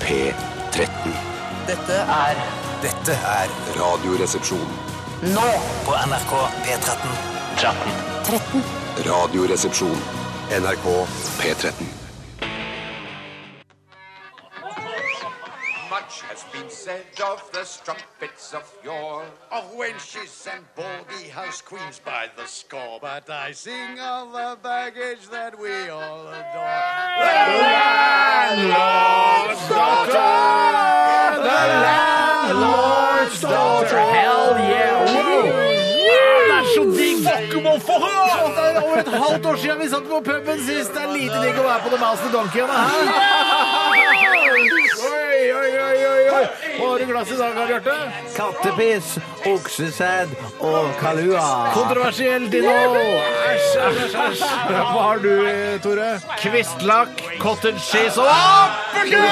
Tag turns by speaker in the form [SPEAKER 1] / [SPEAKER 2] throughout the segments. [SPEAKER 1] P13.
[SPEAKER 2] Dette er
[SPEAKER 3] Dette er
[SPEAKER 1] Radioresepsjon.
[SPEAKER 2] nå
[SPEAKER 3] på NRK P13.
[SPEAKER 2] 13.
[SPEAKER 1] Radioresepsjon. NRK P13.
[SPEAKER 4] Much has been said of the strumpets of yore, of wenches and baldy house queens by the score. But I sing of the baggage that we all adore.
[SPEAKER 5] Kattepiss, oksesæd og kalua. Kontroversielt i nå! Æsj, æsj, æsj. Hva har du, eh, Tore? Kvistlakk, cottage cheese og appelsin!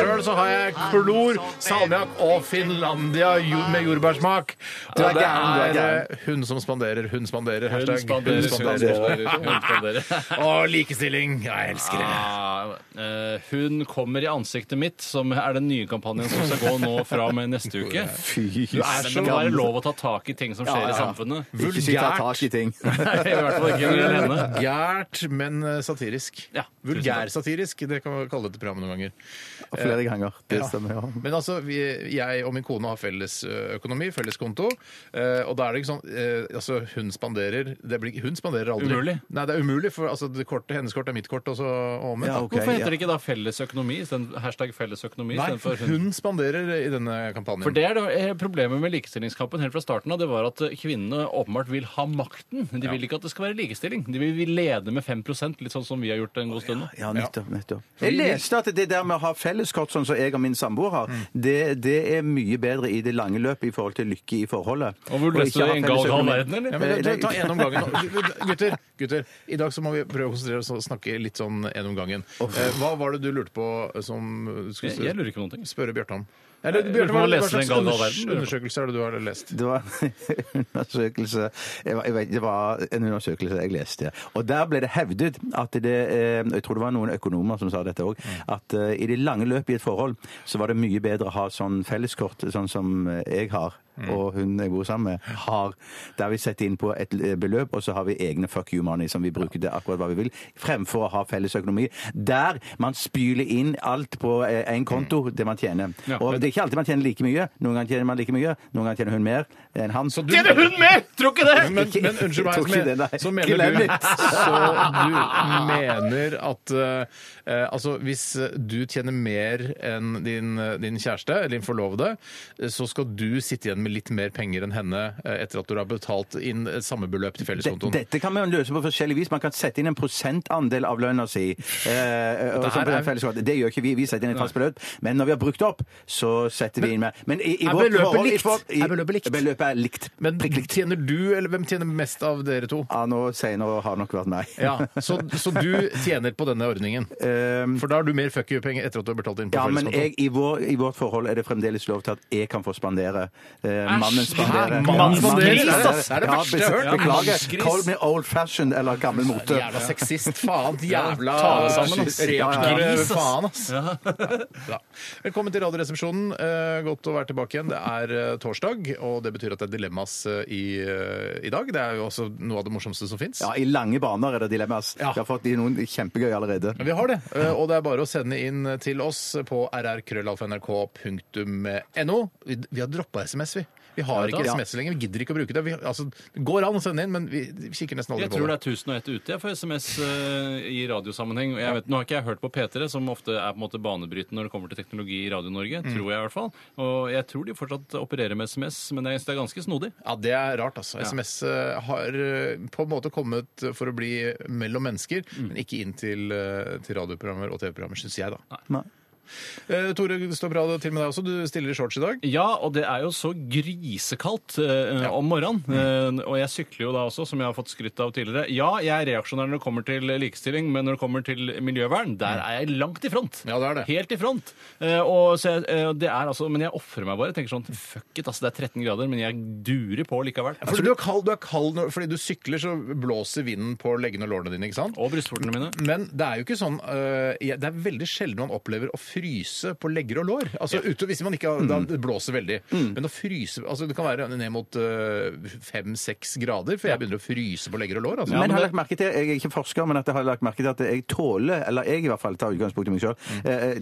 [SPEAKER 5] Sjøl så har jeg klor, salmiakk og Finlandia jo- med jordbærsmak. Og det er eh, hun som spanderer, hun spanderer. Hashtag hun
[SPEAKER 6] spanderer, hun spanderer, hun spanderer.
[SPEAKER 5] Og likestilling. Jeg elsker det.
[SPEAKER 6] Ah, eh, hun kommer i ansiktet mitt, som er den nye kampanjen som skal gå nå fra og med neste uke. Du er så Det må være lov å ta tak i ting som skjer i samfunnet.
[SPEAKER 5] Vulgært.
[SPEAKER 6] Nei, I hvert fall ikke når det gjelder henne.
[SPEAKER 5] Vulgært, men eh, satirisk.
[SPEAKER 6] Ah. Ja, tusen takk.
[SPEAKER 5] Vulgær-satirisk, det kan man kalle dette programmet noen ganger.
[SPEAKER 7] Flere ganger. Det
[SPEAKER 5] Ja.
[SPEAKER 7] stemmer, ja.
[SPEAKER 5] Men altså, vi, jeg og min kone har felles ø, økonomi, felles konto. eh, Og da er det ikke sånn eh, Altså, hun spanderer det blir, Hun spanderer aldri.
[SPEAKER 6] Umulig.
[SPEAKER 5] Nei, det er umulig, for altså, det kortet, hennes kort er mitt kort, og så og omvendt.
[SPEAKER 7] Ja, ok,
[SPEAKER 6] Hvorfor heter
[SPEAKER 7] ja.
[SPEAKER 6] det ikke da felles økonomi? i stedet- Hashtag felles økonomi
[SPEAKER 5] Nei,
[SPEAKER 6] istedenfor
[SPEAKER 5] for
[SPEAKER 6] hun.
[SPEAKER 5] hun spanderer i denne kampanjen.
[SPEAKER 6] For det er det eh, Problemet med likestillingskampen helt fra starten av, det var at eh, kvinnene åpenbart vil ha makten. De vil ikke at det skal være likestilling. De vil vil lede med 5 litt sånn som vi har gjort en god stund nå.
[SPEAKER 7] Ja, nettopp. nettopp. Jeg leste Mm. at det der med å ha felleskort, sånn som jeg og min samboer har, det, det er mye bedre i det lange løpet i forhold til lykke i forholdet.
[SPEAKER 6] Og hvor leste
[SPEAKER 7] ikke
[SPEAKER 6] du det?
[SPEAKER 7] ha
[SPEAKER 6] I en gal
[SPEAKER 7] felles
[SPEAKER 6] gal
[SPEAKER 7] økonomi.
[SPEAKER 6] verden, eller?
[SPEAKER 5] Ja, men ta- Ta en om gangen. nå. Gutter, gutter, i dag så må vi prøve å konsentrere oss og snakke litt sånn en om gangen. Eh, Hva var det du lurte på som du skulle
[SPEAKER 6] Jeg, jeg lurer ikke på noen ting.
[SPEAKER 5] spørre Bjarte om? Eller,
[SPEAKER 6] Jeg lurer
[SPEAKER 5] Bjarte,
[SPEAKER 6] på
[SPEAKER 5] hva,
[SPEAKER 6] om han
[SPEAKER 5] hva
[SPEAKER 6] leser
[SPEAKER 5] slags
[SPEAKER 6] den gale
[SPEAKER 5] unders-
[SPEAKER 6] verden.
[SPEAKER 5] undersøkelser er det du har lest?
[SPEAKER 7] Det var en undersøkelse jeg, var- jeg vet, Det var en undersøkelse jeg leste. Og der ble det hevdet at det eh, Jeg tror det var noen økonomer som sa dette òg. At eh, i det lange løpet i et forhold så var det mye bedre å ha sånn felleskort, sånn som eh, jeg har. Og hun jeg bor sammen med, har Der vi setter inn på et eh, beløp, og så har vi egne fuck you money som vi bruker til akkurat hva vi vil, fremfor å ha felles økonomi. Der man spyler inn alt på én konto, det man tjener.
[SPEAKER 6] Ja.
[SPEAKER 7] Og det er ikke alltid man tjener like mye. Noen ganger tjener man like mye, noen ganger tjener hun mer enn han.
[SPEAKER 5] Så du-
[SPEAKER 6] Tjener hun mer! Tror ikke det!
[SPEAKER 5] Men, men unnskyld meg,
[SPEAKER 7] Jeg tok
[SPEAKER 5] så,
[SPEAKER 7] ikke det, nei.
[SPEAKER 5] men, så mener
[SPEAKER 7] Glem
[SPEAKER 5] du
[SPEAKER 7] det.
[SPEAKER 5] Så du mener at eh, eh, altså hvis eh, du tjener mer enn din, eh, din kjæreste eller din forlovede, eh, så skal du sitte igjen med litt mer penger enn henne eh, etter at du har betalt inn eh, samme beløp til
[SPEAKER 7] Det-
[SPEAKER 5] felleskontoen?
[SPEAKER 7] Dette kan man løse på forskjellig vis. Man kan sette inn en prosentandel av lønna si. Eh, og
[SPEAKER 5] Det her
[SPEAKER 7] sånn på
[SPEAKER 5] er-
[SPEAKER 7] den felleskontoen. det gjør ikke vi. Vi setter inn et fast beløp. Men når vi har brukt opp, så setter vi inn mer. Men i, i
[SPEAKER 5] Er
[SPEAKER 7] vårt
[SPEAKER 5] beløpet
[SPEAKER 7] forhold- i
[SPEAKER 5] likt?
[SPEAKER 7] forhold- i-
[SPEAKER 5] Er beløpet likt?
[SPEAKER 7] Beløpet er likt.
[SPEAKER 5] Men
[SPEAKER 7] Prikk likt.
[SPEAKER 5] tjener du, eller hvem tjener mest av dere to?
[SPEAKER 7] Ja, nå senere har nok vært meg.
[SPEAKER 5] Ja, så, så du tjener på denne ordningen?
[SPEAKER 7] Ehm,
[SPEAKER 5] For da har du mer fuck you-penger etter at du har betalt inn på
[SPEAKER 7] ja, men
[SPEAKER 5] felleskontoen?
[SPEAKER 7] jeg, i, vår, i vårt forhold er det fremdeles lov til at jeg kan få spandere. Eh, mannen
[SPEAKER 5] hæ?
[SPEAKER 7] spanderer.
[SPEAKER 5] Mannen spanderer? Det er det verste jeg har hørt.
[SPEAKER 7] Ja, beklager. Call me old fashioned eller gammel mote.
[SPEAKER 5] Jævla sexist, faen! Jævla
[SPEAKER 6] ta deg sammen, ass.
[SPEAKER 5] Repknarre,
[SPEAKER 6] Gris, ass.
[SPEAKER 5] faen, ass! Ja. Velkommen til Radioresepsjonen. Eh, Godt å være tilbake igjen. Det er eh, torsdag, og det betyr at det er dilemmas eh, i, eh, i dag. Det er jo også noe av det morsomste som fins.
[SPEAKER 7] Ja, I lange baner er det dilemma. ass.
[SPEAKER 5] Ja.
[SPEAKER 7] Vi har fått i noen kjempegøy allerede.
[SPEAKER 5] Vi har det, eh, og det er bare å sende inn eh, til oss på rrkrøllalfa.nrk.no. Vi vi har droppa SMS, vi. Vi har
[SPEAKER 6] Ja,
[SPEAKER 5] ikke
[SPEAKER 6] da.
[SPEAKER 5] SMS lenger. Vi gidder ikke å bruke det. Vi, altså, det går an å sende inn, men vi vi kikker nesten aldri
[SPEAKER 6] Jeg tror
[SPEAKER 5] på
[SPEAKER 6] det
[SPEAKER 5] det.
[SPEAKER 6] er 1001 ute jeg, for SMS eh, i radiosammenheng. Og Jeg vet, nå har ikke jeg hørt på P3, som ofte er på en måte banebrytende når det kommer til teknologi i Radio-Norge. Tror jeg i hvert fall. Og jeg tror de fortsatt opererer med SMS, men jeg synes det er ganske snodig.
[SPEAKER 5] Ja, Det er rart, altså. SMS eh, har eh, på en måte kommet for å bli mellom mennesker, men ikke inn til, eh, til radioprogrammer og TV-programmer, syns jeg, da.
[SPEAKER 7] Nei.
[SPEAKER 5] Eh, Tore, det står bra til med deg også. Du stiller i shorts i dag.
[SPEAKER 6] Ja, og det er jo så grisekaldt eh, om morgenen. Eh, og jeg sykler jo da også, som jeg har fått skrytt av tidligere. Ja, jeg er reaksjonær når det kommer til likestilling, men når det kommer til miljøvern, der er jeg langt i front.
[SPEAKER 5] Mm. Ja, det er det.
[SPEAKER 6] Helt i front. Eh, og så jeg, eh, det er altså, men jeg ofrer meg bare. Jeg tenker sånn fuck it, altså det er 13 grader, men jeg durer på likevel.
[SPEAKER 5] Fordi du er kald, du er kald når, fordi du sykler, så blåser vinden på leggene og lårene dine. ikke sant?
[SPEAKER 6] Altså, Og brystvortene mine.
[SPEAKER 5] Men det er jo ikke sånn øh, jeg- Det er veldig sjelden man opplever å fryse på legger og lår. Altså ute, Hvis man ikke har, da det blåser veldig. Men å fryse altså Det kan være ned mot fem-seks grader før jeg begynner å fryse på legger og lår. Altså.
[SPEAKER 7] men
[SPEAKER 6] men
[SPEAKER 7] har
[SPEAKER 6] det-
[SPEAKER 7] lagt merke til, jeg er ikke forsker, men at jeg har lagt merke til at jeg tåler, eller jeg i hvert fall tar utgangspunkt i meg sjøl,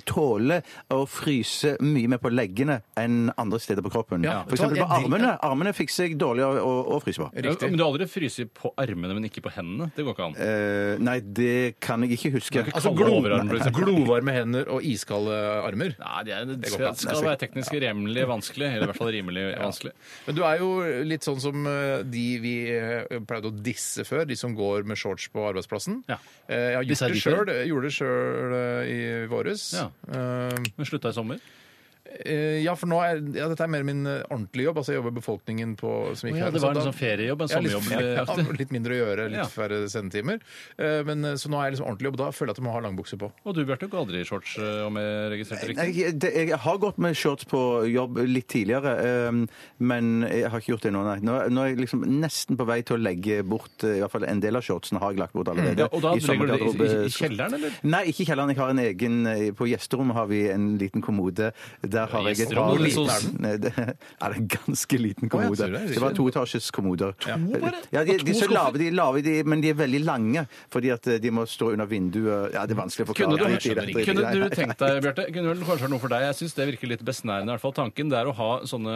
[SPEAKER 7] tåler å fryse mye mer på leggene enn andre steder på kroppen.
[SPEAKER 5] Ja,
[SPEAKER 7] For eksempel
[SPEAKER 5] jeg
[SPEAKER 7] på
[SPEAKER 5] driter-
[SPEAKER 7] armene. Armene fikser jeg dårlig å, å, å fryse på.
[SPEAKER 5] Riktig.
[SPEAKER 6] Ja, Men du har aldri fryst på armene, men ikke på hendene. Det går ikke an.
[SPEAKER 7] Eh, nei, det kan jeg ikke huske.
[SPEAKER 6] Du kan ikke
[SPEAKER 5] Altså
[SPEAKER 6] kalde
[SPEAKER 5] glo,
[SPEAKER 6] overarm, for eksempel.
[SPEAKER 5] Glovarme hender og iskalde armer.
[SPEAKER 6] Nei, det, er, det
[SPEAKER 5] går
[SPEAKER 6] skal,
[SPEAKER 5] ikke.
[SPEAKER 6] skal være teknisk rimelig vanskelig. Eller i hvert fall rimelig vanskelig.
[SPEAKER 5] Men du er jo litt sånn som eh, de vi eh, pleide å disse før, de som går med shorts på arbeidsplassen.
[SPEAKER 6] Ja.
[SPEAKER 5] Eh, Jeg har gjort
[SPEAKER 6] Disse er
[SPEAKER 5] det
[SPEAKER 6] de før.
[SPEAKER 5] selv, jeg gjorde det sjøl eh, i våres.
[SPEAKER 6] Ja.
[SPEAKER 5] Eh,
[SPEAKER 6] Men slutta i sommer.
[SPEAKER 5] eh, ja, for nå er ja, dette er mer min eh, ordentlige jobb. Altså jeg jobber befolkningen på som gikk
[SPEAKER 6] Ja,
[SPEAKER 5] her,
[SPEAKER 6] det
[SPEAKER 5] så
[SPEAKER 6] var en
[SPEAKER 5] da-
[SPEAKER 6] sånn feriejobb, en
[SPEAKER 5] Ja, litt,
[SPEAKER 6] sommerjobb.
[SPEAKER 5] ja,
[SPEAKER 6] eh, aktig.
[SPEAKER 5] litt mindre å gjøre, litt
[SPEAKER 6] Ja.
[SPEAKER 5] færre sendetimer. Eh, Men, eh, så nå er jeg liksom ordentlig jobb. Da føler jeg at jeg må ha langbukse på.
[SPEAKER 6] Og du, Bjarte, går aldri i shorts, eh, om jeg registrerte riktig?
[SPEAKER 7] Nei, det, jeg har gått med shorts på jobb litt tidligere, eh, men jeg har ikke gjort det nå, nei. Nå, nå er jeg liksom nesten på vei til å legge bort eh, i hvert fall en del av shortsen har jeg lagt bort allerede.
[SPEAKER 6] Mm. Ja, og da
[SPEAKER 7] I
[SPEAKER 6] legger du det i, i,
[SPEAKER 7] sommergarderobe-
[SPEAKER 6] i kjelleren, eller?
[SPEAKER 7] Nei, ikke i kjelleren. Jeg har en egen eh, På gjesterommet har vi en liten kommode. Der har jeg et par
[SPEAKER 6] Gjesterommet, hvor liten er
[SPEAKER 7] Nei, det er en ganske liten
[SPEAKER 5] Å, ja,
[SPEAKER 7] kommode.
[SPEAKER 5] så det er
[SPEAKER 7] Det var toetasjes kommoder. To
[SPEAKER 6] bare?
[SPEAKER 7] Ja, de,
[SPEAKER 6] Og to
[SPEAKER 7] de er så
[SPEAKER 6] skuffer?
[SPEAKER 7] lave, de er lave, de, men de er veldig lange, fordi at eh, de må stå under vinduet. Ja, det er vanskelig å forklare.
[SPEAKER 6] Kunne du,
[SPEAKER 7] Drit i det, drit i det.
[SPEAKER 6] kunne
[SPEAKER 7] Nei,
[SPEAKER 6] du
[SPEAKER 7] nei, nei.
[SPEAKER 6] tenkt deg, Bjarte, kunne vel kanskje være noe for deg? Jeg syns det virker litt besnærende, i hvert fall tanken. Det er å ha sånne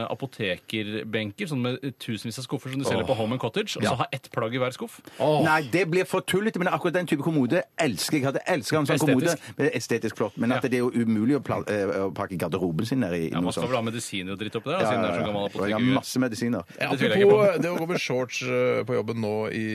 [SPEAKER 6] apotekerbenker sånn med tusenvis av skuffer som du selger på Home and Cottage, og så ha ett plagg i hver skuff.
[SPEAKER 7] Nei, det blir for tullete, men akkurat den type kommode elsker jeg. Jeg hadde elsket en sånn kommode.
[SPEAKER 6] Estetisk.
[SPEAKER 7] Estetisk flott. Men at
[SPEAKER 6] Ja.
[SPEAKER 7] det er jo umulig å, pla- eh, å pakke garderoben sin ned i
[SPEAKER 6] Ja,
[SPEAKER 7] noe
[SPEAKER 6] man skal
[SPEAKER 7] sånt.
[SPEAKER 6] vel ha medisiner og dritt oppi der, da,
[SPEAKER 7] Ja,
[SPEAKER 6] siden det
[SPEAKER 7] ja,
[SPEAKER 6] er så
[SPEAKER 7] ja.
[SPEAKER 6] gammel
[SPEAKER 7] Og jeg har
[SPEAKER 6] apoteker.
[SPEAKER 7] masse medisiner.
[SPEAKER 5] Ja,
[SPEAKER 6] Det tviler jeg ikke
[SPEAKER 5] Apropos det å gå med shorts eh, på jobben nå i,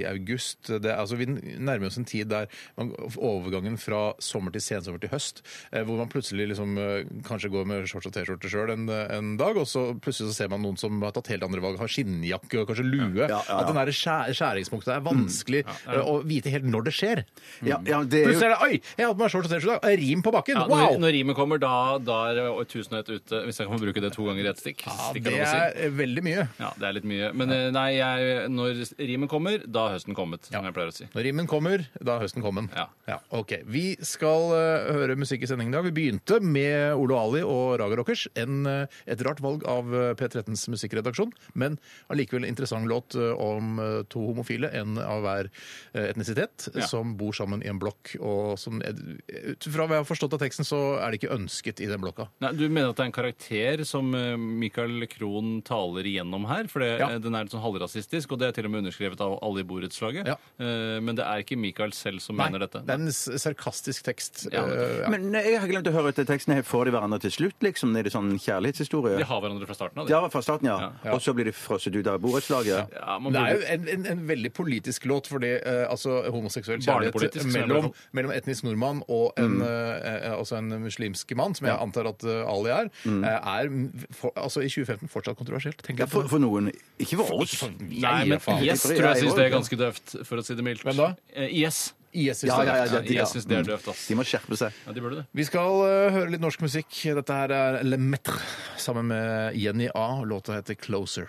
[SPEAKER 5] i august det, er- altså, Vi nærmer oss en tid der man, overgangen fra sommer til sensommer til høst, eh, hvor man plutselig liksom, eh, kanskje går med shorts og T-skjorte sjøl en, en dag, og så plutselig så ser man noen som har tatt helt andre valg, har skinnjakke og kanskje lue.
[SPEAKER 7] ja, ja.
[SPEAKER 5] At den der skjæ- skjæringspunktet
[SPEAKER 6] Mm.
[SPEAKER 5] er vanskelig eh, å vite helt når det skjer.
[SPEAKER 7] Ja, ja, det er jo
[SPEAKER 5] Plutselig er det Oi, jeg har på meg shorts og T-skjorte, og jeg rim på bakken!
[SPEAKER 6] Ja, når,
[SPEAKER 5] wow!
[SPEAKER 6] når rimet kommer, da, da er det tusen og ett ute. Hvis jeg kan få bruke det to ganger i ett stikk.
[SPEAKER 5] Ja,
[SPEAKER 6] stikk er
[SPEAKER 5] det
[SPEAKER 6] lov å si.
[SPEAKER 5] er veldig mye.
[SPEAKER 6] Ja, det er litt mye. Men eh, nei, jeg, når rimen kommer, da har høsten kommet, som jeg pleier å si.
[SPEAKER 5] Når rimmen kommer, da er høsten kommen.
[SPEAKER 6] Ja.
[SPEAKER 5] ok. Vi skal eh, høre musikk i sendingen i dag. Vi begynte med Olo Ali og Raga Rockers. En, eh, et rart valg av eh, P13s musikkredaksjon, men allikevel interessant låt eh, om eh, to homofile, en av hver eh, etnisitet,
[SPEAKER 6] Ja.
[SPEAKER 5] som bor sammen i en blokk. Og som, eh, ut fra hva jeg har forstått av teksten, så er det ikke ønsket i den blokka.
[SPEAKER 6] Nei, du mener at det er en karakter som eh, Michael Krohn taler igjennom her? For det,
[SPEAKER 5] Ja.
[SPEAKER 6] eh, den er litt sånn halvrasistisk, og det er til og med underskrevet av alle i borettslaget.
[SPEAKER 5] Ja.
[SPEAKER 6] Eh, Men det er ikke Michael selv som mener dette.
[SPEAKER 5] Det er en s- sarkastisk tekst.
[SPEAKER 6] Ja.
[SPEAKER 5] eh, ja.
[SPEAKER 7] Men nei, jeg har glemt å høre etter teksten. Her får de hverandre til slutt, liksom? Er det sånn
[SPEAKER 6] De
[SPEAKER 7] kjærlighetshistorie?
[SPEAKER 6] har hverandre fra starten av. de.
[SPEAKER 7] Ja, fra staten, ja.
[SPEAKER 5] Ja.
[SPEAKER 7] Og så blir de frosset ut av borettslaget.
[SPEAKER 6] Ja, man
[SPEAKER 5] det er jo
[SPEAKER 6] burde-
[SPEAKER 5] en, en, en veldig politisk låt, fordi eh, altså, homoseksuell kjærlighet
[SPEAKER 6] Barnepolitisk, så er det
[SPEAKER 5] mellom,
[SPEAKER 6] i hvert
[SPEAKER 5] mellom etnisk nordmann og en,
[SPEAKER 7] Mm.
[SPEAKER 5] eh, eh, altså en muslimsk mann, som jeg antar at eh, Ali er, eh, er m- for, altså, i 2015 fortsatt kontroversielt. tenker
[SPEAKER 7] Mm. Ja,
[SPEAKER 5] jeg på
[SPEAKER 7] for,
[SPEAKER 5] det.
[SPEAKER 7] for noen. Ikke for oss.
[SPEAKER 6] Nei, men
[SPEAKER 5] faen.
[SPEAKER 6] IS
[SPEAKER 7] Jeg
[SPEAKER 6] tror
[SPEAKER 7] er
[SPEAKER 6] jeg syns
[SPEAKER 7] jo-
[SPEAKER 6] det er ganske døvt, for å si det mildt.
[SPEAKER 5] Hvem da?
[SPEAKER 6] Eh, IS.
[SPEAKER 5] IS
[SPEAKER 7] Ja, ja, ja,
[SPEAKER 6] Ja,
[SPEAKER 7] ja, de- ja.
[SPEAKER 6] IS syns det er døvt, ass.
[SPEAKER 7] De må skjerpe seg.
[SPEAKER 6] Ja, de burde det.
[SPEAKER 5] Vi skal eh, høre litt norsk musikk. Dette her er Le Metre sammen med Jenny A. og Låta heter Closer.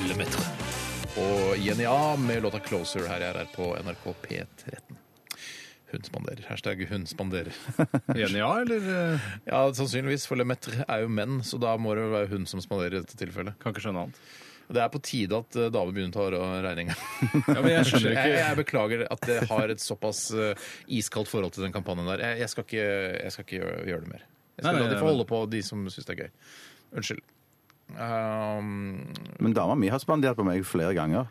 [SPEAKER 5] Le Metre. Og Jenny A med låta Closer her jeg er på NRK P13. Hun spanderer. Hashtag hun spanderer.
[SPEAKER 6] Enig ja, eller eh,
[SPEAKER 5] Ja, sannsynligvis, for Le Metre er jo menn, så da må det være hun som spanderer i dette tilfellet.
[SPEAKER 6] kan ikke skjønne annet.
[SPEAKER 5] Det er på tide at eh, damer begynner å ta regninga.
[SPEAKER 6] Ja, men jeg skjønner
[SPEAKER 5] Jeg,
[SPEAKER 6] ikke
[SPEAKER 5] jeg beklager at jeg har et såpass eh, iskaldt forhold til den kampanjen der. Jeg, jeg, skal, ikke, jeg skal ikke gjøre, gjøre det mer. Jeg skal
[SPEAKER 6] Nei, nei,
[SPEAKER 5] la de
[SPEAKER 6] nei,
[SPEAKER 5] få
[SPEAKER 6] men-
[SPEAKER 5] holde på, de som syns det er gøy. Unnskyld. Um,
[SPEAKER 7] Men dama mi har spandert på meg flere ganger.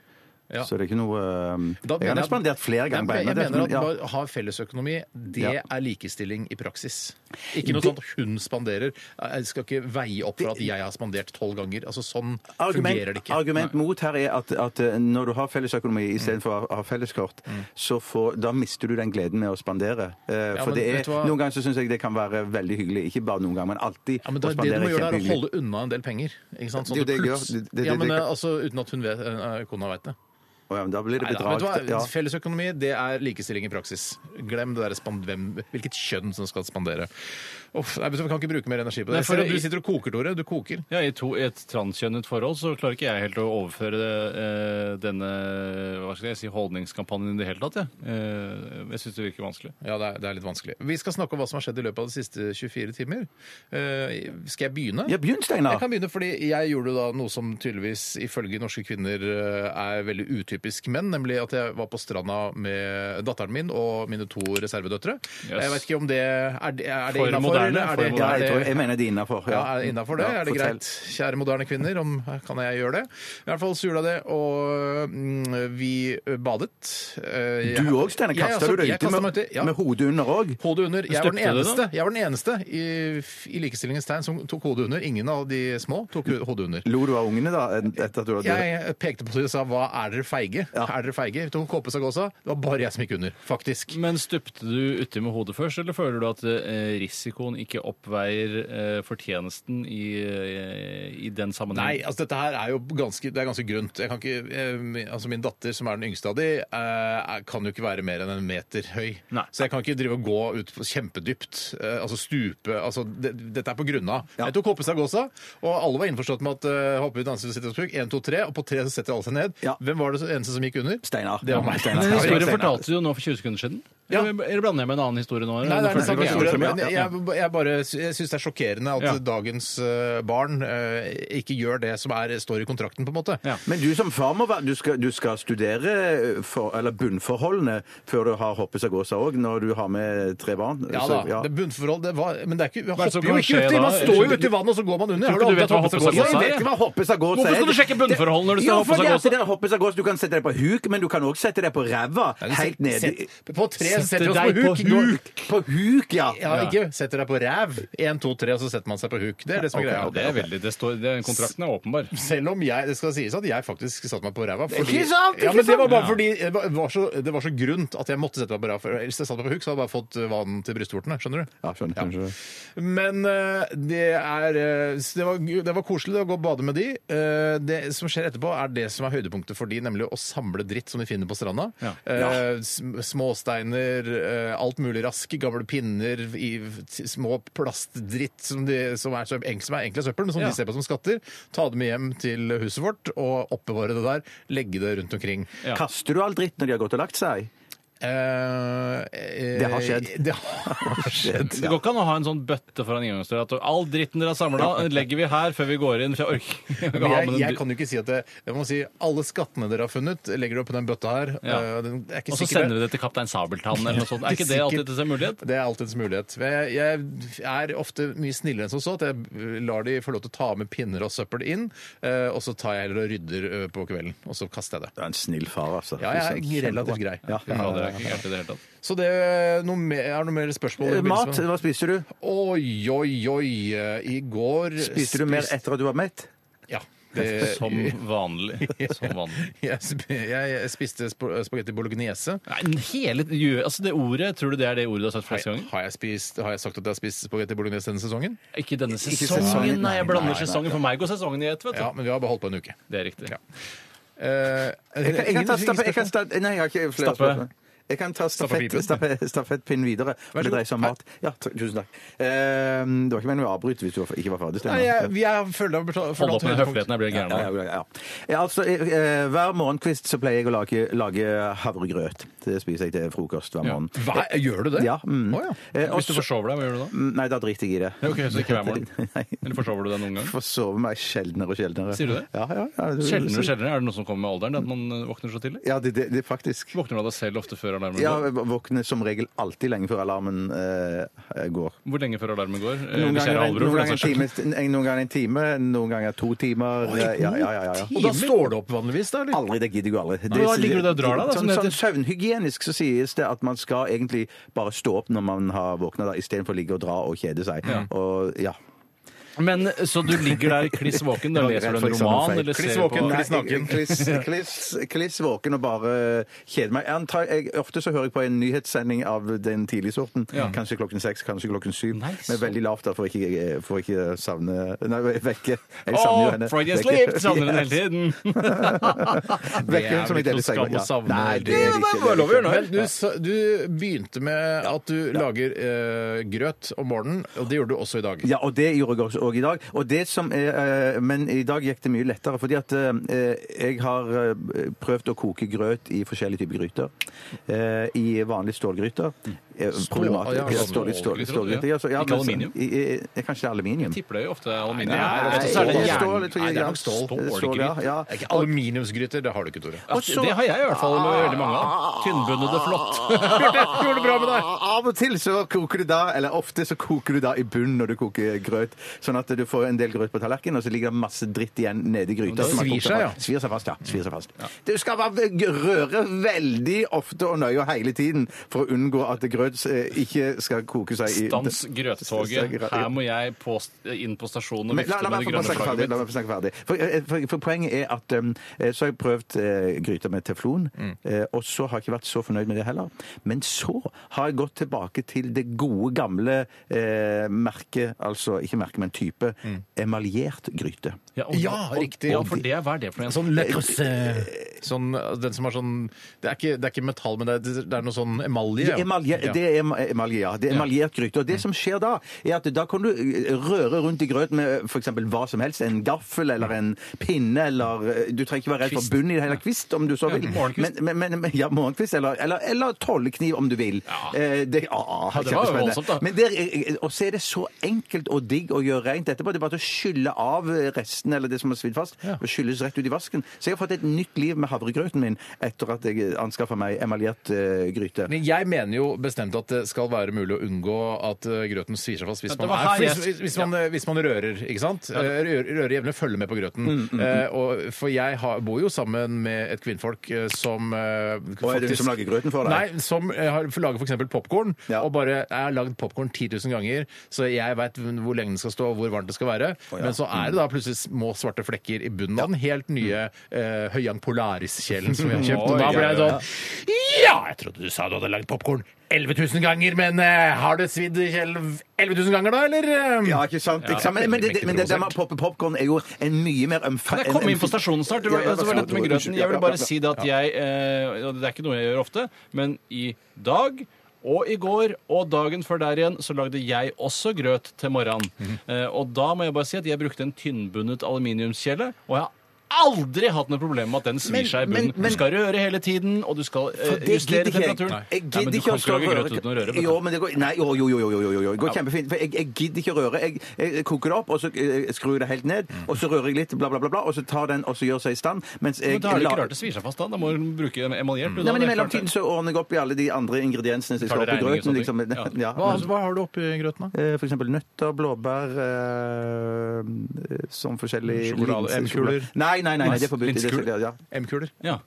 [SPEAKER 5] Ja.
[SPEAKER 7] Så det er ikke noe eh,
[SPEAKER 5] Da
[SPEAKER 7] Jeg
[SPEAKER 5] mener
[SPEAKER 7] har
[SPEAKER 5] jeg-
[SPEAKER 7] respondert flere ganger på
[SPEAKER 5] Jeg, jeg
[SPEAKER 7] henne.
[SPEAKER 5] mener at
[SPEAKER 7] Ja.
[SPEAKER 5] bare å ha fellesøkonomi, det
[SPEAKER 7] Ja.
[SPEAKER 5] er likestilling i praksis. Ikke noe
[SPEAKER 7] Det-
[SPEAKER 5] sånt at hun spanderer. Jeg skal ikke veie opp for at jeg har spandert tolv ganger. Altså Sånn fungerer det ikke.
[SPEAKER 7] argument mot her er at, at eh, når du har fellesøkonomi
[SPEAKER 5] Mm.
[SPEAKER 7] istedenfor å ha- ha felleskort, så får, da mister du den gleden med å spandere. Eh,
[SPEAKER 5] Ja,
[SPEAKER 7] for
[SPEAKER 5] men
[SPEAKER 7] det
[SPEAKER 5] vet
[SPEAKER 7] er,
[SPEAKER 5] du hva?
[SPEAKER 7] noen ganger så syns jeg det kan være veldig hyggelig. Ikke bare noen ganger, men alltid.
[SPEAKER 5] Ja, men det,
[SPEAKER 7] å
[SPEAKER 5] det
[SPEAKER 7] spandere
[SPEAKER 5] du må
[SPEAKER 7] er
[SPEAKER 5] gjøre, er å
[SPEAKER 7] kjempehyggelig.
[SPEAKER 5] holde unna en del penger. Ikke sant? Sånn
[SPEAKER 7] Det er jo
[SPEAKER 5] at
[SPEAKER 7] det jeg gjør.
[SPEAKER 5] plutselig-
[SPEAKER 7] Det- det-
[SPEAKER 5] ja, men
[SPEAKER 7] det-
[SPEAKER 5] eh, altså Uten at hun vet, eh, kona veit det.
[SPEAKER 7] Å, ja, men da blir det
[SPEAKER 5] Nei, da, vet du
[SPEAKER 7] bedrag.
[SPEAKER 5] hva?
[SPEAKER 7] Ja.
[SPEAKER 5] Fellesøkonomi det er likestilling i praksis. Glem det der span- hvem, hvilket kjønn som skal spandere. Uff, nei, vet du, hva, Vi kan ikke bruke mer energi på det.
[SPEAKER 6] Nei, for
[SPEAKER 5] Jeg ser at
[SPEAKER 6] i-
[SPEAKER 5] du sitter og koker, Tore. Du koker.
[SPEAKER 6] Ja, I to, i et transkjønnet forhold så klarer ikke jeg helt å overføre eh, denne hva skal jeg si, holdningskampanjen i det hele tatt. jeg. Eh, jeg syns det virker vanskelig.
[SPEAKER 5] Ja, det er, det er litt vanskelig. Vi skal snakke om hva som har skjedd i løpet av de siste 24 timer. Eh, skal jeg begynne?
[SPEAKER 7] Ja, begynn, Steinar.
[SPEAKER 5] Jeg kan begynne, fordi jeg gjorde da noe som tydeligvis ifølge norske kvinner eh, er veldig utypisk menn, nemlig at jeg var på stranda med datteren min og mine to reservedøtre.
[SPEAKER 6] Yes.
[SPEAKER 5] Jeg vet ikke om det Er det, er det
[SPEAKER 6] For
[SPEAKER 5] innenfor,
[SPEAKER 6] moderne,
[SPEAKER 5] eller er
[SPEAKER 6] for
[SPEAKER 5] det-
[SPEAKER 7] Ja,
[SPEAKER 6] moderne.
[SPEAKER 7] jeg,
[SPEAKER 5] er
[SPEAKER 7] tror,
[SPEAKER 5] det-
[SPEAKER 7] jeg mener det er innafor.
[SPEAKER 5] ja, er det innafor det? er det greit, kjære moderne kvinner, om kan jeg gjøre det? I hvert fall så gjorde jeg det, og mm, vi badet. Eh, jeg-
[SPEAKER 7] Du òg, Steinar.
[SPEAKER 5] Jeg
[SPEAKER 7] Kaster
[SPEAKER 5] også-
[SPEAKER 7] du deg
[SPEAKER 5] jeg
[SPEAKER 7] uti
[SPEAKER 5] kastet
[SPEAKER 7] med,
[SPEAKER 5] meg uti, ja.
[SPEAKER 7] med hodet under òg?
[SPEAKER 5] Hodet under. Jeg var, den
[SPEAKER 6] Støpte du det,
[SPEAKER 5] eneste, jeg var den eneste i, i likestillingens tegn som tok hodet under. Ingen av de små tok hodet under.
[SPEAKER 7] Lo du av ungene da? Etter at du hadde
[SPEAKER 5] Jeg pekte på det og sa 'hva er dere feige'? Er dere feige? Tok Kåpe seg også. Det var bare jeg som gikk under, faktisk.
[SPEAKER 6] Men stupte du uti med hodet først, eller føler du at eh, risikoen ikke oppveier eh, fortjenesten i, eh, i den
[SPEAKER 5] Nei,
[SPEAKER 6] sammenheng?
[SPEAKER 5] altså dette her er jo ganske, det er ganske grunt. Jeg kan ikke, eh, mi- altså Min datter, som er den yngste av de, eh, er- kan jo ikke være mer enn en meter høy.
[SPEAKER 6] Nei.
[SPEAKER 5] Så jeg kan ikke drive og gå ut på kjempedypt, eh, altså stupe altså det, Dette er på grunna. Jeg tok Hoppestad Gåsa, og alle var innforstått med at eh, hoppe ut, danse, sitte og spruk. Én, to, tre, og på tre så setter alle seg ned.
[SPEAKER 7] Ja.
[SPEAKER 5] Hvem var det så- eneste som gikk under?
[SPEAKER 7] Steinar.
[SPEAKER 5] Det var meg.
[SPEAKER 7] Steinar.
[SPEAKER 6] Men
[SPEAKER 7] Steinar.
[SPEAKER 6] historien fortalte du jo nå for 20 sekunder siden.
[SPEAKER 5] Ja.
[SPEAKER 6] Eller, eller blander jeg med en annen historie nå?
[SPEAKER 5] Nei, det er den
[SPEAKER 6] Ok,
[SPEAKER 5] samme
[SPEAKER 6] ja.
[SPEAKER 5] historien.
[SPEAKER 7] ja.
[SPEAKER 5] Men jeg, jeg, jeg bare sy- jeg syns det er sjokkerende at
[SPEAKER 6] Ja.
[SPEAKER 5] dagens eh, barn eh, ikke gjør det som er, står i kontrakten, på en måte.
[SPEAKER 6] Ja.
[SPEAKER 7] Men du som far må være, du skal, du skal studere eh, for, eller bunnforholdene før du har hoppet seg gåsa òg, når du har med tre barn.
[SPEAKER 5] Ja
[SPEAKER 7] Så,
[SPEAKER 5] da.
[SPEAKER 7] ja.
[SPEAKER 5] Det er bunnforhold, det var Men det er ikke, man
[SPEAKER 6] Hva er det som
[SPEAKER 5] hopper jo
[SPEAKER 6] kan
[SPEAKER 5] ikke
[SPEAKER 6] skje
[SPEAKER 5] uti!
[SPEAKER 6] da?
[SPEAKER 5] Man står jo uti vannet, og så går man under.
[SPEAKER 6] Tror ikke du vet hva hoppe seg gåsa
[SPEAKER 5] Jeg
[SPEAKER 6] er?
[SPEAKER 5] vet ikke hva hoppe-
[SPEAKER 7] Hoppe seg gåsa
[SPEAKER 6] Hvorfor skal
[SPEAKER 7] er-
[SPEAKER 6] du sjekke bunnforholdene når du skal
[SPEAKER 7] Jo,
[SPEAKER 6] hoppe
[SPEAKER 7] fordi
[SPEAKER 6] seg
[SPEAKER 7] at
[SPEAKER 6] gåsa?
[SPEAKER 7] det er hoppe seg gåsa? Du kan sette deg på huk, men du kan òg sette deg på ræva. Helt ned i-
[SPEAKER 5] Sett- På tre
[SPEAKER 6] Sette
[SPEAKER 5] setter vi oss
[SPEAKER 6] deg
[SPEAKER 5] på
[SPEAKER 6] på
[SPEAKER 5] huk.
[SPEAKER 6] huk.
[SPEAKER 5] Nå-
[SPEAKER 7] På huk, ja.
[SPEAKER 5] Ja, ikke setter deg på ræv. Én, to, tre, og så setter man seg på huk. Det er det som er
[SPEAKER 6] Ja,
[SPEAKER 5] greia.
[SPEAKER 6] det er veldig, det står, det, kontrakten er åpenbar.
[SPEAKER 5] Selv om jeg, det skal sies at jeg faktisk satte meg på ræva.
[SPEAKER 7] er ikke sant, det er
[SPEAKER 5] ja, men
[SPEAKER 7] ikke
[SPEAKER 5] det var bare
[SPEAKER 6] sant.
[SPEAKER 5] fordi det var- var så, det var så grunt at jeg måtte sette meg på ræva. for Hvis jeg satte meg på huk, så hadde jeg bare fått eh, vann til brystvortene. Skjønner du?
[SPEAKER 7] Ja, skjønner, skjønner, skjønner.
[SPEAKER 5] Men eh, det er eh, så det var, det var koselig å gå og bade med de. Eh, det som skjer etterpå, er det som er høydepunktet for de, nemlig å samle dritt som de finner på stranda.
[SPEAKER 6] Ja.
[SPEAKER 5] Eh, sm- Småsteiner, eh, alt mulig rask, gamle pinner, i t- små plastdritt som, de, som, er, som, er, som er enkle søppel, men som
[SPEAKER 6] Ja.
[SPEAKER 5] de ser på som skatter. Ta det med hjem til huset vårt og oppbevare det der. Legge det rundt omkring.
[SPEAKER 6] Ja.
[SPEAKER 7] Kaster du all dritt når de har gått og lagt seg?
[SPEAKER 5] Eh, eh,
[SPEAKER 7] Det har skjedd.
[SPEAKER 5] Det har skjedd.
[SPEAKER 6] Det går ikke an å ha en sånn bøtte foran inngangsdøra. At all dritten dere har samla, legger vi her før vi går inn. For jeg orker ikke å ha
[SPEAKER 5] Jeg,
[SPEAKER 6] med
[SPEAKER 5] jeg
[SPEAKER 6] den.
[SPEAKER 5] kan jo ikke si at det, jeg må si alle skattene dere har funnet, legger du oppi den bøtta her.
[SPEAKER 6] Ja.
[SPEAKER 5] Eh, den, det er ikke
[SPEAKER 6] Og så
[SPEAKER 5] sikkert
[SPEAKER 6] sender vi det til Kaptein Sabeltann eller noe sånt. Er ikke det alltid en mulighet?
[SPEAKER 5] Det er alltid en mulighet. Men Jeg, jeg er ofte mye snillere enn som så. At jeg lar de få lov til å ta med pinner og søppel inn, eh, og så tar jeg heller og rydder eh, på kvelden. Og så kaster jeg det.
[SPEAKER 7] Du er en snill far, altså.
[SPEAKER 5] Ja, jeg er relativt grei.
[SPEAKER 7] Ja.
[SPEAKER 6] Fy fader, det er ikke gærent i det hele tatt.
[SPEAKER 5] Så det noe mer, er det noe mer spørsmål?
[SPEAKER 7] Eh,
[SPEAKER 5] i
[SPEAKER 7] Mat,
[SPEAKER 5] forbindelse med-
[SPEAKER 7] hva spiser du?
[SPEAKER 5] Oi, oi, oi. eh, I går
[SPEAKER 7] Spiser du mer
[SPEAKER 5] spiste-
[SPEAKER 7] etter at du var mett?
[SPEAKER 5] Ja.
[SPEAKER 7] Eh,
[SPEAKER 5] Det,
[SPEAKER 6] Som vanlig. Som vanlig.
[SPEAKER 5] jeg, sp- jeg spiste sp- spagetti bolognese.
[SPEAKER 6] Nei, hele, altså det ordet, Tror du det er det ordet du har sagt flest ganger?
[SPEAKER 5] Har jeg, spist, har jeg sagt at jeg har spist spagetti bolognese denne sesongen?
[SPEAKER 6] Ikke denne
[SPEAKER 7] sesongen,
[SPEAKER 6] sesongen. Nei, jeg blander
[SPEAKER 7] nei, nei,
[SPEAKER 6] sesongen. For meg går sesongen i ett. vet
[SPEAKER 5] Ja,
[SPEAKER 6] du.
[SPEAKER 5] men vi har bare holdt på en uke.
[SPEAKER 6] Det er riktig.
[SPEAKER 5] Ja. Eh,
[SPEAKER 7] Jeg kan, jeg kan
[SPEAKER 5] ingen-
[SPEAKER 7] ta stappe, jeg kan
[SPEAKER 5] ingen spørsmål?
[SPEAKER 7] sta, nei, jeg har ikke flere
[SPEAKER 6] Stappe.
[SPEAKER 7] spørsmål. Jeg kan ta stafett,
[SPEAKER 5] Stappepipen.
[SPEAKER 7] stappe- stafettpinnen videre. Vær
[SPEAKER 5] Vær så
[SPEAKER 7] det
[SPEAKER 5] god.
[SPEAKER 7] dreier seg om mat. Ja, t- tusen takk. Eh, det var ikke meningen å avbryte hvis du var- ikke var ferdig. Steinar.
[SPEAKER 5] Nei, jeg, jeg føler jeg har
[SPEAKER 6] Hold opp med høfligheten. Jeg blir
[SPEAKER 7] Ja,
[SPEAKER 6] gæren. av
[SPEAKER 7] ja, ja, ja. Ja, altså, eh, hver morgenkvist så pleier jeg å lage, lage havregrøt. Det spiser jeg til frokost hver morgen.
[SPEAKER 5] Hva? Gjør du det?
[SPEAKER 7] Ja, mm.
[SPEAKER 5] Å, ja.
[SPEAKER 7] Eh,
[SPEAKER 6] det. Hvis du
[SPEAKER 7] også-
[SPEAKER 6] forsover deg, hva gjør du da?
[SPEAKER 7] Nei, da driter jeg i det.
[SPEAKER 6] Ok, Så ikke hver morgen?
[SPEAKER 7] Nei,
[SPEAKER 6] Eller forsover du deg noen gang?
[SPEAKER 7] forsover meg sjeldnere og sjeldnere.
[SPEAKER 6] Sier du det?
[SPEAKER 7] Ja, ja, ja, det-
[SPEAKER 6] Sjeldnere og sjeldnere. Er det noe som kommer med alderen? At man eh, våkner så tidlig?
[SPEAKER 7] Ja, det, det, det er faktisk
[SPEAKER 6] Våkner du av deg selv ofte før før alarmen
[SPEAKER 7] Ja,
[SPEAKER 6] går?
[SPEAKER 7] jeg våkner som regel alltid lenge før alarmen eh, går.
[SPEAKER 6] Hvor lenge før alarmen går? Eh,
[SPEAKER 7] Noen
[SPEAKER 6] kjære
[SPEAKER 7] ganger,
[SPEAKER 6] Alvro,
[SPEAKER 7] noen, ganger
[SPEAKER 6] for den
[SPEAKER 7] en
[SPEAKER 6] saks skyld.
[SPEAKER 7] time, en- noen ganger en time, noen ganger to timer. Ja, ja, ja, ja, ja.
[SPEAKER 5] Og da står du opp vanligvis, da? eller?
[SPEAKER 7] Aldri, det gidder jeg jo aldri.
[SPEAKER 6] Men da ligger du der og drar deg, da, som
[SPEAKER 7] Sånn,
[SPEAKER 6] det
[SPEAKER 7] sånn
[SPEAKER 6] heter.
[SPEAKER 7] søvnhygienisk så sies det at man skal egentlig bare stå opp når man har våkna, da, istedenfor å ligge og dra og kjede seg. Og, ja.
[SPEAKER 6] Men eh, Så du ligger der kliss våken, da
[SPEAKER 7] Jeg var redd
[SPEAKER 6] leser du
[SPEAKER 7] for
[SPEAKER 6] en
[SPEAKER 7] eksamen
[SPEAKER 6] roman?
[SPEAKER 7] feil.
[SPEAKER 6] Eller ser
[SPEAKER 5] Kliss
[SPEAKER 6] på-
[SPEAKER 5] våken. Kliss naken.
[SPEAKER 7] kliss, kliss, kliss våken og bare kjede meg. Jeg antar, jeg, ofte så hører jeg på en nyhetssending av den tidlige sorten. Kanskje klokken seks, kanskje klokken syv.
[SPEAKER 6] Nei,
[SPEAKER 7] men
[SPEAKER 6] så-
[SPEAKER 7] veldig lavt da, for å ikke, for å ikke savne Nei, vekke. Jeg savner jo
[SPEAKER 6] Å,
[SPEAKER 7] henne.
[SPEAKER 6] Freudian
[SPEAKER 7] Vekke-
[SPEAKER 6] sleep! Savner den hele tiden.
[SPEAKER 7] Vekke henne som litt
[SPEAKER 5] Det er vel ikke noe
[SPEAKER 7] eldre seg.
[SPEAKER 5] skam å
[SPEAKER 7] Ja.
[SPEAKER 5] savne.
[SPEAKER 7] Nei, det
[SPEAKER 5] Det
[SPEAKER 7] er
[SPEAKER 5] er
[SPEAKER 7] ikke
[SPEAKER 6] bare lov å gjøre noe.
[SPEAKER 5] Men du, sa- du begynte med at du lager eh, grøt om morgenen, og det gjorde du også i dag.
[SPEAKER 7] Ja, og det gjorde jeg også, også i dag. Og det som er, eh, men i dag gikk det mye lettere, fordi at eh, jeg har eh, prøvd å koke grøt i forskjellige typer gryter. Eh, I vanlige stålgryter. Eh, Problematisk.
[SPEAKER 5] ja,
[SPEAKER 7] Ja,
[SPEAKER 5] sånn
[SPEAKER 7] stål, stål,
[SPEAKER 6] stålgryter,
[SPEAKER 7] stålgryter. Ja, så, ja,
[SPEAKER 6] Ikke
[SPEAKER 7] men-
[SPEAKER 6] aluminium?
[SPEAKER 7] i- i- i- Kanskje det er aluminium?
[SPEAKER 6] Tipper det jo ofte er aluminium.
[SPEAKER 5] Nei,
[SPEAKER 6] Her,
[SPEAKER 5] nei,
[SPEAKER 6] og så er det
[SPEAKER 5] nei,
[SPEAKER 6] jern.
[SPEAKER 7] stål, jeg tror
[SPEAKER 5] Nei, det er nok
[SPEAKER 7] jern.
[SPEAKER 5] stål.
[SPEAKER 7] Stål, ja, ja.
[SPEAKER 5] Det er Ikke aluminiumsgryter, det har du ikke, Tore.
[SPEAKER 7] Og så-
[SPEAKER 6] Det har jeg i hvert fall med veldig mange av. Tynnbunnede
[SPEAKER 7] Ah,
[SPEAKER 6] flott.
[SPEAKER 5] Gjorde det bra med deg!
[SPEAKER 7] Av og til så koker du da, eller ofte så koker du da i bunnen når du koker grøt, sånn at du får en del grøt på tallerkenen, og så ligger det masse dritt igjen nede i gryta.
[SPEAKER 5] det
[SPEAKER 7] som har
[SPEAKER 5] svir
[SPEAKER 7] kokt
[SPEAKER 5] seg, ja.
[SPEAKER 7] fast. Svir seg fast, ja. Svir seg fast. Du skal bare røre veldig ofte og nøye og hele tiden for å unngå at grøt eh, ikke skal koke seg i
[SPEAKER 6] Stans grøttoget. Her må jeg på, inn på stasjonen og
[SPEAKER 7] Men la,
[SPEAKER 6] vifte
[SPEAKER 7] la,
[SPEAKER 6] med
[SPEAKER 7] meg
[SPEAKER 6] det
[SPEAKER 7] få
[SPEAKER 6] grønne
[SPEAKER 7] snakke ferdig.
[SPEAKER 6] flagget
[SPEAKER 7] La meg
[SPEAKER 6] mitt.
[SPEAKER 7] få snakke ferdig. For, eh, for, for poenget er at um, eh, så har jeg prøvd eh, gryter med teflon, eh, og så har jeg ikke vært så fornøyd med det heller. Men så har jeg gått tilbake til det gode, gamle eh, merket, altså ikke merket, men type, emaljert gryte.
[SPEAKER 6] Ja, og-
[SPEAKER 5] Ja,
[SPEAKER 6] og-
[SPEAKER 5] riktig.
[SPEAKER 6] Og for det, hva er det for en sånn?
[SPEAKER 5] Sånn Le Creuset. Sånn, altså, den som har sånn det er, ikke, det er ikke metall, men det er, det er noe sånn emalje. ja.
[SPEAKER 7] Emalje,
[SPEAKER 5] Ja.
[SPEAKER 7] Det er em- emalje, ja. Det er emaljert gryte. Og det som skjer da, er at da kan du eh, røre rundt i grøten med f.eks. hva som helst. En gaffel eller en pinne eller eh, Du trenger ikke være redd for bunn i det hele kvist, om du så vil.
[SPEAKER 6] Ja, morgenkvist.
[SPEAKER 7] Men, men, men, ja, morgenkvist. Eller, eller, eller tollekniv, om du vil.
[SPEAKER 6] Ja.
[SPEAKER 7] Eh, Det, ah,
[SPEAKER 6] Ja, det var jo
[SPEAKER 7] kjempespennende.
[SPEAKER 6] voldsomt, da.
[SPEAKER 7] Men der, og så er eh, det så enkelt og digg å gjøre rent etterpå. Det er bare til å skylle av resten eller det som har svidd fast, og skylles rett ut i vasken. Så jeg har fått et nytt liv med havregrøten min etter at jeg anskaffa meg emaljert eh, gryte.
[SPEAKER 5] Men jeg mener jo bestemt at det skal være mulig å unngå at eh, grøten svir seg fast hvis
[SPEAKER 6] Ja, det
[SPEAKER 5] man,
[SPEAKER 6] var
[SPEAKER 5] er,
[SPEAKER 6] her
[SPEAKER 5] hvis,
[SPEAKER 6] jeg-
[SPEAKER 5] hvis, man, eh, hvis man rører, ikke sant? Eh, Rører, rører jevnlig, følger med på grøten.
[SPEAKER 6] Mm,
[SPEAKER 5] Eh, og, for jeg har, bor jo sammen med et kvinnfolk eh, som eh,
[SPEAKER 7] er det hun som lager grøten for deg?
[SPEAKER 5] Nei, som eh, har, lager f.eks. popkorn.
[SPEAKER 7] Ja.
[SPEAKER 5] Og bare eh, Jeg har lagd popkorn 10 000 ganger, så jeg veit hvor lenge den skal stå, og hvor varmt det skal være. Men så er
[SPEAKER 7] Mm.
[SPEAKER 5] det da plutselig små svarte flekker i bunnen av den helt nye eh, Høyang Polaris-kjelen som vi har kjøpt. Og da ble jeg sånn ja, jeg trodde du sa du hadde lagd popkorn 11 000 ganger, men eh, har det svidd i kjelen 11 000 ganger da, eller? eh?
[SPEAKER 7] Ja, ikke sant? Ikke sant? Men, men, det, men det der med å poppe popkorn er jo en mye mer ømfa...
[SPEAKER 6] Kan jeg komme inn på stasjonen snart? Det var, altså, det var dette med grøten. Jeg vil bare si det at jeg eh, og Det er ikke noe jeg gjør ofte, men i dag og i går og dagen før der igjen så lagde jeg også grøt til morgenen.
[SPEAKER 7] Mhm.
[SPEAKER 6] Eh, og da må jeg bare si at jeg brukte en tynnbundet aluminiumskjele. og jeg har Aldri hatt noe problem med at den svir
[SPEAKER 7] Men-
[SPEAKER 6] seg i
[SPEAKER 7] men-
[SPEAKER 6] bunnen.
[SPEAKER 7] men-
[SPEAKER 6] Du skal røre hele tiden, og du skal eh,
[SPEAKER 7] For det
[SPEAKER 6] justere
[SPEAKER 7] gidder ikke
[SPEAKER 6] temperaturen.
[SPEAKER 7] Jeg
[SPEAKER 6] Nei, men
[SPEAKER 7] gidder
[SPEAKER 6] du
[SPEAKER 7] ikke å
[SPEAKER 6] kan ikke
[SPEAKER 7] stå og
[SPEAKER 6] lage
[SPEAKER 7] røre.
[SPEAKER 6] grøt uten å røre. vet du.
[SPEAKER 7] Jo, men det går, nei, jo, jo, jo, jo, jo, jo, jo. Det går kjempefint. For jeg, jeg gidder ikke å røre. Jeg, jeg koker det opp, og så eh, skrur jeg det helt ned, og så rører jeg litt, bla, bla, bla, bla, og så tar den og så gjør seg i stand, mens jeg
[SPEAKER 6] Men da er det
[SPEAKER 7] lar-
[SPEAKER 6] ikke rart det svir seg fast. Da Da må du bruke emaljert.
[SPEAKER 7] Nei, men I mellomtiden så ordner jeg opp i alle de andre ingrediensene som
[SPEAKER 6] Tar
[SPEAKER 7] skal
[SPEAKER 6] det
[SPEAKER 7] opp i
[SPEAKER 6] regning og
[SPEAKER 7] grøten.
[SPEAKER 6] sånne ting?
[SPEAKER 7] Liksom. Ja.
[SPEAKER 6] Ja.
[SPEAKER 5] Hva, hva har du oppi grøten, da?
[SPEAKER 7] Eh, For eksempel nøtter, blåbær eh, Sånn forskjellig
[SPEAKER 6] Mm,
[SPEAKER 5] Sjokolade,
[SPEAKER 7] linser-
[SPEAKER 5] M-kuler.
[SPEAKER 7] sjokolade. Nei, nei, nei, nei, det er forbudt. Det er-
[SPEAKER 6] Linsekuler?
[SPEAKER 7] ja.
[SPEAKER 5] M-kuler?
[SPEAKER 6] Ja.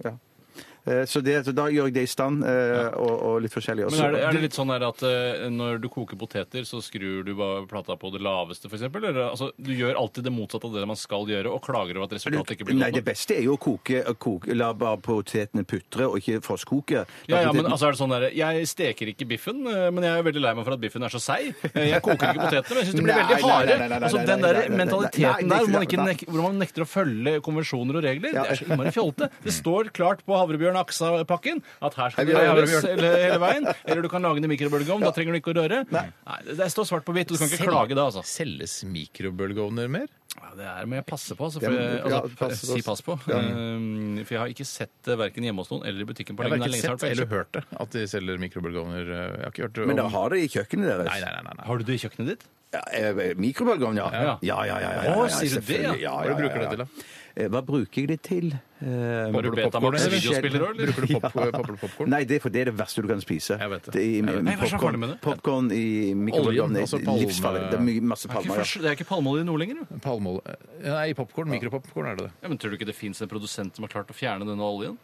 [SPEAKER 7] Eh, Så, det, så da gjør jeg det i stand, eh, og, og litt forskjellig også.
[SPEAKER 6] Men er det, er det litt sånn her at eh, når du koker poteter, så skrur du bare plata på det laveste, f.eks.? Eller altså, du gjør alltid det motsatte av det man skal gjøre, og klager over at resultatet ikke blir
[SPEAKER 7] Nei, det
[SPEAKER 6] godt nok?
[SPEAKER 7] beste er jo å koke, å koke La bare potetene putre, og ikke frostkoke.
[SPEAKER 6] Ja, ja, men altså er det sånn der, Jeg steker ikke biffen, eh, men jeg er veldig lei meg for at biffen er så seig. Eh, Jeg koker ikke potetene, men jeg syns de blir
[SPEAKER 7] Nei, nei,
[SPEAKER 6] veldig
[SPEAKER 7] nei,
[SPEAKER 6] harde.
[SPEAKER 7] nei, nei, nei,
[SPEAKER 6] Altså,
[SPEAKER 7] nei,
[SPEAKER 6] Den
[SPEAKER 7] nei,
[SPEAKER 6] der
[SPEAKER 7] nei, nei, nei, nei,
[SPEAKER 6] mentaliteten
[SPEAKER 7] nei,
[SPEAKER 6] der hvor man,
[SPEAKER 7] nei,
[SPEAKER 6] ikke
[SPEAKER 7] nei.
[SPEAKER 6] nek hvor man nekter å følge konvensjoner og regler,
[SPEAKER 7] Ja.
[SPEAKER 6] det er så innmari fjollete. Det står klart på Havrebjørn Aksa-pakken at her skal
[SPEAKER 7] Jeg vil
[SPEAKER 6] det
[SPEAKER 7] ha
[SPEAKER 6] røres
[SPEAKER 7] havrebjørn.
[SPEAKER 6] hele, hele veien. Eller du kan lage den i mikrobølgeovn, da trenger du ikke å røre. Nei, Det står svart på hvitt, og du kan ikke klage da, altså.
[SPEAKER 5] Selges mikrobølgeovner mer?
[SPEAKER 6] Ja, det er må jeg passe på. Altså,
[SPEAKER 7] Det
[SPEAKER 6] for
[SPEAKER 7] må-
[SPEAKER 6] jeg,
[SPEAKER 7] ja,
[SPEAKER 6] altså,
[SPEAKER 7] passe på.
[SPEAKER 6] si pass på. Um, for jeg har ikke sett det verken hjemme hos noen eller i butikken på
[SPEAKER 5] Jeg
[SPEAKER 6] lenge.
[SPEAKER 5] har
[SPEAKER 6] Det
[SPEAKER 5] ikke
[SPEAKER 6] er lenge
[SPEAKER 5] sett
[SPEAKER 6] siden jeg
[SPEAKER 5] eller
[SPEAKER 6] har vært på
[SPEAKER 5] hørt det, at de selger mikrobølgeovner. eh, Jeg har ikke hørt det.
[SPEAKER 7] Men
[SPEAKER 5] om-
[SPEAKER 7] dere har det i kjøkkenet deres.
[SPEAKER 5] Nei, nei, nei. nei,
[SPEAKER 6] Elkjøp.
[SPEAKER 5] nei.
[SPEAKER 6] Har du det i kjøkkenet ditt?
[SPEAKER 7] Ja, eh, Mikrobølgeovn, ja. Ja, ja, ja. ja, ja,
[SPEAKER 6] Å,
[SPEAKER 7] ja,
[SPEAKER 6] sier du det,
[SPEAKER 7] selvfølgelig.
[SPEAKER 6] ja?
[SPEAKER 7] Ja,
[SPEAKER 5] Hva
[SPEAKER 7] ja,
[SPEAKER 5] bruker du det til, da?
[SPEAKER 7] da? Hva bruker jeg det til? Eh,
[SPEAKER 6] Bare
[SPEAKER 5] popcorn,
[SPEAKER 6] Betamax
[SPEAKER 5] eller?
[SPEAKER 6] videospiller òg, eller?
[SPEAKER 5] Bruker du pop, popler popcorn?
[SPEAKER 7] Nei, det er, for det er det verste du kan spise.
[SPEAKER 5] Jeg vet det.
[SPEAKER 7] er i-
[SPEAKER 6] Nei, hva er så farlig med det?
[SPEAKER 7] Popcorn i mikrofonen
[SPEAKER 5] altså palme-
[SPEAKER 7] Det er mye- masse
[SPEAKER 6] Det er
[SPEAKER 7] palmer.
[SPEAKER 6] ikke,
[SPEAKER 7] Ja.
[SPEAKER 6] først- det er ikke palmeolje nå lenger, jo.
[SPEAKER 5] Palmeolje Nei, popkorn. Mikropopkorn er det det.
[SPEAKER 6] Ja, men tror du ikke det fins en produsent som har klart å fjerne denne oljen?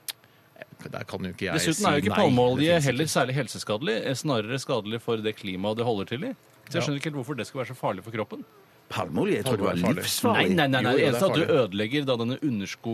[SPEAKER 5] Der kan jo ikke jeg
[SPEAKER 6] Dessuten
[SPEAKER 5] si
[SPEAKER 6] er jo
[SPEAKER 5] nei.
[SPEAKER 6] ikke palmeolje
[SPEAKER 5] Det finnes
[SPEAKER 6] heller særlig helseskadelig, eh, snarere skadelig for det klimaet det holder til i. Så jeg skjønner ikke helt hvorfor det skal være så farlig for kroppen.
[SPEAKER 7] Palmeolje? Jeg tror det var
[SPEAKER 5] Palmeolje er farlig.
[SPEAKER 6] Nei,
[SPEAKER 7] livsfarlig.
[SPEAKER 6] nei, nei,
[SPEAKER 5] Jo,
[SPEAKER 6] nei.
[SPEAKER 5] jo,
[SPEAKER 6] Det
[SPEAKER 5] det
[SPEAKER 6] eneste
[SPEAKER 5] er
[SPEAKER 6] er at du
[SPEAKER 5] farlig.
[SPEAKER 6] ødelegger da denne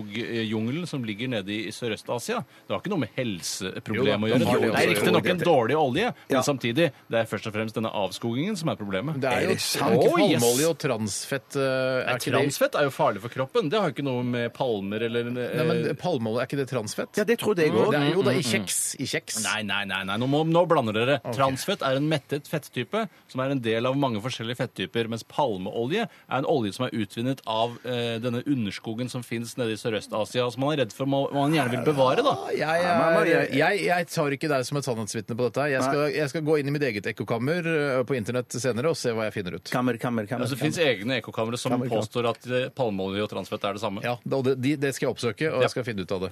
[SPEAKER 6] underskogjungelen som ligger nede i Sørøst-Asia. Det har ikke noe med helseproblem å
[SPEAKER 5] Jo da,
[SPEAKER 6] gjøre.
[SPEAKER 5] det har det
[SPEAKER 6] Det er
[SPEAKER 5] også.
[SPEAKER 6] riktignok en dårlig olje,
[SPEAKER 7] Ja.
[SPEAKER 6] men samtidig, det er først og fremst denne avskogingen som er problemet.
[SPEAKER 5] Det er jo
[SPEAKER 7] Er det sant?
[SPEAKER 5] ikke
[SPEAKER 6] Å, yes.
[SPEAKER 5] palmeolje og transfett eh, er
[SPEAKER 6] Nei,
[SPEAKER 5] ikke det-
[SPEAKER 6] Transfett er jo farlig for kroppen. Det har jo ikke noe med palmer eller
[SPEAKER 5] Nei, men
[SPEAKER 6] eh,
[SPEAKER 5] palmeolje, er ikke det transfett?
[SPEAKER 7] Ja, det Mm-hmm. trodde jeg
[SPEAKER 5] Mm,
[SPEAKER 7] òg.
[SPEAKER 5] det er jo da i kjeks. I kjeks.
[SPEAKER 6] Nei, nei, nei, nei. Nå, må, nå blander dere. Transfett er en mettet fettype som er en del av mange forskjellige fettyper, mens palmeolje er en olje som er utvinnet av eh, denne underskogen som fins nede i Sørøst-Asia, som man er redd for må- man gjerne vil bevare, da.
[SPEAKER 5] Jeg,
[SPEAKER 7] men-
[SPEAKER 5] er,
[SPEAKER 7] men-
[SPEAKER 5] jeg, jeg tar ikke deg som et sannhetsvitne på dette. her. Jeg skal, jeg skal gå inn i mitt eget ekkokammer eh, på internett senere og se hva jeg finner ut.
[SPEAKER 7] Kammer, kammer, kammer.
[SPEAKER 6] Altså, det fins egne ekkokamre som påstår at eh, palmeolje og transfett er det samme.
[SPEAKER 5] Ja, da- og det, de, det skal jeg oppsøke, og jeg skal finne ut av det.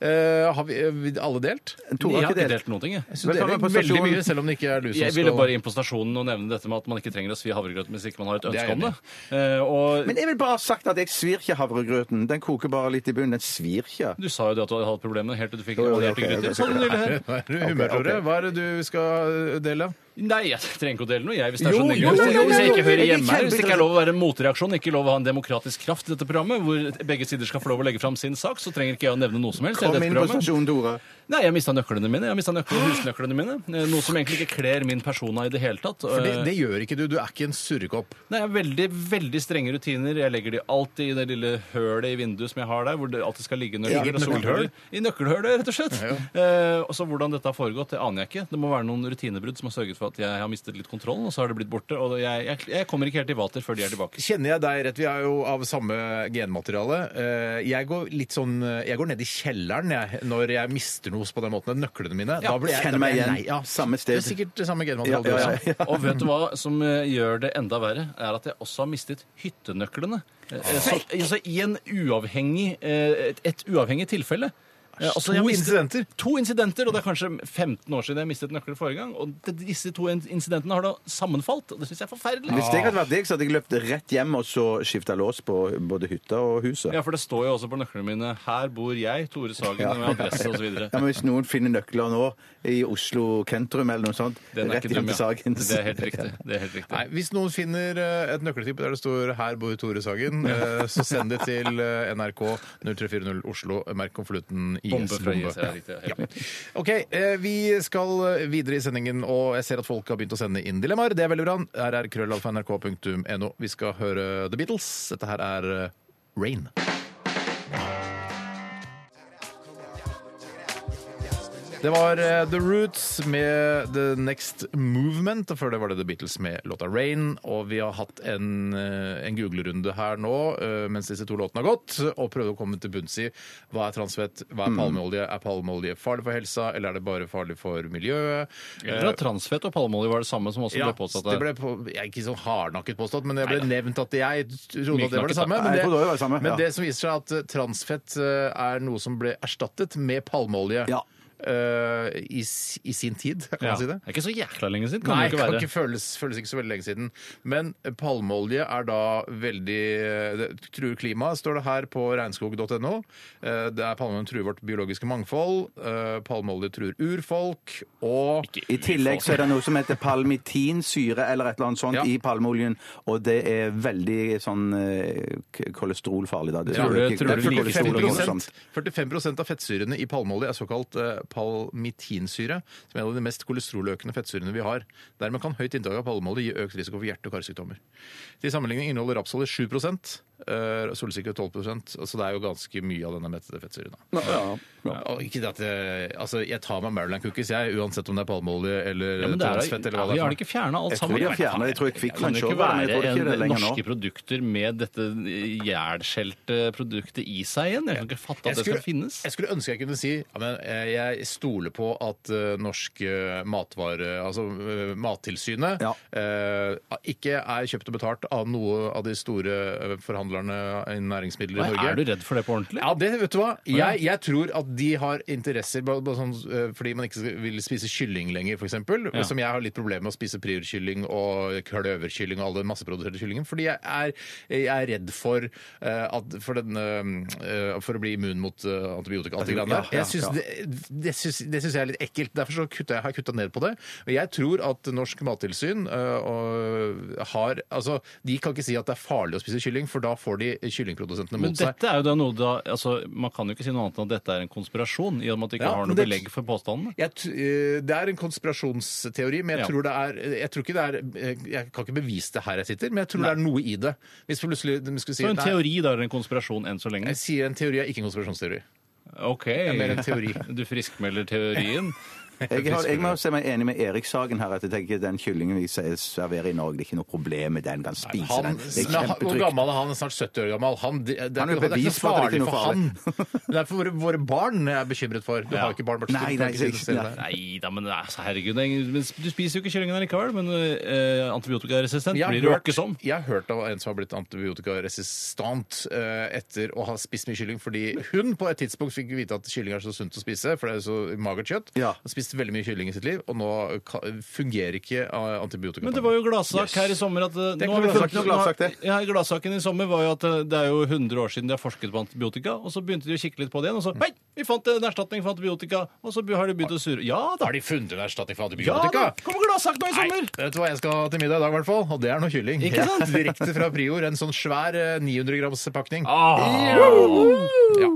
[SPEAKER 5] Eh, har vi, eh, vi alle delt?
[SPEAKER 7] Tore
[SPEAKER 6] Jeg
[SPEAKER 7] har
[SPEAKER 6] har
[SPEAKER 7] ikke
[SPEAKER 6] ikke
[SPEAKER 7] delt.
[SPEAKER 6] delt noen ting, jeg.
[SPEAKER 5] Så det
[SPEAKER 7] Velkommen
[SPEAKER 5] er
[SPEAKER 7] på
[SPEAKER 5] veldig
[SPEAKER 7] stasjonen.
[SPEAKER 5] mye, selv om det ikke er du som
[SPEAKER 6] Jeg ville
[SPEAKER 5] skal
[SPEAKER 6] bare inn på stasjonen og nevne dette med at man ikke trenger å svi havregrøt hvis ikke man har et
[SPEAKER 5] Det er
[SPEAKER 6] ønske
[SPEAKER 5] jeg
[SPEAKER 6] om det.
[SPEAKER 5] enig
[SPEAKER 6] Eh, og
[SPEAKER 7] Men jeg vil bare ha sagt at jeg svir ikke havregrøten. Den koker bare litt i bunnen. Den svir ikke.
[SPEAKER 6] du sa jo det at du hadde hatt problemer helt til du fikk
[SPEAKER 7] Jo, jo,
[SPEAKER 6] oljerte
[SPEAKER 7] ok, ok,
[SPEAKER 6] gryter.
[SPEAKER 7] ok.
[SPEAKER 6] Sånn nylig her.
[SPEAKER 5] Hva er det du humør, Tore? Hva er det du skal eh, dele?
[SPEAKER 6] Nei, jeg trenger ikke å dele noe, jeg. Hvis det er
[SPEAKER 5] Jo,
[SPEAKER 6] så
[SPEAKER 5] jo,
[SPEAKER 6] negativt.
[SPEAKER 5] jo, jo,
[SPEAKER 6] Hvis jeg
[SPEAKER 5] jo,
[SPEAKER 6] ikke hører
[SPEAKER 5] jeg
[SPEAKER 6] hjemme her,
[SPEAKER 5] kjemper-
[SPEAKER 6] hvis det ikke er lov å være en motreaksjon, ikke lov å ha en demokratisk kraft i dette programmet, hvor begge sider skal få lov å legge fram sin sak, så trenger ikke jeg å nevne noe som helst. i
[SPEAKER 7] Kom
[SPEAKER 6] dette
[SPEAKER 7] inn på
[SPEAKER 6] programmet.
[SPEAKER 7] stasjonen, Tore.
[SPEAKER 6] Nei, jeg mista nøklene mine. Jeg mista nøklene, husnøklene mine. Eh, Noe som egentlig ikke kler min persona i det hele tatt.
[SPEAKER 5] For det,
[SPEAKER 6] Eh,
[SPEAKER 5] det gjør ikke du. Du er ikke en surrekopp.
[SPEAKER 6] Nei, jeg har veldig, veldig strenge rutiner. Jeg legger de alltid i det lille hølet i vinduet som jeg har der, hvor det alltid skal ligge nøkler.
[SPEAKER 5] Eget
[SPEAKER 6] og
[SPEAKER 5] nøkkelhull?
[SPEAKER 6] solbriller. I nøkkelhølet, rett og slett. Eh, og så hvordan dette har foregått, det aner jeg ikke. Det må være noen rutinebrudd som har sørget for at jeg har mistet litt kontrollen, og så har det blitt borte. Og jeg, jeg, jeg kommer ikke helt i vater før de er tilbake.
[SPEAKER 5] Kjenner jeg deg rett? Vi er jo av samme genmateriale. Eh, Jeg går litt sånn Jeg går ned i kjelleren jeg, når jeg mister noe på den måten. Nøklene mine. Da blir jeg,
[SPEAKER 7] Kjenner
[SPEAKER 5] da blir
[SPEAKER 7] meg
[SPEAKER 5] jeg
[SPEAKER 7] igjen.
[SPEAKER 5] lei. Ja.
[SPEAKER 7] Samme
[SPEAKER 5] Det
[SPEAKER 7] sted.
[SPEAKER 5] er sikkert det samme
[SPEAKER 7] Ja,
[SPEAKER 5] genmaterialet.
[SPEAKER 7] ja, ja,
[SPEAKER 5] du også.
[SPEAKER 7] ja.
[SPEAKER 6] Og vet du hva som eh, gjør det enda verre, er at jeg også har mistet hyttenøklene. Eh, Så, altså, I en uavhengig, eh, et, et uavhengig tilfelle. Eh, altså, jeg
[SPEAKER 5] To
[SPEAKER 6] har mistet-
[SPEAKER 5] incidenter.
[SPEAKER 6] To incidenter, og det er kanskje 15 år siden jeg mistet nøkler forrige gang. Og det, disse to in- incidentene har da sammenfalt, og det syns jeg er forferdelig.
[SPEAKER 7] Hvis jeg hadde vært deg, så hadde jeg løpt rett hjem og så skifta lås på både hytta og huset.
[SPEAKER 6] Ja, for det står jo også på nøklene mine 'Her bor jeg, Tore Sagen',
[SPEAKER 7] Ja.
[SPEAKER 6] med adresse osv.
[SPEAKER 7] Ja, men Hvis noen finner nøkler nå i Oslo Kentrum eller noe sånt
[SPEAKER 6] Den er
[SPEAKER 7] Rett
[SPEAKER 6] ikke dum,
[SPEAKER 7] hjem til
[SPEAKER 6] ja.
[SPEAKER 7] saken.
[SPEAKER 6] Det er helt riktig. Det er helt riktig.
[SPEAKER 5] Nei, hvis noen finner eh, et nøkkeltipp der det står 'Her bor Tore Sagen', eh, så send det til eh, NRK 0340 Oslo. Merk konvolutten
[SPEAKER 6] Bombe fra IS, ja,
[SPEAKER 5] IS-bombe.
[SPEAKER 6] riktig, helt riktig.
[SPEAKER 5] OK, eh, vi skal videre i sendingen, og jeg ser at folk har begynt å sende inn dilemmaer. Det er veldig bra. Her er krøllalfa.nrk.no. Vi skal høre The Beatles. Dette her er eh, Rain. Det var eh, The Roots med The Next Movement, og før det var det The Beatles med låta Rain. Og vi har hatt en, eh, en googlerunde her nå eh, mens disse to låtene har gått, og prøvde å komme til bunns i hva er transfett, hva er palmeolje, er palmeolje farlig for helsa, eller er det bare farlig for miljøet? Eh,
[SPEAKER 6] Eller at transfett og palmeolje var det samme som også
[SPEAKER 5] Ja,
[SPEAKER 6] ble påstått
[SPEAKER 5] det ble på, jeg er ikke sånn hardnakket påstått, men det ble nevnt at jeg trodde at det var
[SPEAKER 6] Myknakket,
[SPEAKER 5] det samme. Men
[SPEAKER 6] da.
[SPEAKER 7] Nei, jeg
[SPEAKER 5] det,
[SPEAKER 7] trodde det var det samme,
[SPEAKER 5] men
[SPEAKER 7] ja.
[SPEAKER 5] det som viser seg at eh, transfett eh, er noe som ble erstattet med palmeolje
[SPEAKER 7] Ja.
[SPEAKER 5] eh, i, s- i sin tid, kan
[SPEAKER 6] Ja.
[SPEAKER 5] man si
[SPEAKER 6] Det
[SPEAKER 5] det?
[SPEAKER 6] er ikke så jækla lenge siden. Kan
[SPEAKER 5] Nei,
[SPEAKER 6] det jo ikke
[SPEAKER 5] kan
[SPEAKER 6] være.
[SPEAKER 5] ikke føles, føles ikke så veldig lenge siden. Men palmeolje er da veldig eh, det truer klimaet, står det her på regnskog.no. Eh, Det er palmeoljen truer vårt biologiske mangfold. eh, Palmeolje truer urfolk og
[SPEAKER 7] I tillegg så er det noe som heter palmitinsyre eller et eller annet sånt
[SPEAKER 5] Ja.
[SPEAKER 7] i palmeoljen, og det er veldig sånn eh, k- kolesterolfarlig, da. Det
[SPEAKER 6] Tror du-
[SPEAKER 7] øker-
[SPEAKER 6] tror du
[SPEAKER 7] øker
[SPEAKER 6] like stor
[SPEAKER 7] kolesterolet
[SPEAKER 6] dose?
[SPEAKER 7] voldsomt.
[SPEAKER 5] 45, 45 av fettsyrene i palmeolje er såkalt eh, palmitinsyre, som er en av de mest kolesteroløkende fettsyrene vi har. Dermed kan høyt inntak av palmeolje gi økt risiko for hjerte- og karsykdommer. Til sammenligning inneholder rapsolje 7 eh, solsikke 12 så det er jo ganske mye av denne mettede fettsyren. da. Ja, og ikke det at jeg, altså, jeg tar meg Maryland cookies, jeg, uansett om det er palmeolje eller
[SPEAKER 6] Ja, men det er,
[SPEAKER 5] tonsfett eller hva
[SPEAKER 6] vi
[SPEAKER 5] det
[SPEAKER 6] har
[SPEAKER 5] er.
[SPEAKER 6] ikke fjerna alt
[SPEAKER 7] Jeg tror
[SPEAKER 6] sammen.
[SPEAKER 7] de har fjernet det. Jeg tror Kvikk
[SPEAKER 6] Det kan
[SPEAKER 7] kanskje
[SPEAKER 6] jo ikke
[SPEAKER 7] også var det, men jeg
[SPEAKER 6] være
[SPEAKER 7] tror ikke det er
[SPEAKER 6] en-
[SPEAKER 7] lenger nå.
[SPEAKER 6] norske produkter med dette jævlskjelte produktet i seg igjen. Jeg kan ikke fatte at det skal finnes.
[SPEAKER 5] jeg skulle ønske jeg kunne si ja, men eh, jeg stoler på at eh, norsk eh, matvare, altså eh, Mattilsynet
[SPEAKER 7] Ja.
[SPEAKER 5] eh, ikke er kjøpt og betalt av noe av de store eh, forhandlerne innen næringsmidler i
[SPEAKER 6] Nei,
[SPEAKER 5] Norge.
[SPEAKER 6] Er du redd for det på ordentlig?
[SPEAKER 5] Ja, det vet du hva. Jeg, jeg tror at de har interesser bare, bare sånn, eh, fordi man ikke skal- vil spise kylling lenger, f.eks.
[SPEAKER 6] Ja.
[SPEAKER 5] Som jeg har litt problemer med å spise priorkylling og kløverkylling og all den masseproduserte kyllingen. Fordi jeg er, jeg er redd for, eh, at, for, den, eh, for å bli immun mot eh, antibiotika. Alt det greiene
[SPEAKER 7] Ja,
[SPEAKER 5] der.
[SPEAKER 7] ja,
[SPEAKER 5] Jeg synes
[SPEAKER 7] ja.
[SPEAKER 5] Det, det syns det syns jeg er litt ekkelt. Derfor så kutta jeg, har jeg kutta ned på det. Men jeg tror at Norsk mattilsyn eh, og har Altså, de kan ikke si at det er farlig å spise kylling, for da får de kyllingprodusentene
[SPEAKER 6] Men
[SPEAKER 5] mot seg.
[SPEAKER 6] dette er jo da noe da, altså, Man kan jo ikke si noe annet enn at dette er en konspirasjon, i og med at du ikke
[SPEAKER 5] Ja,
[SPEAKER 6] har
[SPEAKER 5] men
[SPEAKER 6] noe
[SPEAKER 5] det-
[SPEAKER 6] belegg for påstandene.
[SPEAKER 5] Jeg, t- eh, det er en konspirasjonsteori, men jeg,
[SPEAKER 6] Ja.
[SPEAKER 5] tror det er, jeg tror ikke det er eh, Jeg kan ikke bevise det her jeg sitter, men jeg tror det er noe i det. Hvis plutselig de skulle si
[SPEAKER 6] Så en
[SPEAKER 5] nei,
[SPEAKER 6] teori da er en konspirasjon enn så lenge.
[SPEAKER 5] Jeg sier en teori er ikke en konspirasjonsteori.
[SPEAKER 6] OK.
[SPEAKER 5] mer en teori.
[SPEAKER 6] Du friskmelder teorien.
[SPEAKER 7] Jeg, har, jeg må si meg enig med Erik Sagen her. at jeg tenker Den kyllingen vi ser- serverer i Norge, det er ikke noe problem med den. Kan spise
[SPEAKER 5] Han,
[SPEAKER 7] den. Det er
[SPEAKER 5] men han- hvor
[SPEAKER 7] kjempetrygt.
[SPEAKER 5] gammel er han? Snart 70 år gammel. Han, det, det,
[SPEAKER 7] Han
[SPEAKER 5] er
[SPEAKER 7] er jo
[SPEAKER 5] ikke- det er ikke
[SPEAKER 7] bevis for at
[SPEAKER 5] så
[SPEAKER 7] det
[SPEAKER 5] farlig
[SPEAKER 7] ikke er
[SPEAKER 5] for han. Det er for våre, våre barn jeg er bekymret for. Du har ikke barn. Bart, så
[SPEAKER 7] Nei,
[SPEAKER 5] du kan
[SPEAKER 7] nei,
[SPEAKER 5] ikke si det
[SPEAKER 7] ikke-
[SPEAKER 5] selv.
[SPEAKER 6] Nei da, men altså, herregud. det er- men Du spiser jo ikke kyllingen likevel, men eh, antibiotikaresistent
[SPEAKER 5] Jeg har,
[SPEAKER 6] blir du jo
[SPEAKER 5] hørt,
[SPEAKER 6] ikke som.
[SPEAKER 5] jeg har hørt av en som har blitt antibiotikaresistant eh, etter å ha spist mye kylling, fordi hun på et tidspunkt fikk vite at kylling er så sunt å spise, for det er så magert kjøtt.
[SPEAKER 7] Ja.
[SPEAKER 5] Har spist veldig mye kylling i sitt liv, og nå ka- fungerer ikke eh, antibiotika.
[SPEAKER 6] Men det var jo gladsak her i sommer at eh,
[SPEAKER 5] Det er
[SPEAKER 6] nå har
[SPEAKER 5] ikke
[SPEAKER 6] vi
[SPEAKER 5] noe
[SPEAKER 6] fått-
[SPEAKER 7] gladsak, det er gladsak, det.
[SPEAKER 6] Ja, Gladsaken i sommer var jo at eh, det er jo 100 år siden de har forsket på antibiotika, og så begynte de å kikke litt på det igjen, og så Hei, vi fant en erstatning for antibiotika! Og så har de begynt å surre. Ja da!
[SPEAKER 5] Har de funnet en erstatning for
[SPEAKER 6] Ja
[SPEAKER 5] antibiotika?
[SPEAKER 6] da! Kommer gladsak nå i
[SPEAKER 5] Nei,
[SPEAKER 6] sommer!
[SPEAKER 5] vet du hva jeg skal ha til middag i dag, i hvert fall? Og det er noe kylling.
[SPEAKER 6] Ikke sant?
[SPEAKER 5] Helt Direkte fra Prior. En sånn svær eh, 900 grams pakning.
[SPEAKER 6] Ah.
[SPEAKER 5] Ja.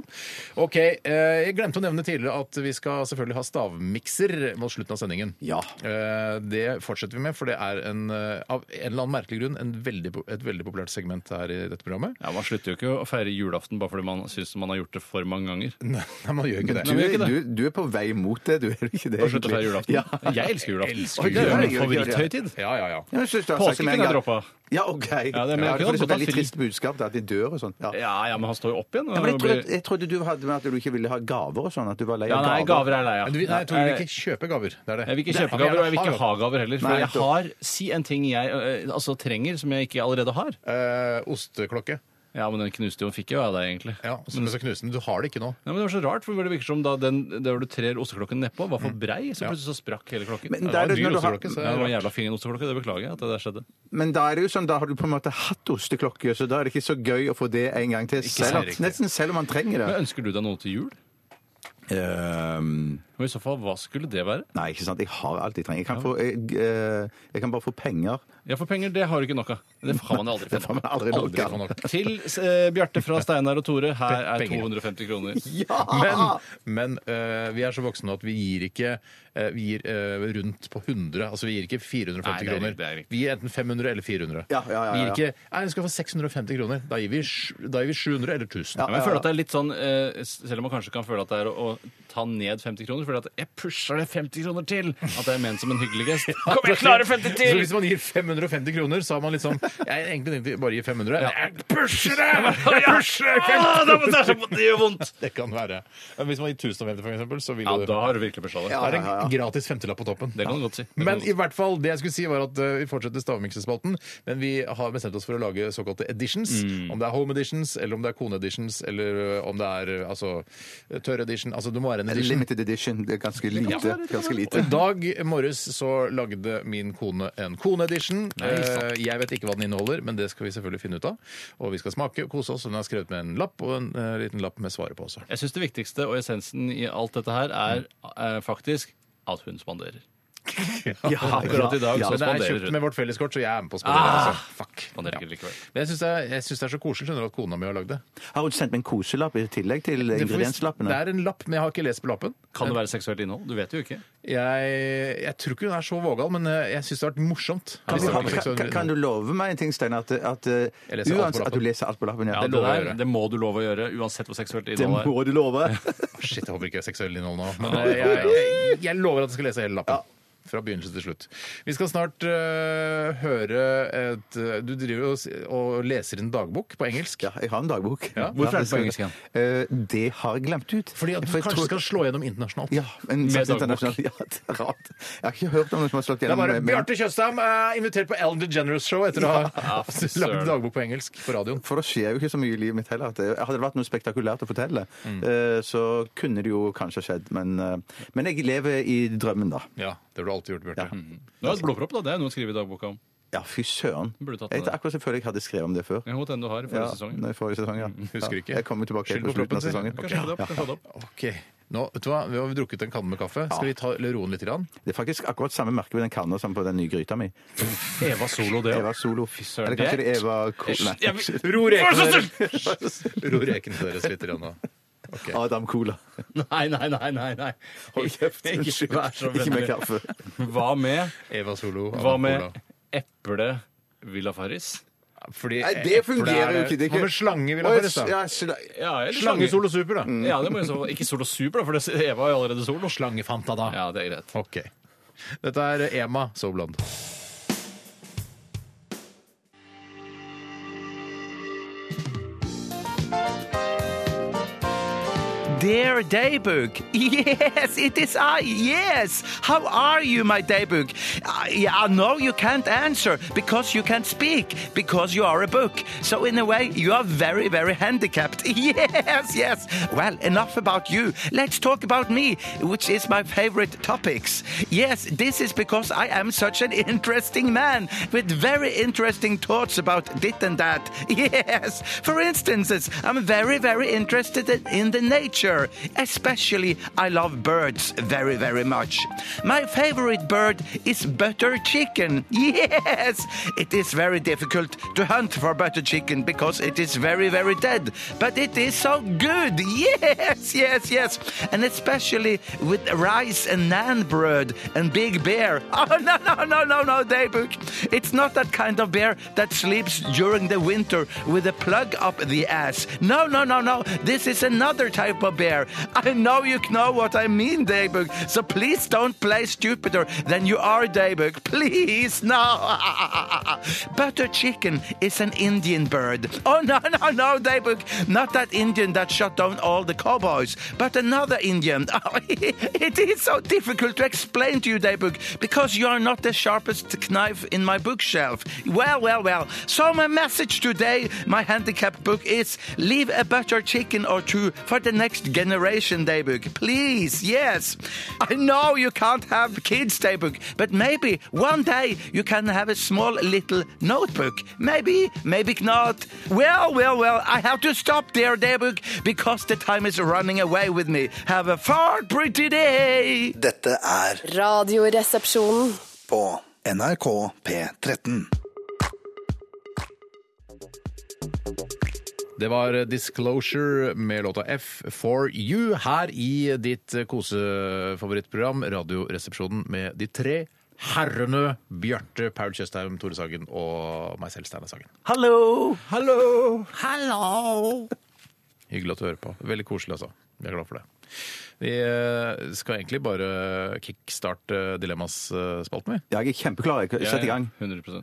[SPEAKER 5] OK. eh, Jeg glemte å nevne tidligere at vi skal selvfølgelig ha stavmikser mot slutten av sendingen.
[SPEAKER 7] Ja.
[SPEAKER 5] Eh, Det fortsetter vi med, for det er en, eh, av en eller annen merkelig grunn en veldig, po- et veldig populært segment her i dette programmet.
[SPEAKER 6] Ja, Man slutter jo ikke å feire julaften bare fordi man syns man har gjort det for mange ganger.
[SPEAKER 5] Nei, man gjør ikke det.
[SPEAKER 7] Du, er- du, du er på vei mot det, du er ikke det?
[SPEAKER 6] Og slutte
[SPEAKER 7] egentlig?
[SPEAKER 6] å feire julaften.
[SPEAKER 7] Ja.
[SPEAKER 6] Jeg elsker julaften.
[SPEAKER 5] Elsker
[SPEAKER 6] Oi, det er jo min
[SPEAKER 7] julaften.
[SPEAKER 6] favoritthøytid.
[SPEAKER 5] Ja, ja, ja.
[SPEAKER 7] Jeg synes du har sagt det
[SPEAKER 6] Påsken
[SPEAKER 7] med en
[SPEAKER 6] kan jeg
[SPEAKER 7] gang.
[SPEAKER 6] droppe.
[SPEAKER 7] Ja, OK. Ja,
[SPEAKER 6] men jeg
[SPEAKER 7] det
[SPEAKER 6] kunne
[SPEAKER 7] er
[SPEAKER 6] godt
[SPEAKER 7] et
[SPEAKER 6] ta
[SPEAKER 7] veldig
[SPEAKER 6] fri.
[SPEAKER 7] trist budskap da, at de dør og sånn. Ja.
[SPEAKER 6] Ja, ja, men han står jo opp igjen. og
[SPEAKER 7] Ja, men jeg,
[SPEAKER 6] blir-
[SPEAKER 7] trodde, jeg trodde du hadde med at du ikke ville ha gaver og sånn, at du var lei
[SPEAKER 6] ja,
[SPEAKER 7] av
[SPEAKER 6] nei, gaver er lei av.
[SPEAKER 5] Men du, nei, jeg tror du vil ikke kjøpe gaver. Det er det.
[SPEAKER 6] Jeg vil ikke
[SPEAKER 5] Nei,
[SPEAKER 6] kjøpe gaver, og jeg vil ikke
[SPEAKER 5] gaver.
[SPEAKER 6] ha gaver heller. For
[SPEAKER 7] Nei,
[SPEAKER 6] jeg
[SPEAKER 7] nettopp.
[SPEAKER 6] har Si en ting jeg eh, altså, trenger som jeg ikke allerede har.
[SPEAKER 5] Eh, osteklokke.
[SPEAKER 6] Ja, men den knuste jo, fikk jo jeg av deg, egentlig.
[SPEAKER 5] Ja, som er så knusende. Du har det ikke nå.
[SPEAKER 6] Nei, men Det var så rart, for det virker som da den der hvor du trer osteklokken nedpå, var for brei, så plutselig så sprakk hele klokken.
[SPEAKER 7] Men
[SPEAKER 6] Ja,
[SPEAKER 7] der er det
[SPEAKER 6] det var en dyr
[SPEAKER 7] når du har-
[SPEAKER 6] osteklokke, så Mm. ja, det var en jævla fin osteklokke, det beklager jeg at det der skjedde.
[SPEAKER 7] Men da er det jo sånn, da har du på en måte hatt osteklokke, så da er det ikke så gøy å få det en gang til. Selv,
[SPEAKER 5] sant.
[SPEAKER 7] nesten selv om man trenger det.
[SPEAKER 6] Men Ønsker du deg noe til jul?
[SPEAKER 7] Ehm,
[SPEAKER 6] Og i så fall, hva skulle det være?
[SPEAKER 7] nei, ikke sant. Jeg har alt jeg trenger. Jeg kan, få, jeg, eh, jeg kan bare få penger.
[SPEAKER 6] Ja, for penger, det har du ikke nok av. Det har man aldri
[SPEAKER 7] Det får man aldri nok
[SPEAKER 5] Aldri
[SPEAKER 7] av.
[SPEAKER 5] få nok.
[SPEAKER 6] Til eh, Bjarte fra Steinar og Tore, her er
[SPEAKER 5] Penger.
[SPEAKER 6] 250 kroner.
[SPEAKER 7] Ja!
[SPEAKER 5] Men, men eh, vi er så voksne at vi gir ikke eh, vi gir, eh, rundt på 100. Altså vi gir ikke 450
[SPEAKER 6] Nei, det er
[SPEAKER 5] kroner.
[SPEAKER 6] riktig, det er riktig.
[SPEAKER 5] vi gir enten 500 eller 400.
[SPEAKER 7] Ja, ja, ja,
[SPEAKER 5] Vi
[SPEAKER 7] ja.
[SPEAKER 5] gir ikke Nei, du skal få 650 kroner. Da gir vi, sj- da gir vi 700 eller 1000.
[SPEAKER 6] Ja, men jeg føler at det er litt sånn, eh, Selv om man kanskje kan føle at det er å, å ta ned 50 kroner, føler jeg at jeg pusher det 50 kroner til! At det er ment som en hyggelig gest. Kom, jeg klarer 50
[SPEAKER 5] Så
[SPEAKER 6] til!
[SPEAKER 5] hvis man gir 550 kroner, så har man liksom Jeg er egentlig egentlig bare gir 500. Jeg pusher det! Jeg pusher det!
[SPEAKER 6] Ah, det er så- det gjør vondt!
[SPEAKER 5] Det kan være. Men hvis man gir 1050, for eksempel, så vil
[SPEAKER 6] Ja,
[SPEAKER 5] du
[SPEAKER 6] da har du virkelig pusha det.
[SPEAKER 5] Da er det en gratis femtelapp på toppen.
[SPEAKER 6] Det kan du godt si. Det kan
[SPEAKER 5] Men
[SPEAKER 6] du godt
[SPEAKER 5] i hvert fall, det jeg skulle si var at eh, vi fortsetter stavmiksespalten, men vi har bestemt oss for å lage såkalte editions.
[SPEAKER 6] Mm.
[SPEAKER 5] Om det er home editions, eller om det er kone editions, eller eh, om det er eh, altså, tørr edition. Altså, det må være en edition.
[SPEAKER 7] Limited edition. Det er ganske lite. Ganske
[SPEAKER 5] Og
[SPEAKER 7] lite.
[SPEAKER 5] I dag morges så lagde min kone en kone-edition. Eh, Jeg vet ikke hva den inneholder, men det skal vi selvfølgelig finne ut av. Og vi skal smake og kose oss. Hun har skrevet med en lapp, og en eh, liten lapp med svaret på også.
[SPEAKER 6] Jeg syns det viktigste og essensen i alt dette her er eh, faktisk at hun spanderer.
[SPEAKER 7] Ja,
[SPEAKER 6] Akkurat i dag
[SPEAKER 7] ja.
[SPEAKER 5] Men det er
[SPEAKER 6] så spanderer
[SPEAKER 5] kjøpt
[SPEAKER 6] hun.
[SPEAKER 5] med vårt felleskort, så jeg er med på å spandere.
[SPEAKER 6] Ah!
[SPEAKER 5] altså. Fuck.
[SPEAKER 6] fant jeg det ikke likevel.
[SPEAKER 5] Men jeg syns det, er- jeg synes det er så koselig skjønner du, at kona mi har lagd det.
[SPEAKER 8] Har hun sendt meg en koselapp i tillegg til
[SPEAKER 5] Det får vi- Det
[SPEAKER 8] ingredienslappene?
[SPEAKER 5] er en lapp, men jeg har ikke lest på lappen.
[SPEAKER 6] Kan det være seksuelt innhold? Du vet jo ikke.
[SPEAKER 5] Jeg, jeg tror ikke hun er så vågal, men eh, jeg syns det har vært morsomt.
[SPEAKER 8] Kan
[SPEAKER 5] Hvis
[SPEAKER 8] du,
[SPEAKER 5] det hadde vært
[SPEAKER 8] kan,
[SPEAKER 5] seksuelt
[SPEAKER 8] kan- kan du love meg en ting, Steinar? At, at,
[SPEAKER 5] sånn-
[SPEAKER 8] uh,
[SPEAKER 5] Jeg leser alt på
[SPEAKER 8] uansett, at du
[SPEAKER 5] lappen.
[SPEAKER 8] leser alt på lappen? Ja,
[SPEAKER 6] Ja,
[SPEAKER 8] det
[SPEAKER 6] det,
[SPEAKER 5] lover jeg å
[SPEAKER 6] der,
[SPEAKER 5] gjøre.
[SPEAKER 6] det må du love å gjøre, uansett hvor seksuelt innhold er.
[SPEAKER 8] må du love!
[SPEAKER 5] Shit, jeg håper ikke det er seksuelt innhold nå. Men eh, jeg, jeg, jeg lover at jeg skal lese hele lappen. Fra begynnelse til slutt. Vi skal snart eh, høre et eh, Du driver jo og s- og leser en dagbok på engelsk.
[SPEAKER 8] Ja, jeg har en dagbok.
[SPEAKER 5] Ja,
[SPEAKER 6] hvorfor er det på
[SPEAKER 8] skal-
[SPEAKER 6] engelsk igjen?
[SPEAKER 8] Eh, det har jeg glemt ut.
[SPEAKER 5] Fordi at du
[SPEAKER 8] For jeg
[SPEAKER 5] kanskje
[SPEAKER 8] tror-
[SPEAKER 5] skal slå gjennom internasjonalt.
[SPEAKER 8] Ja, men
[SPEAKER 6] Med dagbok.
[SPEAKER 8] internasjonalt. Ja, det er rart. Jeg har ikke hørt om noen som har slått
[SPEAKER 5] Det er
[SPEAKER 8] gjennom
[SPEAKER 5] bare
[SPEAKER 8] med-
[SPEAKER 5] Bjarte Tjøstheim er invitert på Ellen DeGeneres show etter å ha
[SPEAKER 6] Ja, fy
[SPEAKER 5] lagd
[SPEAKER 6] søren.
[SPEAKER 5] dagbok på engelsk på radioen.
[SPEAKER 8] For det skjer jo ikke så mye i livet mitt heller. at det- Hadde det vært noe spektakulært å fortelle, eh, så kunne det jo kanskje skjedd. Men, eh, men jeg lever i drømmen, da.
[SPEAKER 5] Ja, det har du alltid gjort, Bjarte.
[SPEAKER 8] Ja.
[SPEAKER 6] Du har et blodpropp, da. Det er noe å skrive i dagboka om.
[SPEAKER 8] Ja, fy søren.
[SPEAKER 6] Burde tatt
[SPEAKER 8] Jeg,
[SPEAKER 6] med det.
[SPEAKER 8] akkurat som føler jeg hadde skrevet om det før.
[SPEAKER 6] Jeg håper den du har i
[SPEAKER 8] Ja,
[SPEAKER 6] forrige sesong.
[SPEAKER 8] nei, forrige sesong, ja.
[SPEAKER 5] Husker
[SPEAKER 8] Ja,
[SPEAKER 5] ikke.
[SPEAKER 8] Jeg kommer tilbake
[SPEAKER 5] Skyld
[SPEAKER 8] på
[SPEAKER 5] på
[SPEAKER 8] slutten av
[SPEAKER 5] kroppen sin.
[SPEAKER 8] sesongen.
[SPEAKER 5] Ok.
[SPEAKER 6] Kanskje få det opp, kan få det opp.
[SPEAKER 5] Ok. Nå, vet du hva? Vi har drukket en kanne med kaffe. Skal vi ta, roe den litt? Grann?
[SPEAKER 8] Det er faktisk akkurat samme merke ved den kanna som på den nye gryta mi.
[SPEAKER 6] Eva Solo, det
[SPEAKER 8] Eva Solo.
[SPEAKER 6] søren,
[SPEAKER 8] Eller kanskje
[SPEAKER 6] det-
[SPEAKER 8] det er Eva Ko- Nei.
[SPEAKER 5] Ro rekene deres, ro rekene deres litt grann nå. Ok.
[SPEAKER 8] Adam Cola.
[SPEAKER 6] Nei, nei, nei, nei. nei.
[SPEAKER 8] Hold kjeft.
[SPEAKER 6] Ikke vær så
[SPEAKER 8] Ikke med
[SPEAKER 6] vennlig.
[SPEAKER 8] kaffe.
[SPEAKER 6] Hva med,
[SPEAKER 5] Eva Solo.
[SPEAKER 6] hva
[SPEAKER 5] Anna Cola.
[SPEAKER 6] med eple Villa Farris?
[SPEAKER 5] Fordi
[SPEAKER 8] Nei,
[SPEAKER 5] epler
[SPEAKER 8] det fungerer jo
[SPEAKER 5] er-
[SPEAKER 8] ikke. Det er
[SPEAKER 5] Hva med slange vil jeg bare si?
[SPEAKER 8] Ja, Mm. sla-
[SPEAKER 6] Ja, eller
[SPEAKER 5] Slange, sol og super, da.
[SPEAKER 6] Ja, det må jo så Ikke Solo Super, da, for det- Eva er jo allerede solo.
[SPEAKER 5] Slangefanta, da.
[SPEAKER 6] Ja, det er greit.
[SPEAKER 5] Ok. Dette er Ema Soulblond.
[SPEAKER 7] Dear Daybug. Yes, it is I. Yes. How are you, my Daybug? I, I know you can't answer because you can't speak because you are a book. So, in a way, you are very, very handicapped. Yes, yes. Well, enough about you. Let's talk about me, which is my favorite topics. Yes, this is because I am such an interesting man with very interesting thoughts about this and that. Yes. For instance, I'm very, very interested in- in the nature. Especially, I love birds very, very much. My favorite bird is butter chicken. Yes! It is very difficult to hunt for butter chicken because it is very, very dead. But it is so good. Yes, yes, yes. And especially with rice and naan bread and big beer. Oh, no, no, no, no, no, Daybuk. It's not that kind of bear that sleeps during the winter with a plug up the ass. No, no, no, no. This is another type of bear. I know you know what I mean, Daybug. So please don't play stupider than you are, Daybug. Please, no. Butter chicken is an Indian bird. Oh, no, no, no, Daybug. Not that Indian that shot down all the cowboys, but another Indian. it is so difficult to explain to you, Daybug, because you are not the sharpest knife in my bookshelf. Well, well, well. So my message today, my handicap book is leave a butter chicken or two for the next generation, Daybug. Please, yes. I know you can't have kids, Daybug, but maybe one day you can have a small little notebook. Maybe, maybe not. Well, well, well, I have to stop there, Daybug, because the time is running away with me. Have a far pretty day.
[SPEAKER 1] Dette er
[SPEAKER 9] Radioresepsjonen.
[SPEAKER 1] på NRK P13.
[SPEAKER 5] Det var Disclosure med låta F for you her i ditt kosefavorittprogram Radioresepsjonen med de tre herrene Bjarte, Paul Tjøstheim, Tore Sagen og meg selv, Steinar Sagen.
[SPEAKER 7] Hello.
[SPEAKER 5] Hallo! Hallo! Hyggelig at du hører på. Veldig koselig, altså. Jeg er glad for det. Vi eh, skal egentlig bare kickstarte eh, Dilemmas-spalten, vi.
[SPEAKER 8] Ja, jeg er kjempeklar. Jeg Sett i gang.
[SPEAKER 6] 100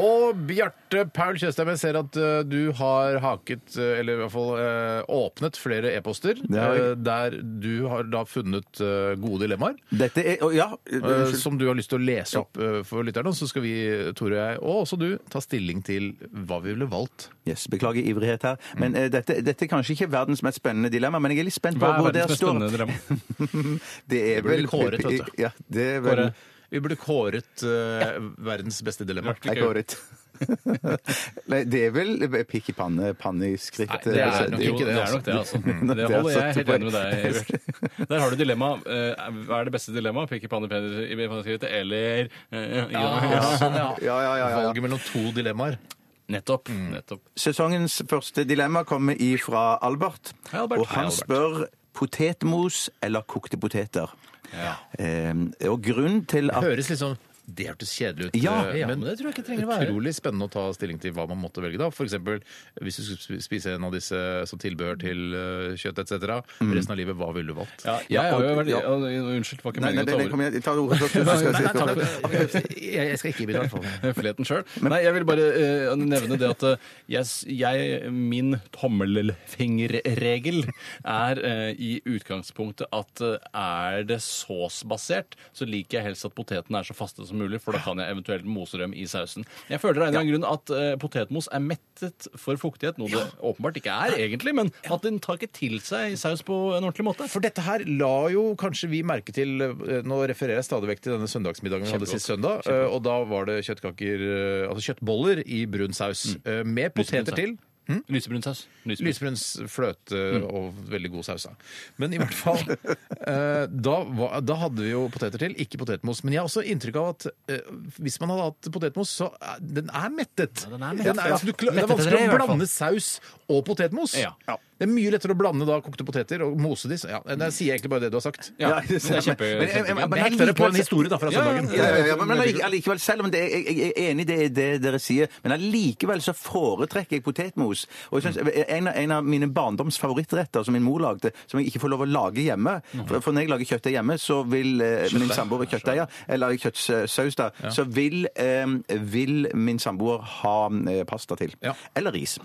[SPEAKER 5] Og Bjarte Paul Tjøstheim, jeg ser at eh, du har haket, eh, eller i hvert fall eh, åpnet flere e-poster,
[SPEAKER 8] har jeg.
[SPEAKER 5] eh, der du har da funnet eh, gode dilemmaer,
[SPEAKER 8] Dette er å, Ja.
[SPEAKER 5] eh,
[SPEAKER 8] unnskyld.
[SPEAKER 5] som du har lyst til å lese opp eh, for lytterne. og Så skal vi, Tore og jeg, og også du, ta stilling til hva vi ville valgt.
[SPEAKER 8] Yes, beklager ivrighet her. Men eh, dette, dette er kanskje ikke verdens mest spennende dilemma, men jeg er litt spent på
[SPEAKER 6] Mm. Hva er
[SPEAKER 8] hvor
[SPEAKER 6] verdens
[SPEAKER 8] det
[SPEAKER 6] mest
[SPEAKER 8] står.
[SPEAKER 6] spennende dilemma?
[SPEAKER 8] Det er
[SPEAKER 5] Det blir
[SPEAKER 8] vel
[SPEAKER 5] kåret, vet
[SPEAKER 6] altså.
[SPEAKER 5] du.
[SPEAKER 8] Ja, det er vel
[SPEAKER 5] Vi burde kåret eh, verdens beste dilemma.
[SPEAKER 8] Jeg kåret.
[SPEAKER 7] Nei, det er vel pikk i panne, panne i skritt.
[SPEAKER 5] Nei, det er
[SPEAKER 7] altså,
[SPEAKER 5] nok
[SPEAKER 7] jo-
[SPEAKER 5] ikke det,
[SPEAKER 6] det er
[SPEAKER 5] altså.
[SPEAKER 6] nok det, altså.
[SPEAKER 7] Mm.
[SPEAKER 6] Det
[SPEAKER 7] Det er
[SPEAKER 6] holder jeg er
[SPEAKER 7] satt
[SPEAKER 6] helt
[SPEAKER 7] på-
[SPEAKER 6] enig med deg. Bjørte. Der har du dilemma. Eh, Hva er det beste dilemmaet? Peke panne Peder i panneskrittet eller eh,
[SPEAKER 5] sånn, ja.
[SPEAKER 7] Ja, ja, ja, ja.
[SPEAKER 5] Valget mellom to dilemmaer.
[SPEAKER 6] Nettopp. nettopp.
[SPEAKER 7] Sesongens første dilemma kommer ifra Albert.
[SPEAKER 6] Hei, Albert.
[SPEAKER 7] Og
[SPEAKER 6] Hei,
[SPEAKER 7] han
[SPEAKER 6] Albert.
[SPEAKER 7] spør potetmos eller kokte poteter.
[SPEAKER 6] Ja.
[SPEAKER 7] Eh, og grunnen til at
[SPEAKER 5] Høres litt sånn det hørtes kjedelig ut,
[SPEAKER 7] Ja,
[SPEAKER 5] eh,
[SPEAKER 7] ja,
[SPEAKER 5] men
[SPEAKER 6] det tror jeg ikke trenger å være.
[SPEAKER 5] utrolig spennende å ta stilling til hva man måtte velge da. For eksempel, hvis du skulle sp- spise en av disse som tilbehør til eh, kjøtt etc., resten av livet, hva ville du valgt?
[SPEAKER 6] Ja, jeg har jo vært,
[SPEAKER 7] ja.
[SPEAKER 6] ja, Unnskyld, det var ikke
[SPEAKER 7] Nei, nei, nei, nei,
[SPEAKER 6] meningen å ta over.
[SPEAKER 7] kom igjen, ta ordet først. du skal si-
[SPEAKER 5] Jeg skal ikke bidra, i hvert fall.
[SPEAKER 6] Fleten selv. Nei, jeg vil bare eh, nevne det at eh, jeg, s- jeg, min tommelfingerregel er eh, i utgangspunktet at eh, er det såsbasert, så liker jeg helst at potetene er så faste som mulig, for da kan jeg eventuelt mose dem i sausen. Jeg føler av en eller annen grunn at eh, potetmos er mettet for fuktighet, noe det åpenbart ikke er egentlig, men at den tar ikke til seg saus på en ordentlig måte.
[SPEAKER 5] For dette her la jo kanskje vi merke til eh, Nå refererer jeg stadig vekk til denne søndagsmiddagen vi hadde
[SPEAKER 6] Kjempegodt.
[SPEAKER 5] sist søndag. eh, Og da var det kjøttkaker eh, Altså kjøttboller i brun saus. eh, Med poteter
[SPEAKER 6] saus.
[SPEAKER 5] til.
[SPEAKER 6] Lysebrun saus. Lysebrun.
[SPEAKER 5] Lysbruns fløte
[SPEAKER 6] Mm.
[SPEAKER 5] og veldig god saus. da. Men i hvert fall eh, da, var, da hadde vi jo poteter til, ikke potetmos. Men jeg har også inntrykk av at eh, hvis man hadde hatt potetmos, så er, den er mettet.
[SPEAKER 6] den er mettet.
[SPEAKER 5] Den er- altså, du, kla- det er
[SPEAKER 6] Mettet
[SPEAKER 5] vanskelig
[SPEAKER 6] tre, i
[SPEAKER 5] å
[SPEAKER 6] hvert fall.
[SPEAKER 5] blande saus og potetmos.
[SPEAKER 6] Ja. Ja.
[SPEAKER 5] Det er mye lettere å blande da kokte poteter og mose de. så- Ja, jeg sier egentlig bare det du har sagt.
[SPEAKER 6] Ja, det er kjempe...
[SPEAKER 7] Men- men- men-
[SPEAKER 6] kjempe-
[SPEAKER 5] Jeg hekter det på en historie da fra
[SPEAKER 6] Ja, ja, ja.
[SPEAKER 5] søndagen.
[SPEAKER 7] Ja, ja, ja, men allike- allikevel, selv om det, jeg, jeg er enig i det, det dere sier, men allikevel så foretrekker jeg potetmos. Og
[SPEAKER 5] Mm.
[SPEAKER 7] jeg synes, eh, en, av- en av mine barndoms favorittretter som min mor lagde, som jeg ikke får lov å lage hjemme
[SPEAKER 5] Mm.
[SPEAKER 7] For, for når jeg lager kjøttdeig hjemme, så vil eh, min samboer kjøttdeig, ja, eller kjøttsaus, da, så vil, eh, vil min samboer ha eh, pasta til.
[SPEAKER 5] Ja.
[SPEAKER 7] Eller ris.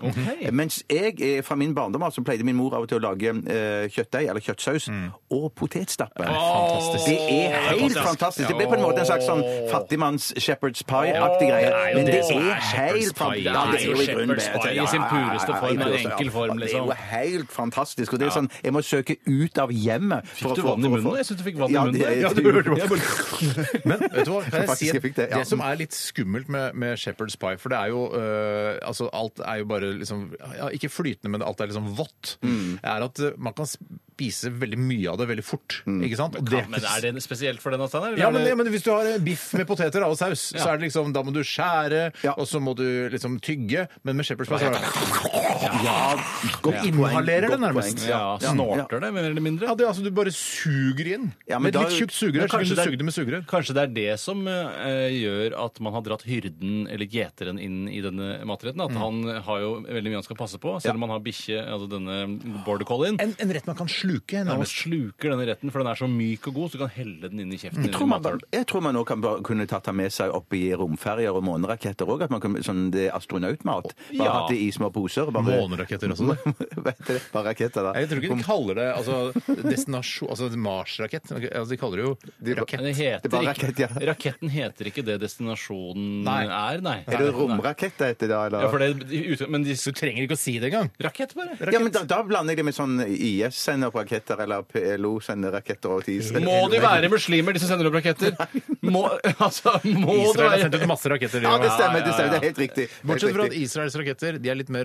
[SPEAKER 7] Mens jeg eh, fra min barndom altså, pleide min mor av og til å lage eh, kjøttdeig eller kjøttsaus
[SPEAKER 5] Mm.
[SPEAKER 7] og potetstappe.
[SPEAKER 5] Fantastisk.
[SPEAKER 7] Det er helt fantastisk. Det blir på en måte en slags sånn fattigmanns shepherd's pie-aktig greie.
[SPEAKER 5] det er jo
[SPEAKER 7] Men
[SPEAKER 5] det
[SPEAKER 7] det
[SPEAKER 5] som er
[SPEAKER 7] er
[SPEAKER 5] shepherd's
[SPEAKER 7] helt
[SPEAKER 5] pie.
[SPEAKER 7] fantastisk.
[SPEAKER 5] Det er jo
[SPEAKER 6] shepherd's pie i sin pureste form, en enkel form, liksom.
[SPEAKER 7] Det er jo helt fantastisk. Og det er sånn, jeg må søke ut av hjemmet. for
[SPEAKER 6] Fikk
[SPEAKER 7] å
[SPEAKER 6] du
[SPEAKER 7] få-
[SPEAKER 6] vann
[SPEAKER 7] for
[SPEAKER 6] i
[SPEAKER 7] å få-
[SPEAKER 6] munnen? Jeg synes du fikk vann i
[SPEAKER 7] Ja,
[SPEAKER 6] munnen
[SPEAKER 7] det-
[SPEAKER 6] der.
[SPEAKER 7] jeg
[SPEAKER 6] Ja, du
[SPEAKER 7] tror-
[SPEAKER 6] gjorde det.
[SPEAKER 7] jeg burde-
[SPEAKER 5] Men vet du hva, kan jeg
[SPEAKER 7] Faktisk,
[SPEAKER 5] si
[SPEAKER 7] jeg
[SPEAKER 5] at
[SPEAKER 7] fikk
[SPEAKER 5] det,
[SPEAKER 7] det, ja.
[SPEAKER 5] som er litt skummelt med, med Shepherd's pie, for det er jo øh, altså Alt er jo bare liksom ja, Ikke flytende, men alt er liksom vått.
[SPEAKER 7] Mm.
[SPEAKER 5] Er at øh, man kan spise veldig mye av det veldig fort.
[SPEAKER 7] Mm.
[SPEAKER 5] Ikke sant? Og
[SPEAKER 6] Ja, men er det spesielt for denne steinen?
[SPEAKER 5] ja, men, ja, men Hvis du har eh, biff med poteter da, og saus, så er det liksom, da må du skjære,
[SPEAKER 7] Ja.
[SPEAKER 5] og så må du liksom tygge. Men med Shepherd's pie så er det
[SPEAKER 7] Ja, godt poeng,
[SPEAKER 5] Inhalerer det
[SPEAKER 7] godt
[SPEAKER 5] nærmest.
[SPEAKER 7] poeng.
[SPEAKER 6] ja, snorter det, mer eller mindre?
[SPEAKER 5] Ja, det, er altså, Du bare suger inn.
[SPEAKER 7] Ja, men
[SPEAKER 5] med et
[SPEAKER 7] da-
[SPEAKER 5] litt tjukt sugerør. så kan du
[SPEAKER 6] kanskje det er-
[SPEAKER 5] suge det med sugerør.
[SPEAKER 6] Kanskje det er det som eh, gjør at man har dratt hyrden eller gjeteren inn i denne matretten? At han har jo veldig mye han skal passe på, selv om han har bikkje, altså denne border collien.
[SPEAKER 5] En, en rett man kan sluke.
[SPEAKER 6] Han
[SPEAKER 5] nærmest.
[SPEAKER 6] sluker denne retten, for den er så myk og god, så du kan helle den inn i kjeften.
[SPEAKER 7] Jeg tror man, jeg tror man nå kan bare kunne tatt det med seg opp i romferjer og måneraketter òg. Sånn det er astronautmat. Bare
[SPEAKER 6] Ja.
[SPEAKER 7] hatt det i små poser. Bare,
[SPEAKER 5] Måneraketter også. det.
[SPEAKER 7] Vet dere, bare raketter, da.
[SPEAKER 5] Nei, Jeg tror ikke de kaller det altså, destinasjon Altså Mars-rakett. Altså, de kaller det jo rakett.
[SPEAKER 6] Det heter
[SPEAKER 7] Det var
[SPEAKER 6] ikke,
[SPEAKER 7] rakett, ja.
[SPEAKER 6] Raketten heter ikke det destinasjonen
[SPEAKER 5] Nei.
[SPEAKER 6] er, nei.
[SPEAKER 7] Er det romrakett det heter da? Eller?
[SPEAKER 6] Ja, for det, i utgang- men de,
[SPEAKER 5] Du trenger ikke å si det engang.
[SPEAKER 6] rakett, bare.
[SPEAKER 7] Ja, men da, da blander jeg det med sånn IS-senderraketter eller PLO-senderraketter og til Israel.
[SPEAKER 6] Må de være muslimer, de som sender opp raketter? Må, altså, må
[SPEAKER 5] Israel
[SPEAKER 6] det
[SPEAKER 5] har
[SPEAKER 6] være
[SPEAKER 5] sendt ut masse raketter. de
[SPEAKER 7] Ja, det
[SPEAKER 5] også.
[SPEAKER 7] stemmer,
[SPEAKER 6] Ja,
[SPEAKER 7] det
[SPEAKER 6] ja,
[SPEAKER 7] stemmer.
[SPEAKER 6] ja.
[SPEAKER 7] Det er helt riktig. Helt
[SPEAKER 5] Bortsett fra at
[SPEAKER 7] riktig.
[SPEAKER 5] Israels raketter de er litt mer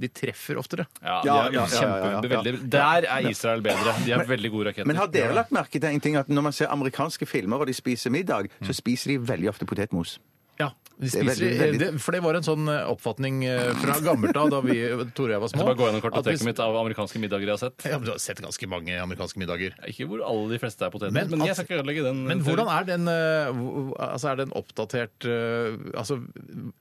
[SPEAKER 5] De treffer oftere.
[SPEAKER 7] Ja,
[SPEAKER 6] Ja, de er
[SPEAKER 7] ja, ja, ja, ja.
[SPEAKER 6] kjempe, veldig, Der er Israel bedre. De er veldig gode raketter.
[SPEAKER 7] Men har dere lagt merke til en ting at når man ser amerikanske filmer og de spiser middag,
[SPEAKER 6] Mm.
[SPEAKER 7] så spiser de veldig ofte potetmos?
[SPEAKER 5] Ja, de
[SPEAKER 7] er
[SPEAKER 5] spiser,
[SPEAKER 7] veldig, veldig-
[SPEAKER 5] Det, for det var en sånn eh, oppfatning eh, fra gammelt av da vi, Tore og jeg var
[SPEAKER 6] Jeg
[SPEAKER 5] små.
[SPEAKER 6] skal bare gå gjennom
[SPEAKER 5] at vi-
[SPEAKER 6] kartoteket mitt av amerikanske middager jeg har sett.
[SPEAKER 5] Ja, men du har sett ganske mange amerikanske middager.
[SPEAKER 6] Ikke hvor alle de fleste er poteter,
[SPEAKER 5] Men
[SPEAKER 6] men, jeg
[SPEAKER 5] at-
[SPEAKER 6] skal ikke ødelegge den.
[SPEAKER 5] Men hvordan er den eh, hvor- altså er den oppdatert eh, altså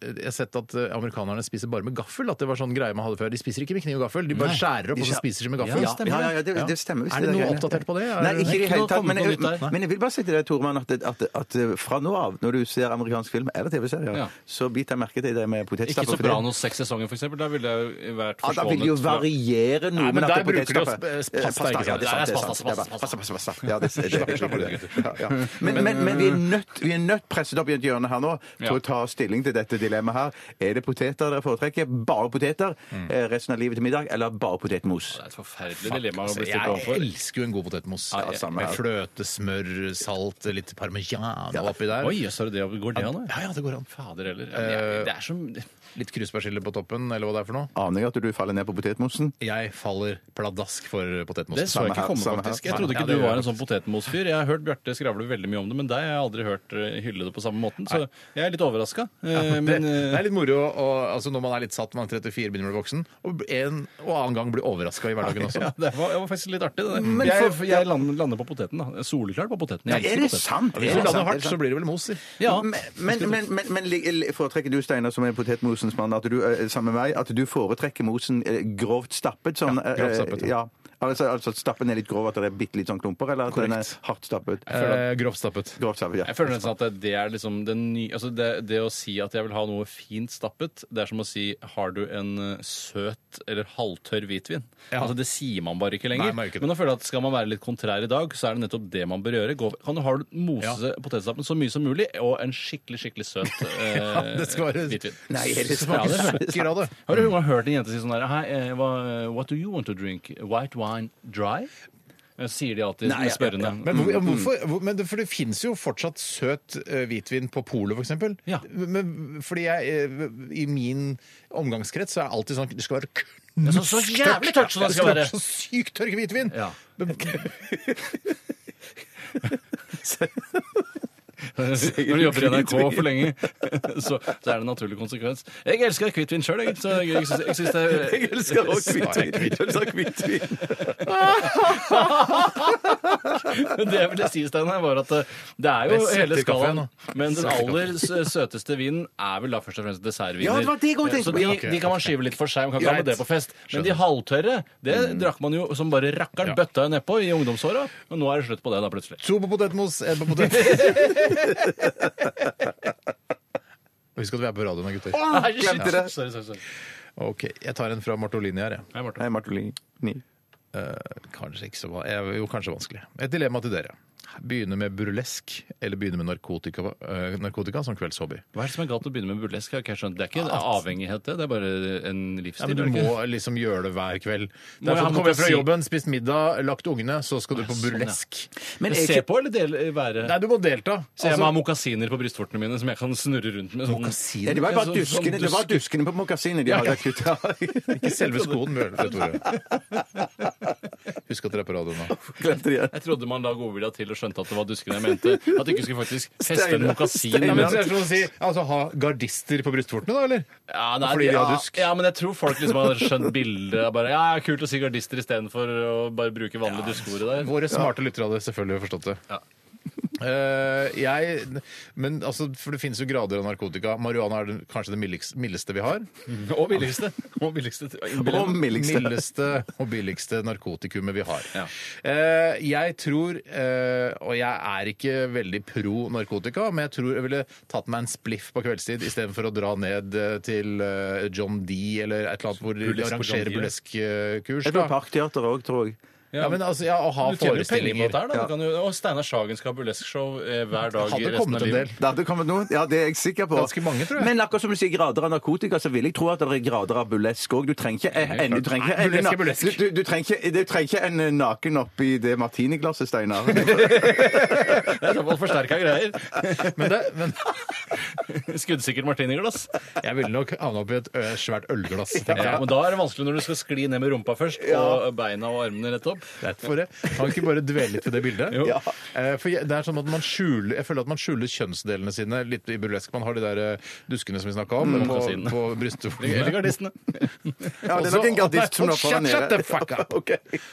[SPEAKER 5] Jeg har sett at eh, amerikanerne spiser bare med gaffel. At det var sånn greie man hadde før. De spiser ikke med kniv og gaffel. De bare skjærer opp og så spiser de med gaffel.
[SPEAKER 6] Ja, stemmer.
[SPEAKER 7] Ja, ja, ja, det, det stemmer. visst
[SPEAKER 5] Er det
[SPEAKER 7] der
[SPEAKER 5] noe
[SPEAKER 7] greiene.
[SPEAKER 5] oppdatert på det? Er
[SPEAKER 7] Nei,
[SPEAKER 5] det-
[SPEAKER 7] ikke i det
[SPEAKER 6] Ikke
[SPEAKER 7] hele
[SPEAKER 6] noe
[SPEAKER 7] tatt. Men,
[SPEAKER 6] kommet noe nytt der.
[SPEAKER 7] men jeg vil bare si til deg, Tormann, at, at, at eh, fra nå av, når du ser amerikansk film eller TV-serier,
[SPEAKER 6] Ja.
[SPEAKER 7] så biter jeg merke til det med
[SPEAKER 6] Ikke
[SPEAKER 7] potetstappe.
[SPEAKER 6] så
[SPEAKER 7] for
[SPEAKER 6] bra
[SPEAKER 7] det-
[SPEAKER 6] noe seks sesonger, for eksempel. Da ville jeg jo vært
[SPEAKER 7] Ja, da vil det jo
[SPEAKER 6] forskånet. fra-
[SPEAKER 7] variere noe,
[SPEAKER 5] Nei, men
[SPEAKER 7] men at
[SPEAKER 5] der
[SPEAKER 7] det er
[SPEAKER 5] bruker de jo
[SPEAKER 7] potetstappe.
[SPEAKER 5] sp- eh, pasta,
[SPEAKER 7] Eh,
[SPEAKER 5] ikke sant?
[SPEAKER 7] ja, det er sant, det er sant. Ja,
[SPEAKER 6] Det er pasta,
[SPEAKER 7] pasta, pasta, pasta. Ja, det det- det-
[SPEAKER 5] Slapp av,
[SPEAKER 7] det- ja, ja. Men, men, men vi er nødt, vi er nødt presset opp i et hjørne her nå til
[SPEAKER 6] Ja.
[SPEAKER 7] å ta stilling til dette dilemmaet her. Er det poteter dere foretrekker? Bare poteter
[SPEAKER 5] Mm.
[SPEAKER 7] eh, resten av livet til middag, eller bare potetmos?
[SPEAKER 6] Det er et forferdelig dilemma å
[SPEAKER 5] Altså,
[SPEAKER 6] bli stilt
[SPEAKER 5] jeg
[SPEAKER 6] overfor.
[SPEAKER 5] elsker jo en god potetmos.
[SPEAKER 7] Ja, samme
[SPEAKER 5] Med
[SPEAKER 7] her.
[SPEAKER 5] fløte, smør, salt, litt parmesan oppi der.
[SPEAKER 6] Oi, jøss, er det det går det an? da?
[SPEAKER 5] Ja, ja, det går an.
[SPEAKER 6] Fader heller. Ja, men jeg- Det er som
[SPEAKER 5] Litt kruspersille på toppen, eller hva det er for noe.
[SPEAKER 7] Aner jeg at du faller ned på potetmosen?
[SPEAKER 5] Jeg faller pladask for
[SPEAKER 6] Det
[SPEAKER 5] potetmos.
[SPEAKER 6] så jeg
[SPEAKER 7] Samme
[SPEAKER 6] ikke
[SPEAKER 7] her,
[SPEAKER 6] komme,
[SPEAKER 7] samme her.
[SPEAKER 6] faktisk. Jeg
[SPEAKER 5] Ja,
[SPEAKER 6] trodde ikke
[SPEAKER 5] det
[SPEAKER 6] du
[SPEAKER 5] gjør
[SPEAKER 6] var
[SPEAKER 5] jeg
[SPEAKER 6] en sånn potetmosfyr. Jeg har hørt Bjarte skravle veldig mye om det, men deg har jeg aldri hørt eh, hylle det på samme måten. Så jeg er litt overraska.
[SPEAKER 5] Det,
[SPEAKER 6] Men
[SPEAKER 5] det
[SPEAKER 6] eh,
[SPEAKER 5] er litt moro å- altså når man er litt satt, man er 34, begynner å bli voksen, og en og annen gang blir overraska i hverdagen også.
[SPEAKER 6] ja, det var, det var faktisk litt artig, det.
[SPEAKER 7] Men
[SPEAKER 6] der. Jeg,
[SPEAKER 7] for-
[SPEAKER 6] jeg lander, lander på poteten, da. Soleklart på poteten. Jeg
[SPEAKER 7] Er
[SPEAKER 6] elsker
[SPEAKER 7] det
[SPEAKER 6] poteten.
[SPEAKER 7] sant?
[SPEAKER 5] Hvis
[SPEAKER 7] Er
[SPEAKER 5] du
[SPEAKER 7] det
[SPEAKER 5] lander
[SPEAKER 7] sant? Er
[SPEAKER 5] hardt,
[SPEAKER 7] det sant?
[SPEAKER 5] så blir det vel moser.
[SPEAKER 6] Ja.
[SPEAKER 7] Men, men, men, men, men li- li- foretrekker du, Steinar, som er potetmosens mann, at du, eh, sammen med meg, at du foretrekker mosen eh, grovt stappet? Sånn,
[SPEAKER 5] Ja, grovt stappet,
[SPEAKER 7] eh, Ja. Altså, altså at stappen er litt grov, at det er bitte litt sånn klumper, eller at den er hardt stappet?
[SPEAKER 5] Eh, Grovt stappet.
[SPEAKER 7] Grovt stappet, ja.
[SPEAKER 6] Jeg føler nesten at det- det er liksom det, nye, altså det, det å si at jeg vil ha noe fint stappet, det er som å si har du en eh, søt eller halvtørr hvitvin?
[SPEAKER 5] Ja.
[SPEAKER 6] Altså Det sier man bare ikke
[SPEAKER 5] Nei,
[SPEAKER 6] lenger.
[SPEAKER 5] man gjør ikke det.
[SPEAKER 6] Men da føler jeg at skal man være litt kontrær i dag, så er det nettopp det man bør gjøre. Gå, kan du ha mose potetstappen så mye som mulig, og en skikkelig, skikkelig søt eh,
[SPEAKER 5] Det skal være
[SPEAKER 6] hvitvin.
[SPEAKER 7] Nei, er det
[SPEAKER 5] smaker
[SPEAKER 6] Ja, det er
[SPEAKER 5] sukker av det.
[SPEAKER 6] Har du noen gang hørt en jente si sånn her Hei, eh, hva, what do you want to drink? White wine dry? Eh, Sier de alltid
[SPEAKER 7] Nei, ja, ja,
[SPEAKER 6] spørrende.
[SPEAKER 7] ja.
[SPEAKER 5] Men,
[SPEAKER 6] Mm,
[SPEAKER 5] hvor, hvorfor, hvor, men det, for det fins jo fortsatt søt eh, hvitvin på polet, f.eks.
[SPEAKER 6] Ja.
[SPEAKER 5] Men fordi jeg eh, I min omgangskrets så er det alltid sånn Det skal være
[SPEAKER 6] Det er så, så jævlig tørt som det skal være!
[SPEAKER 5] være så sykt tørr hvitvin!
[SPEAKER 6] Ja.
[SPEAKER 5] Men,
[SPEAKER 6] Når du jobber i NRK for lenge, så, så er det en naturlig konsekvens. Jeg elsker hvitvin sjøl, jeg. Så jeg, jeg, synes- jeg syns det er
[SPEAKER 7] Jeg elsker også hvitvin. Jeg elsker hvitvin.
[SPEAKER 6] Men det jeg ville si, Steinar, var at eh, det er
[SPEAKER 5] Jeg
[SPEAKER 6] jo
[SPEAKER 5] setter
[SPEAKER 6] hele
[SPEAKER 5] i kaffe,
[SPEAKER 6] skalaen.
[SPEAKER 5] nå.
[SPEAKER 6] Men den aller s- søteste vinen er vel da først og fremst dessertviner.
[SPEAKER 7] Ja, det var det jeg også tenkte
[SPEAKER 6] så
[SPEAKER 7] på.
[SPEAKER 6] de,
[SPEAKER 7] Ja,
[SPEAKER 5] ok,
[SPEAKER 6] de kan man skyve litt for seg. Man kan ikke ha med
[SPEAKER 5] Greit.
[SPEAKER 6] det på fest. Men de halvtørre, det
[SPEAKER 5] Mm.
[SPEAKER 6] drakk man jo som bare rakkeren. Bøtta nedpå i ungdomsåra. Og nå er det slutt på det, da, plutselig.
[SPEAKER 5] to på potetmos, én på potetmos. Husk at vi er på radioen, da, gutter.
[SPEAKER 6] Nei, shit.
[SPEAKER 7] glemte det.
[SPEAKER 6] Sorry, sorry, sorry.
[SPEAKER 5] Ok, Jeg tar en fra Martolini her, jeg.
[SPEAKER 6] Nei, Martin.
[SPEAKER 7] Nei, Martolini.
[SPEAKER 5] Kanskje ikke så va- eh, Jo, kanskje vanskelig. Et dilemma til dere. Begynne med burlesk eller begynne med narkotika, eh, narkotika som kveldshobby?
[SPEAKER 6] Hva er det som er galt med å begynne med burlesk? Jeg har ikke skjønt. Det er ikke en avhengighet, det. Det er bare en livsstil.
[SPEAKER 5] Ja, men du
[SPEAKER 6] er det ikke?
[SPEAKER 5] må liksom gjøre det hver kveld. Det
[SPEAKER 6] Må
[SPEAKER 5] er
[SPEAKER 6] jeg
[SPEAKER 5] sånn,
[SPEAKER 6] ha
[SPEAKER 5] Kommer
[SPEAKER 6] noe
[SPEAKER 5] fra
[SPEAKER 6] å si?
[SPEAKER 5] jobben, spist middag, lagt ungene, så skal du på
[SPEAKER 6] sånn, ja.
[SPEAKER 5] burlesk.
[SPEAKER 7] Men er
[SPEAKER 6] se
[SPEAKER 7] ikke
[SPEAKER 6] på eller dele, være
[SPEAKER 5] Nei, du må delta.
[SPEAKER 6] Så jeg
[SPEAKER 5] Altså,
[SPEAKER 6] må ha mokasiner på brystvortene mine som jeg kan snurre rundt med. Sånn.
[SPEAKER 7] ja, det var
[SPEAKER 6] Sånn-
[SPEAKER 7] bare
[SPEAKER 6] sånn
[SPEAKER 7] duskene, det
[SPEAKER 6] dusk.
[SPEAKER 7] var duskene på mokasinen de hadde kutta.
[SPEAKER 5] ikke selve skoen. men det, Tore. Husk at dere er på radioen nå.
[SPEAKER 7] Glemte de det.
[SPEAKER 6] Jeg trodde man la godvilja til og skjønte at det var duskene jeg mente. At du ikke skulle faktisk feste en
[SPEAKER 7] Steinar,
[SPEAKER 6] mokasin.
[SPEAKER 5] Nei, men
[SPEAKER 6] Ja,
[SPEAKER 5] så er det som å si, altså, Ha gardister på brystvortene, da, eller?
[SPEAKER 6] nei,
[SPEAKER 5] Fordi de har
[SPEAKER 6] ja,
[SPEAKER 5] dusk.
[SPEAKER 6] Ja, men jeg tror folk liksom har skjønt bildet. av Bare, ja, kult å si gardister istedenfor å bare bruke vanlig duskeordet der.
[SPEAKER 5] Våre smarte lyttere hadde selvfølgelig forstått det.
[SPEAKER 6] Ja.
[SPEAKER 5] Eh, jeg, men altså, for det finnes jo grader av narkotika. Marihuana er den, kanskje det mildeste, mildeste vi har.
[SPEAKER 6] Og billigste. Og billigste.
[SPEAKER 7] Og mildeste.
[SPEAKER 5] mildeste og billigste narkotikumet vi har.
[SPEAKER 6] Ja.
[SPEAKER 5] Eh, jeg tror, eh, og jeg er ikke veldig pro narkotika, men jeg tror jeg ville tatt meg en spliff på kveldstid istedenfor å dra ned eh, til eh, John D eller et eller annet hvor de
[SPEAKER 6] Burlesk på John
[SPEAKER 5] arrangerer
[SPEAKER 6] Dee, ja.
[SPEAKER 5] burleskkurs.
[SPEAKER 7] Jeg tror Parkteater òg, tror jeg.
[SPEAKER 5] Ja, men altså, ja, å ha
[SPEAKER 6] Du tjener jo penger på
[SPEAKER 5] forestillinger.
[SPEAKER 6] dette her, da. Du kan jo, og Steinar Sagen skal ha burlesque-show eh, hver dag
[SPEAKER 5] Hadde
[SPEAKER 6] resten
[SPEAKER 5] kommet
[SPEAKER 6] av
[SPEAKER 5] en
[SPEAKER 6] livet.
[SPEAKER 5] del.
[SPEAKER 7] Det hadde kommet noen. Ja, det er jeg sikker på.
[SPEAKER 5] Ganske mange, tror jeg.
[SPEAKER 7] Men akkurat som du sier grader av narkotika, så vil jeg tro at det er grader av burlesk òg. Du trenger ikke en- en, du trenger ikke en,
[SPEAKER 5] Burlesk er burlesk.
[SPEAKER 7] du, du, du trenger ikke, du trenger ikke en eh, naken oppi det martiniglasset, Steinar.
[SPEAKER 6] Det er i hvert fall forsterka greier.
[SPEAKER 5] Men, det, men
[SPEAKER 6] Skuddsikkert martiniglass.
[SPEAKER 5] jeg ville nok havna oppi et ø, svært ølglass. tenker
[SPEAKER 6] Ja,
[SPEAKER 5] jeg.
[SPEAKER 6] men da er det vanskelig når du skal skli ned med rumpa først, og beina og armene rett opp.
[SPEAKER 5] Derfor det. Kan vi ikke bare dvele litt ved det bildet?
[SPEAKER 6] Jo. Ja.
[SPEAKER 5] Eh, For jeg- det er sånn at man skjuler, Jeg føler at man skjuler kjønnsdelene sine litt i burlesk. Man har de der eh, duskene som vi snakka om,
[SPEAKER 6] Mm.
[SPEAKER 5] på,
[SPEAKER 6] makasinene.
[SPEAKER 5] på
[SPEAKER 6] Eller
[SPEAKER 5] brystvortene.
[SPEAKER 6] gardistene.
[SPEAKER 7] Ja, det er nok en gardist som nå får den
[SPEAKER 5] Shut the
[SPEAKER 7] nede.
[SPEAKER 5] fuck up!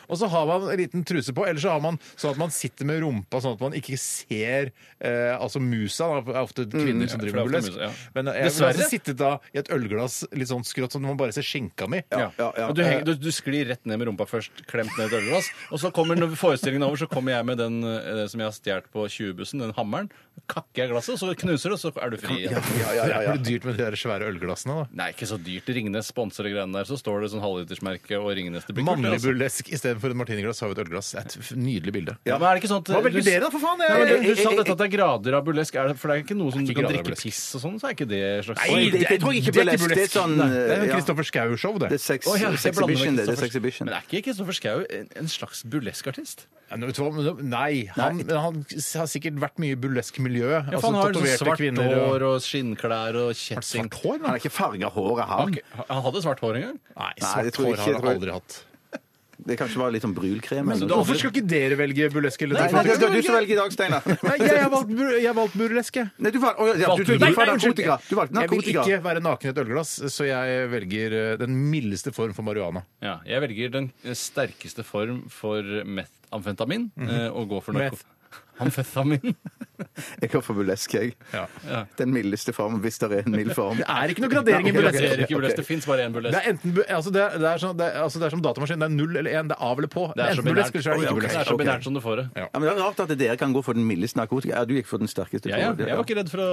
[SPEAKER 5] Og så har man en liten truse på, eller så har man sånn at man sitter med rumpa sånn at man ikke ser eh, altså musa. da, Det er ofte kvinner som driver
[SPEAKER 6] for
[SPEAKER 5] med
[SPEAKER 6] det er
[SPEAKER 5] burlesk.
[SPEAKER 6] ofte musa, Mm. ja.
[SPEAKER 5] Men jeg ville
[SPEAKER 6] Dessverre.
[SPEAKER 5] altså sittet da i et ølglass litt sånn skrått, sånn at man bare ser skinka mi.
[SPEAKER 6] Ja,
[SPEAKER 7] ja, ja.
[SPEAKER 6] Og Du, henger, du, du sklir rett ned med rumpa først, klemt ned et ølglass. Og så kommer når forestillingen er over, så kommer jeg med den eh, som jeg har stjålet på 20-bussen, den hammeren. Kakker jeg glasset, og så knuser det, og så er du fri igjen.
[SPEAKER 5] Det blir dyrt med de der svære ølglassene. da.
[SPEAKER 6] Nei, ikke så dyrt. Ringnes sponser de greiene der. Så står det sånn halvlitersmerke og Ringnes. Det blir kult,
[SPEAKER 5] Mannlig
[SPEAKER 6] altså.
[SPEAKER 5] burlesk istedenfor et martiniglass har vi et ølglass. Det er Et f- nydelig bilde.
[SPEAKER 6] Ja, men er det ikke sånn at
[SPEAKER 5] Hva velger
[SPEAKER 6] du-
[SPEAKER 5] dere, da, for faen? Jeg-
[SPEAKER 6] Nei, men
[SPEAKER 7] Eh,
[SPEAKER 6] du, du sa dette at det er grader av burlesk. Er det, for det er ikke noe som
[SPEAKER 5] Det er ikke
[SPEAKER 6] du kan
[SPEAKER 5] grader av
[SPEAKER 6] drikke
[SPEAKER 5] burlesk.
[SPEAKER 6] piss og sånn, så er ikke det slags
[SPEAKER 7] Nei, det, det tror jeg ikke burlesk. Det er sånn
[SPEAKER 5] Det er
[SPEAKER 7] ja.
[SPEAKER 5] Kristoffer Schou-show, det.
[SPEAKER 7] Det er sex,
[SPEAKER 6] Å, ja, jeg blander med
[SPEAKER 7] sexhibition, det. Det er
[SPEAKER 6] Christopher-
[SPEAKER 7] sexhibition.
[SPEAKER 6] Men er ikke Kristoffer Schau en, en en slags burleskartist?
[SPEAKER 5] Ja, nå vet du hva, men- Nei, han, men han har sikkert vært mye i burlesk-miljø.
[SPEAKER 6] Ja,
[SPEAKER 5] altså
[SPEAKER 6] for han har sånn
[SPEAKER 5] tatoverte
[SPEAKER 6] svart
[SPEAKER 5] kvinner
[SPEAKER 6] hår
[SPEAKER 5] og
[SPEAKER 6] og skinnklær og kjetting.
[SPEAKER 5] Svart hår?
[SPEAKER 7] Han
[SPEAKER 5] Nei,
[SPEAKER 7] har ikke farga håret, han.
[SPEAKER 6] Han hadde svart hår en gang.
[SPEAKER 5] nei
[SPEAKER 7] Nei, det
[SPEAKER 5] svart
[SPEAKER 7] tror jeg ikke,
[SPEAKER 5] hår har han
[SPEAKER 7] tror jeg.
[SPEAKER 5] aldri hatt.
[SPEAKER 7] Det kanskje var litt sånn brylkrem. eller noe sånt.
[SPEAKER 5] Hvorfor skal ikke dere velge burlesk eller
[SPEAKER 7] Nei, nei, det
[SPEAKER 5] tatovering?
[SPEAKER 7] skal du som velger i dag, Steinar.
[SPEAKER 5] Nei, jeg har valgt, bur- jeg har valgt burlesk, jeg.
[SPEAKER 7] Nei, du valgte oh, ja, du, du, du,
[SPEAKER 5] Nei,
[SPEAKER 7] valgte
[SPEAKER 5] nei, unnskyld.
[SPEAKER 7] narkotika. Du valgte
[SPEAKER 5] Jeg vil
[SPEAKER 7] narkotika.
[SPEAKER 5] ikke være naken i et ølglass, så jeg velger eh, den mildeste form for marihuana.
[SPEAKER 6] Ja, jeg velger den sterkeste form for metamfetamin eh, og går for narko...
[SPEAKER 5] Meth.
[SPEAKER 6] Amfetamin.
[SPEAKER 7] Jeg går for burlesk, jeg.
[SPEAKER 5] Ja.
[SPEAKER 7] Den mildeste form, hvis det er en mild form.
[SPEAKER 5] Det er ikke noe gradering i
[SPEAKER 6] Det
[SPEAKER 5] burlesk.
[SPEAKER 6] er ikke burlesk, det fins bare én
[SPEAKER 5] Det
[SPEAKER 6] burlesk.
[SPEAKER 5] er, enten, bu- altså det, er, det, er sånn, det, er, altså det er som datamaskin. Det er null eller én. Det er av eller på.
[SPEAKER 6] Det er så
[SPEAKER 5] enten
[SPEAKER 6] binært
[SPEAKER 5] burlesk eller så er det ikke
[SPEAKER 6] Det er
[SPEAKER 5] burlesk.
[SPEAKER 6] så binært som du får det.
[SPEAKER 7] Ja, men det er Rart at dere kan gå for den mildeste narkotika. Ja, du gikk for den sterkeste.
[SPEAKER 6] Ja, ja. Jeg var ikke redd for å,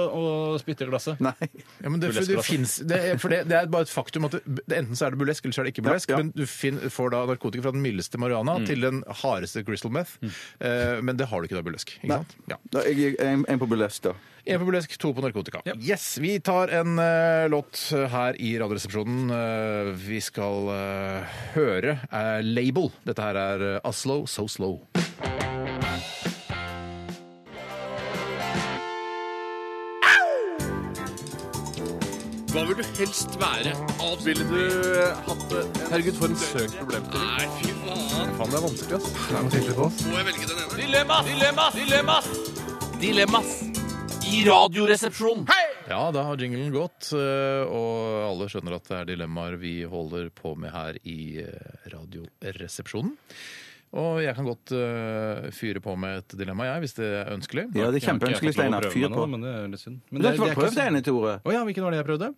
[SPEAKER 6] å spytte i glasset.
[SPEAKER 7] Nei.
[SPEAKER 5] Ja, men det, for det,
[SPEAKER 6] Burlesk, altså.
[SPEAKER 5] finnes, det, er- for det, det er bare et faktum at det, det- enten så er det burlesk eller så er det ikke burlesk.
[SPEAKER 7] Ja, ja.
[SPEAKER 5] Men du fin, får da narkotika fra den mildeste marihuana
[SPEAKER 6] Mm.
[SPEAKER 5] til den hardeste crystal meth. Eh, men det har du ikke da burlesk. Ikke sant? Ja.
[SPEAKER 7] Da, jeg, gikk en, en på burlesk, da.
[SPEAKER 5] En på burlesk, to på narkotika.
[SPEAKER 6] Ja.
[SPEAKER 5] Yes, Vi tar en eh, låt her i Radioresepsjonen. Eh, vi skal eh, høre eh, Label. Dette her er eh, Oslo So Slow.
[SPEAKER 6] Hva vil du helst være? Ville du hatt det? Herregud, for en søk problemstilling. Nei, fy faen.
[SPEAKER 5] Faen, det er vanskelig, ass.
[SPEAKER 6] Må jeg velge den ene? Dilemmas! Dilemmas! Dilemmas! Dilemmas! I Radioresepsjonen!
[SPEAKER 5] Ja, da har jinglen gått, eh, og alle skjønner at det er dilemmaer vi holder på med her i eh, Radioresepsjonen. Og jeg kan godt eh, fyre på med et dilemma, jeg, hvis det er ønskelig.
[SPEAKER 7] Ja, det er kjempeønskelig, Steinar. Fyr på.
[SPEAKER 6] Men det er litt synd. Men
[SPEAKER 7] Men det, prøv det ene, Tore.
[SPEAKER 6] Å ja, hvilken var det jeg prøvde?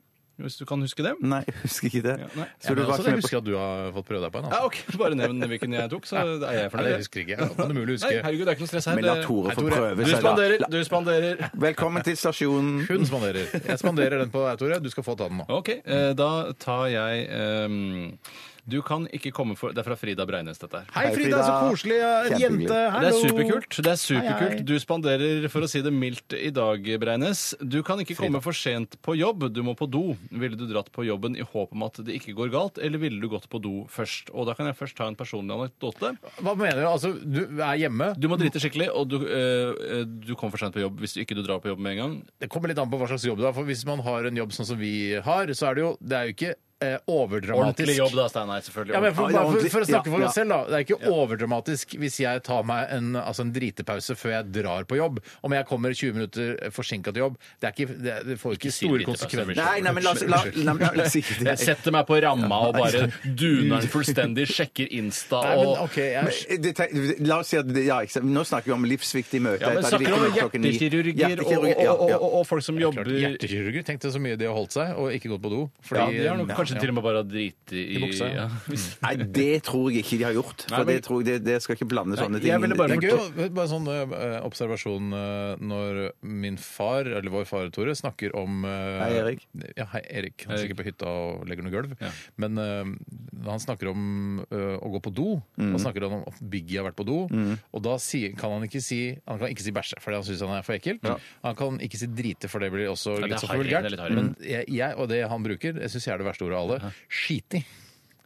[SPEAKER 6] Hvis du kan huske det?
[SPEAKER 7] Nei, jeg husker ikke det.
[SPEAKER 6] Ja, altså, nei.
[SPEAKER 7] Så
[SPEAKER 5] jeg
[SPEAKER 7] du
[SPEAKER 5] mener
[SPEAKER 7] var
[SPEAKER 5] også, jeg
[SPEAKER 7] ikke med
[SPEAKER 5] husker at du har fått prøve deg på en.
[SPEAKER 6] Ja,
[SPEAKER 5] Altså.
[SPEAKER 6] ok, Bare nevn hvilken jeg tok, så er jeg
[SPEAKER 5] Nei, det
[SPEAKER 6] fornøyd.
[SPEAKER 5] husker jeg ikke. Det er umulig å
[SPEAKER 6] Nei,
[SPEAKER 5] huske.
[SPEAKER 6] herregud, det er ikke noe stress
[SPEAKER 7] på
[SPEAKER 6] her.
[SPEAKER 7] Men la
[SPEAKER 6] Det-
[SPEAKER 7] Tore
[SPEAKER 5] Nei,
[SPEAKER 7] få
[SPEAKER 5] Tore,
[SPEAKER 7] prøve
[SPEAKER 6] eh, Du
[SPEAKER 7] seg, da.
[SPEAKER 6] spanderer, du spanderer.
[SPEAKER 7] Velkommen til stasjonen.
[SPEAKER 5] Hun spanderer. Jeg spanderer den på deg, Tore. Du skal få ta den nå.
[SPEAKER 6] Ok, eh, da tar jeg ehm, Du kan ikke komme for Det er fra Frida Breines, dette her.
[SPEAKER 5] Hei, Frida. Så koselig. En
[SPEAKER 7] Kjempehyggelig.
[SPEAKER 5] jente.
[SPEAKER 6] Det
[SPEAKER 5] Hallo.
[SPEAKER 6] er superkult. det er
[SPEAKER 5] Hei, hei.
[SPEAKER 6] superkult. Du spanderer, for å si det mildt, i dag, Breines. Du kan ikke komme for sent på jobb, du må på do. Ville du dratt på jobben i håp om at det ikke går galt, eller ville du gått på do først? Og da kan jeg først ta en personlig anekdote.
[SPEAKER 5] Hva mener du? Altså, du er hjemme.
[SPEAKER 6] Du må drite skikkelig, og du, eh, du kommer for sent på jobb hvis du ikke du drar på jobb med en gang.
[SPEAKER 5] Det kommer litt an på hva slags jobb du har. For hvis man har en jobb sånn som vi har, så er det jo, det er jo ikke eh, overdramatisk.
[SPEAKER 6] Ordentlig jobb, da, Steinar. Selvfølgelig.
[SPEAKER 5] Ja, men
[SPEAKER 7] Ja,
[SPEAKER 5] for, bare for,
[SPEAKER 7] ordentlig.
[SPEAKER 5] for å snakke for
[SPEAKER 7] Ja,
[SPEAKER 5] oss selv, da. Det er ikke overdramatisk hvis jeg tar meg en, altså en dritepause før jeg drar på jobb. Om jeg kommer 20 minutter forsinka til jobb, det, er ikke, det, det får ikke,
[SPEAKER 6] si
[SPEAKER 5] store
[SPEAKER 6] dritepause,
[SPEAKER 5] konsekvenser.
[SPEAKER 6] Richard.
[SPEAKER 7] Nei, nei, men la oss la, la, la, la, si det.
[SPEAKER 6] Jeg setter meg på ramma og bare duner den fullstendig, sjekker Insta
[SPEAKER 5] Nei, men,
[SPEAKER 6] og
[SPEAKER 5] ok, jeg,
[SPEAKER 7] eh, Det, te- la oss si at det, ja, ikke sant. Nå snakker vi om livsviktige møter.
[SPEAKER 6] ja, men
[SPEAKER 7] Etter
[SPEAKER 6] snakker
[SPEAKER 7] at
[SPEAKER 6] om
[SPEAKER 7] det klokken ni.
[SPEAKER 6] hjertekirurger og,
[SPEAKER 7] Hjertekirurger, ja,
[SPEAKER 6] og, og,
[SPEAKER 7] ja.
[SPEAKER 6] og, og folk som jobber
[SPEAKER 5] klart,
[SPEAKER 6] ja,
[SPEAKER 5] Hjertekirurger tenkte så mye de har holdt seg og ikke gått på do. Fordi,
[SPEAKER 6] De har nok kanskje
[SPEAKER 5] ja.
[SPEAKER 6] til og med bare driti i
[SPEAKER 5] buksa, ja.
[SPEAKER 6] ja.
[SPEAKER 7] Nei, det tror jeg ikke de har gjort. For
[SPEAKER 6] Nei, men-
[SPEAKER 7] det, tror jeg, det, det skal ikke blande sånne ting
[SPEAKER 6] jeg ville bare
[SPEAKER 5] Det er
[SPEAKER 7] inn.
[SPEAKER 5] gøy, å- bare sånn eh, observasjon eh, når min far, eller vår far Tore, snakker om eh,
[SPEAKER 7] Hei, Erik.
[SPEAKER 5] Ja, hei, Erik. Han er
[SPEAKER 6] Erik.
[SPEAKER 5] sikkert på hytta og legger noe gulv.
[SPEAKER 6] Ja.
[SPEAKER 5] Men eh, når han snakker om eh, å gå på do,
[SPEAKER 7] Mm.
[SPEAKER 5] da snakker han om at Biggie har vært på do. Og da sier, kan han ikke si Han kan ikke si bæsje, fordi han syns han er for ekkelt. Han kan ikke si drite, for det blir også
[SPEAKER 6] det
[SPEAKER 5] litt
[SPEAKER 6] er
[SPEAKER 5] sånn
[SPEAKER 6] harry,
[SPEAKER 5] for vulgært.
[SPEAKER 6] det er litt harry.
[SPEAKER 5] Men jeg, jeg, og det han bruker, jeg syns jeg er det verste ordet av alle. Skiti.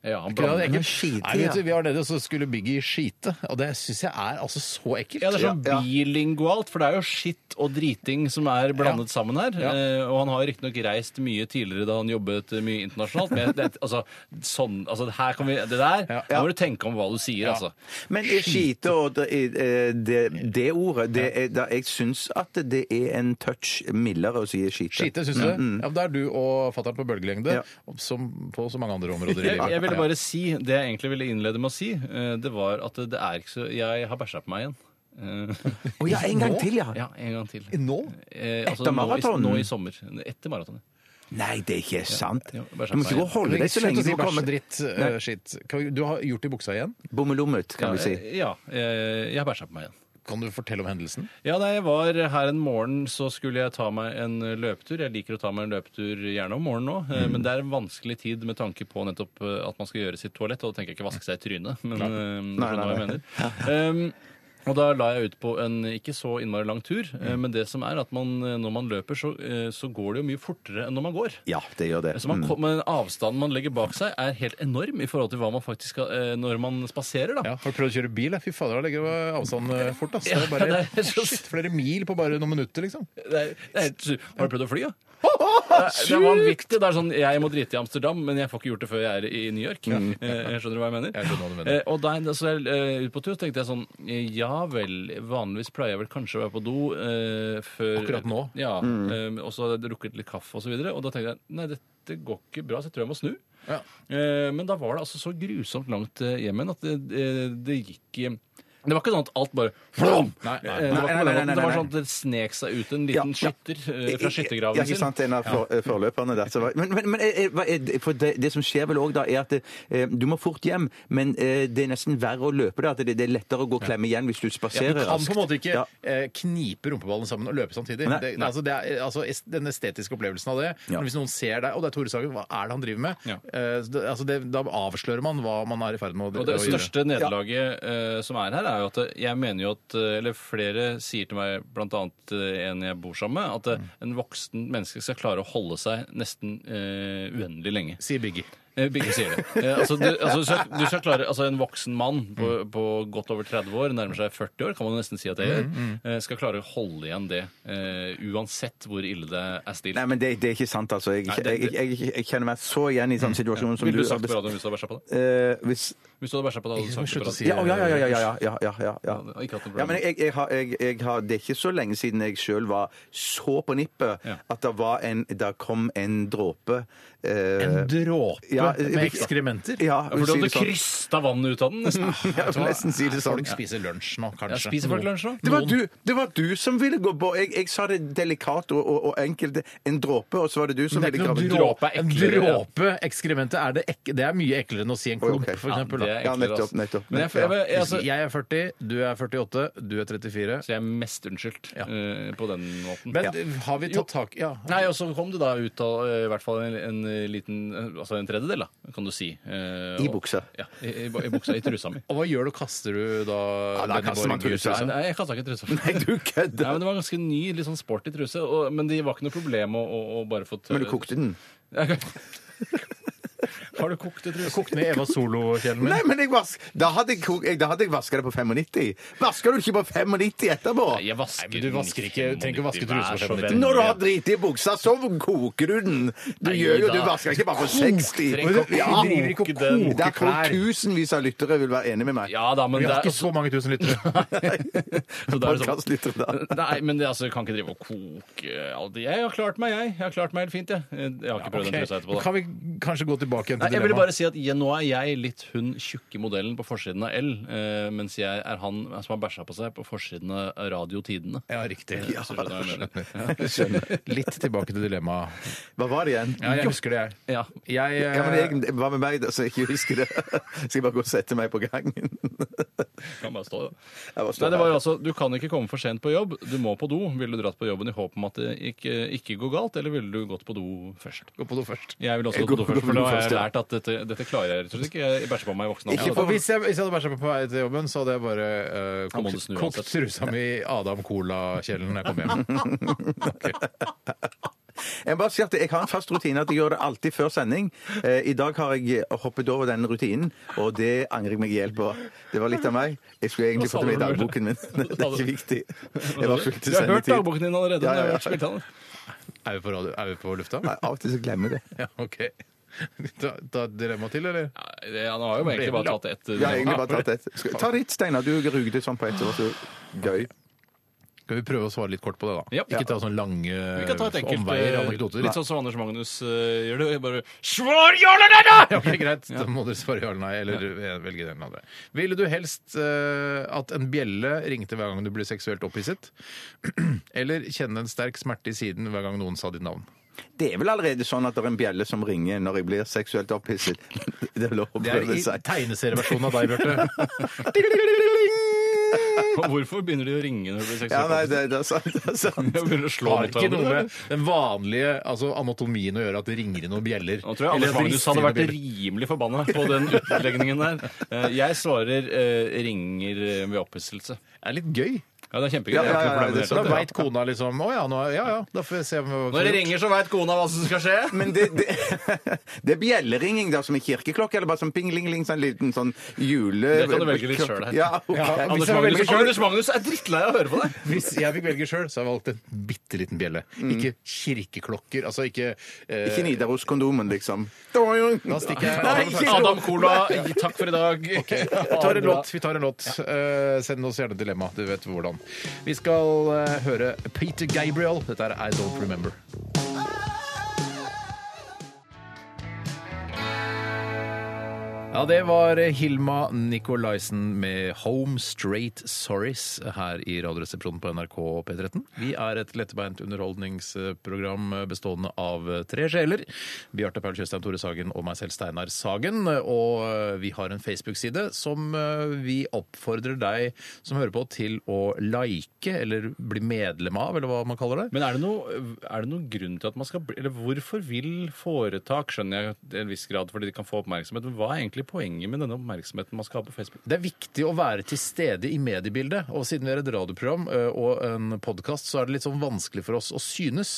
[SPEAKER 6] ja, han
[SPEAKER 5] Ikke det, det er
[SPEAKER 6] blander.
[SPEAKER 5] ekkelt.
[SPEAKER 7] skite,
[SPEAKER 5] Nei, vet du,
[SPEAKER 7] ja.
[SPEAKER 5] vi var nede, og så skulle Biggie skite. Og det syns jeg er altså så ekkelt.
[SPEAKER 6] Ja, det er sånn
[SPEAKER 7] Ja, ja.
[SPEAKER 6] bilingualt, for det er jo skitt og driting som er blandet sammen her.
[SPEAKER 5] Ja.
[SPEAKER 6] Eh, og han har riktignok reist mye tidligere da han jobbet eh, mye internasjonalt, men det, altså, sånn, altså, her kan vi, det der,
[SPEAKER 5] Ja.
[SPEAKER 6] nå må du tenke om hva du sier, altså.
[SPEAKER 7] Men i skite og det, eh, det, det ordet det er, da, Jeg syns at det er en touch mildere å si skite.
[SPEAKER 5] Skite, syns du det? Ja, men Da er du og fatter'n på bølgelengde,
[SPEAKER 7] Ja.
[SPEAKER 5] som på så mange andre områder i
[SPEAKER 6] Jeg,
[SPEAKER 5] livet.
[SPEAKER 6] jeg ville bare si, det jeg egentlig ville innlede med å si, eh, det var at det er ikke så Jeg har bæsja på meg igjen. Eh,
[SPEAKER 7] Å ja, en gang til, ja.
[SPEAKER 6] ja, en gang til.
[SPEAKER 5] Nå?
[SPEAKER 6] Eh, altså,
[SPEAKER 7] Etter
[SPEAKER 6] nå i-
[SPEAKER 7] maratonen?
[SPEAKER 6] Nå i sommer. Etter maratonet.
[SPEAKER 7] Nei, det er ikke sant.
[SPEAKER 6] Ja,
[SPEAKER 7] Du
[SPEAKER 6] bare sånn
[SPEAKER 7] må ikke gå og holde deg så
[SPEAKER 5] Slutt
[SPEAKER 7] lenge
[SPEAKER 5] å
[SPEAKER 7] du
[SPEAKER 5] si bæsj,
[SPEAKER 7] kommer
[SPEAKER 5] dritt, eh, skitt. Kan vi- Du har gjort det i buksa igjen.
[SPEAKER 7] Bommelommet, kan
[SPEAKER 6] Ja,
[SPEAKER 7] vi si.
[SPEAKER 6] eh, ja, eh, jeg har bæsja på meg igjen.
[SPEAKER 5] Kan du fortelle om hendelsen?
[SPEAKER 6] Ja, da jeg var her en morgen, så skulle jeg ta meg en løpetur. Jeg liker å ta meg en løpetur gjerne om morgenen òg, men det er en vanskelig tid med tanke på nettopp eh, at man skal gjøre sitt toalett, og da tenker jeg ikke vaske seg i trynet, men eh, du skjønner hva jeg mener. Um, Og da la jeg ut på en ikke så innmari lang tur. eh, Men det som er at man, eh, når man løper, så, eh, så går det jo mye fortere enn når man går.
[SPEAKER 7] Ja, det Mm. gjør det.
[SPEAKER 6] Så man, kom- men Avstanden man legger bak seg, er helt enorm i forhold til hva man faktisk skal eh, når man spaserer. da.
[SPEAKER 5] Ja, Har du prøvd å kjøre bil? Fy fader, da legger jeg avstanden eh, fort. ass. Det
[SPEAKER 6] Ja,
[SPEAKER 5] er bare
[SPEAKER 6] det er så-
[SPEAKER 5] shit, flere mil på bare noen minutter, liksom.
[SPEAKER 6] Det er, det er helt sjukt. Har du prøvd å fly, da? Det er- det er vanvittig. Det er sånn, Jeg må drite i Amsterdam, men jeg får ikke gjort det før jeg er i New York. Eh, Jeg skjønner du hva jeg mener?
[SPEAKER 5] Jeg skjønner hva du mener.
[SPEAKER 6] Eh, Og da så jeg eh, ut på tur, tenkte jeg sånn eh, Ja vel, vanligvis pleier jeg vel kanskje å være på do eh, før
[SPEAKER 5] Akkurat nå. Mm.
[SPEAKER 6] Ja. eh, og så hadde jeg drukket litt kaffe og så videre. Og da tenkte jeg nei, dette går ikke bra, så jeg tror jeg må snu.
[SPEAKER 5] Ja.
[SPEAKER 6] Eh, Men da var det altså så grusomt langt eh, hjem igjen at det, det- det gikk eh, det var ikke sånn at alt bare flom!
[SPEAKER 5] Nei, nei,
[SPEAKER 6] Eh, det var ikke
[SPEAKER 7] nei, nei, nei,
[SPEAKER 6] på den måten. Det
[SPEAKER 7] nei,
[SPEAKER 6] var
[SPEAKER 7] nei.
[SPEAKER 6] sånn at det snek seg ut en
[SPEAKER 7] Ja,
[SPEAKER 6] liten
[SPEAKER 7] ja.
[SPEAKER 6] skytter eh, fra
[SPEAKER 7] Ja,
[SPEAKER 6] skyttergraven
[SPEAKER 7] ikke
[SPEAKER 6] sin.
[SPEAKER 7] sant, en av for, eh, forløperne der. som var- Men, men, men eh, hva er det- for det, det som skjer vel òg da, er at eh, du må fort hjem, men eh, det er nesten verre å løpe da. At det, det er lettere å gå og klemme igjen hvis du
[SPEAKER 5] Ja,
[SPEAKER 7] spaserer
[SPEAKER 5] du kan på en måte ikke
[SPEAKER 7] Ja.
[SPEAKER 5] eh, knipe rumpeballene sammen og løpe samtidig.
[SPEAKER 7] Nei,
[SPEAKER 5] det,
[SPEAKER 7] nei.
[SPEAKER 5] Altså, det er, altså, es- den estetiske opplevelsen av det.
[SPEAKER 7] Ja.
[SPEAKER 5] Men hvis noen ser deg, og det er Tore Sagen, hva er det han driver med?
[SPEAKER 6] Ja.
[SPEAKER 5] Eh, det, altså, det, da avslører man hva man er i ferd med å,
[SPEAKER 6] Og
[SPEAKER 5] å
[SPEAKER 6] det største nederlaget eh, som er her, er jo at jeg mener jo at eh, Eller flere sier til meg, blant annet eh, en jeg bor sammen med,
[SPEAKER 7] Mm.
[SPEAKER 6] at eh, en voksen menneske skal klare å holde seg nesten eh, uendelig lenge.
[SPEAKER 5] Sier Biggie.
[SPEAKER 6] Eh, Begge sier det. Eh, altså, du, altså, du, skal, du skal klare, altså En voksen mann på,
[SPEAKER 7] Mm.
[SPEAKER 6] på godt over 30 år, nærmer seg 40 år, kan man nesten si at det gjør,
[SPEAKER 7] Mm,
[SPEAKER 6] eh, skal klare å holde igjen det. eh, uansett hvor ille det er stilt.
[SPEAKER 7] Nei, men det, det er ikke sant, altså. Jeg,
[SPEAKER 6] det-
[SPEAKER 7] jeg, jeg, jeg, jeg kjenner meg så igjen i sånn situasjon som
[SPEAKER 6] Ville du
[SPEAKER 7] har
[SPEAKER 6] sagt på
[SPEAKER 7] bes-
[SPEAKER 6] radioen hvis du hadde bæsja på det?
[SPEAKER 7] Eh, hvis,
[SPEAKER 6] Hvis du hadde bæsja på det, hadde du sagt det på
[SPEAKER 5] Slutt å
[SPEAKER 6] radioen?
[SPEAKER 5] si
[SPEAKER 7] ja, å, ja, ja, ja, ja, ja, ja, ja, ja, ja.
[SPEAKER 6] Ja, ikke hatt noe problem.
[SPEAKER 7] ja men jeg, jeg, har, jeg, jeg har, det er ikke så lenge siden jeg sjøl var så på nippet
[SPEAKER 6] Ja.
[SPEAKER 7] at det var en, der kom en dråpe eh,
[SPEAKER 5] En dråpe
[SPEAKER 7] ja,
[SPEAKER 5] med ekskrementer?
[SPEAKER 7] Ja,
[SPEAKER 6] Ja, for du
[SPEAKER 7] si
[SPEAKER 6] hadde
[SPEAKER 7] det sånn.
[SPEAKER 6] krysta vannet ut av den, nesten.
[SPEAKER 7] Ja, jeg vil nesten si det sånn.
[SPEAKER 5] Folk spiser lunsj nå, kanskje.
[SPEAKER 6] Ja, spiser folk
[SPEAKER 5] Noen-
[SPEAKER 6] lunsj nå?
[SPEAKER 7] Det var,
[SPEAKER 5] Noen-
[SPEAKER 7] du, det var du som ville gå på. Jeg, jeg sa det delikat og, og, og enkelt. En dråpe, og så var det du som
[SPEAKER 5] Men
[SPEAKER 7] ville
[SPEAKER 5] det er
[SPEAKER 7] grave
[SPEAKER 5] ikke
[SPEAKER 7] en
[SPEAKER 5] noen
[SPEAKER 7] dråpe.
[SPEAKER 5] dråpe, en
[SPEAKER 6] eklere, ja.
[SPEAKER 5] dråpe ekskrementet er det, ek det er mye eklere enn å si en klump,
[SPEAKER 7] ok.
[SPEAKER 5] for
[SPEAKER 6] Ja,
[SPEAKER 5] eksempel.
[SPEAKER 6] det
[SPEAKER 5] da.
[SPEAKER 6] er
[SPEAKER 7] Ja,
[SPEAKER 6] enklere,
[SPEAKER 7] nettopp,
[SPEAKER 6] altså.
[SPEAKER 7] nettopp,
[SPEAKER 6] Men jeg, jeg, jeg, jeg, altså,
[SPEAKER 5] Jeg er 40, du er 48, du er 34.
[SPEAKER 6] så jeg er mest unnskyldt eh, på den måten.
[SPEAKER 5] Men har vi tatt tak Ja.
[SPEAKER 6] Nei, og så kom det da ut av eh, i hvert fall en, en liten eh, Altså en tredjedel, da, kan du si. Eh,
[SPEAKER 7] I
[SPEAKER 6] og-
[SPEAKER 7] buksa.
[SPEAKER 6] Ja, i, i, i buksa. I trusa mi.
[SPEAKER 5] Og hva gjør du? Kaster du da
[SPEAKER 7] Ja, da
[SPEAKER 5] Benny
[SPEAKER 7] kaster man
[SPEAKER 5] Borg ut?
[SPEAKER 7] trusa.
[SPEAKER 6] Nei, jeg kasta ikke trusa.
[SPEAKER 7] Nei, du
[SPEAKER 6] Nei,
[SPEAKER 7] kødder!
[SPEAKER 6] men Det var en ganske ny, litt sånn sporty truse. Og, men det var ikke noe problem å, å, å bare få tørre
[SPEAKER 7] Men du kokte den.
[SPEAKER 6] Har du kokte truser?
[SPEAKER 5] Kokt ned Eva Solo-kjelen min?
[SPEAKER 7] Nei, men jeg vask, da hadde jeg, kok- jeg, da hadde jeg vaska det på 95. Vasker du ikke på 95 etterpå?
[SPEAKER 6] Nei, jeg vasker
[SPEAKER 5] Nei, men du vasker ikke- trenger ikke å vaske
[SPEAKER 6] Vær
[SPEAKER 5] truser
[SPEAKER 6] så
[SPEAKER 5] på fem
[SPEAKER 6] vennlig.
[SPEAKER 7] Når du har driti i buksa, så koker du den! Du
[SPEAKER 6] Nei,
[SPEAKER 7] gjør jo,
[SPEAKER 6] da-
[SPEAKER 7] du vasker ikke bare på 60.
[SPEAKER 6] Trenger ikke å
[SPEAKER 7] Ja,
[SPEAKER 6] driver ikke og
[SPEAKER 7] koker
[SPEAKER 6] koker
[SPEAKER 7] Der tror
[SPEAKER 5] klær.
[SPEAKER 7] jeg tusenvis av lyttere vil være enig med meg.
[SPEAKER 6] Ja da, men
[SPEAKER 5] Vi
[SPEAKER 6] det
[SPEAKER 5] har
[SPEAKER 6] er
[SPEAKER 5] ikke så mange tusen lyttere.
[SPEAKER 6] så det er sånn-
[SPEAKER 7] Podcastlyttere, da.
[SPEAKER 6] Nei, men det, altså, jeg kan ikke drive og koke alt. Jeg har klart meg, jeg. Jeg har klart meg helt fint, jeg. Jeg har ikke prøvd
[SPEAKER 5] Ok,
[SPEAKER 6] den trusa etterpå. da.
[SPEAKER 5] Kan vi kanskje gå tilbake igjen
[SPEAKER 6] Nei,
[SPEAKER 5] til
[SPEAKER 6] jeg ville
[SPEAKER 5] dilemmaet?
[SPEAKER 6] bare si at ja, Nå er jeg litt hun tjukke modellen på forsiden av L, eh, mens jeg er han som har bæsja på seg på forsiden av Radiotidene.
[SPEAKER 5] Ja, riktig.
[SPEAKER 6] Ja, så skjønner jeg hva jeg mener.
[SPEAKER 5] Litt tilbake til dilemmaet.
[SPEAKER 7] Hva var det igjen?
[SPEAKER 5] Ja, jeg husker det, jeg.
[SPEAKER 6] ja.
[SPEAKER 5] Jeg,
[SPEAKER 7] Ja, men
[SPEAKER 5] eh,
[SPEAKER 7] jeg, hva med meg, da, så jeg ikke husker det? Skal jeg bare gå og sette meg på gangen?
[SPEAKER 6] Kan bare stå, da.
[SPEAKER 7] Jeg bare står
[SPEAKER 6] Nei, det var
[SPEAKER 7] her.
[SPEAKER 6] altså, Du kan ikke komme for sent på jobb. Du må på do. Ville du dratt på jobben i håp om at det ikke, ikke går galt, eller ville du gått på do først?
[SPEAKER 5] gå på do først.
[SPEAKER 6] Jeg vil også
[SPEAKER 7] Jeg
[SPEAKER 6] gå
[SPEAKER 7] går
[SPEAKER 6] på do først, for da har
[SPEAKER 7] først,
[SPEAKER 6] jeg
[SPEAKER 7] ja.
[SPEAKER 6] lært at dette, dette klarer jeg rett og slett ikke. Jeg bæsjer på meg i voksen
[SPEAKER 7] Ikke
[SPEAKER 6] alder. altså.
[SPEAKER 5] For hvis, jeg, hvis jeg hadde bæsja på på vei til jobben, så hadde jeg bare eh,
[SPEAKER 6] Da må du
[SPEAKER 5] kokt,
[SPEAKER 6] snu
[SPEAKER 5] kokt
[SPEAKER 6] uansett.
[SPEAKER 5] trusa mi i Adam Cola-kjelen når jeg kom hjem.
[SPEAKER 7] Jeg må bare si at jeg har en fast rutine at jeg gjør det alltid før sending. Eh, I dag har jeg hoppet over den rutinen, og det angrer jeg meg i hjel på. Det var litt av meg. Jeg skulle egentlig fått det med i dagboken min. Det er ikke viktig. Jeg var fullt
[SPEAKER 6] Du
[SPEAKER 7] til
[SPEAKER 6] har hørt
[SPEAKER 7] sendetid.
[SPEAKER 6] dagboken din allerede.
[SPEAKER 7] Ja, ja,
[SPEAKER 6] men jeg har
[SPEAKER 7] ja.
[SPEAKER 6] ikke spilt den.
[SPEAKER 5] Er vi på, radio, er vi på lufta?
[SPEAKER 7] Nei, Av og til så glemmer jeg det.
[SPEAKER 5] Ja, OK. Ta, ta et dilemma til, eller?
[SPEAKER 6] Nei, det- Han har jo egentlig bare tatt ett.
[SPEAKER 7] Jeg har egentlig bare tatt ett. Skal- Ta ditt, Steinar. Du rugde sånn på ett. Det var så gøy.
[SPEAKER 5] Skal vi prøve å svare litt kort på det, da?
[SPEAKER 6] Ja.
[SPEAKER 5] Ikke ta sånne lange
[SPEAKER 6] Vi kan ta et enkelt
[SPEAKER 5] omveier,
[SPEAKER 6] eh,
[SPEAKER 5] anekdoter.
[SPEAKER 6] Litt sånn som Anders Magnus eh, gjør det. Bare Svar ja eller nei, da!
[SPEAKER 5] Ja, ok, Greit, da må dere svare ja eller nei, eller eh, velge den andre. Ville du helst eh, at en bjelle ringte hver gang du ble seksuelt opphisset? Eller kjenne en sterk smerte i siden hver gang noen sa ditt navn?
[SPEAKER 7] Det er vel allerede sånn at det er en bjelle som ringer når jeg blir seksuelt opphisset. Det er lov å
[SPEAKER 5] Det er
[SPEAKER 7] prøve
[SPEAKER 5] i
[SPEAKER 7] seg.
[SPEAKER 5] tegneserieversjonen av deg, Bjarte.
[SPEAKER 6] Og hvorfor begynner de å ringe når du blir
[SPEAKER 7] Ja, nei,
[SPEAKER 6] seksuelt
[SPEAKER 7] det, det er sant. Det er sant.
[SPEAKER 6] Jeg begynner å slå
[SPEAKER 5] Har
[SPEAKER 6] mot
[SPEAKER 5] ikke noe
[SPEAKER 6] hverandre.
[SPEAKER 5] med den vanlige altså, anatomien å gjøre at det ringer i noen bjeller.
[SPEAKER 6] Nå tror jeg Anders
[SPEAKER 5] at det
[SPEAKER 6] Magnus
[SPEAKER 5] rister i
[SPEAKER 6] hadde
[SPEAKER 5] noen
[SPEAKER 6] vært
[SPEAKER 5] bjeller.
[SPEAKER 6] rimelig forbanna på den utlegningen der. Eh, Jeg svarer eh, ringer eh, ved opphisselse.
[SPEAKER 5] Det er litt gøy.
[SPEAKER 6] Ja, det er kjempegøy.
[SPEAKER 7] Ja,
[SPEAKER 6] Jeg har
[SPEAKER 7] ja,
[SPEAKER 6] ikke
[SPEAKER 7] ja,
[SPEAKER 6] noe problem
[SPEAKER 7] det
[SPEAKER 6] med det
[SPEAKER 5] Så da
[SPEAKER 6] hele tatt.
[SPEAKER 5] veit kona liksom Å ja, nå, ja ja, da får vi se om
[SPEAKER 6] Når det ringer, så veit kona hva som skal skje.
[SPEAKER 7] Men det, det, det er bjelleringing, da, som i kirkeklokke, eller bare sånn pingling-ling, sånn liten sånn jule...
[SPEAKER 6] Det kan du velge litt selv her.
[SPEAKER 7] Ja, ok.
[SPEAKER 5] Ja,
[SPEAKER 6] Anders
[SPEAKER 5] jeg
[SPEAKER 6] Magnus,
[SPEAKER 5] velger selv-
[SPEAKER 6] Anders Magnus er drittlei av å høre på det.
[SPEAKER 5] Hvis jeg fikk velge sjøl, så hadde jeg valgt en bitte liten bjelle. Ikke kirkeklokker. Altså ikke eh,
[SPEAKER 7] Ikke Nidaros-kondomen, liksom.
[SPEAKER 5] Da stikker jeg
[SPEAKER 7] Nei, ikke
[SPEAKER 6] Adam Cola, takk for i dag.
[SPEAKER 5] Vi tar en låt. Vi tar en låt. Eh, send oss gjerne dilemma. Du vet hvordan. Vi skal eh, høre Peter Gabriel. Dette er I Don't Remember. Ja, det var Hilma Nikolaisen med Home Straight Sorries her i Radioresepsjonen på NRK P13. Vi er et lettbeint underholdningsprogram bestående av tre sjeler. Bjarte Paul Tjøstheim, Tore Sagen og meg selv, Steinar Sagen. Og eh, vi har en Facebook-side som eh, vi oppfordrer deg som hører på, til å like eller bli medlem av, eller hva man kaller det.
[SPEAKER 6] Men er det, noe, er det noen grunn til at man skal bli Eller hvorfor vil foretak, skjønner jeg til en viss grad, fordi de kan få oppmerksomhet, men hva er egentlig poenget med denne oppmerksomheten man skal ha på Facebook?
[SPEAKER 5] Det er viktig å være til stede i mediebildet. Og siden vi er et radioprogram ø, og en podkast, så er det litt sånn vanskelig for oss å synes.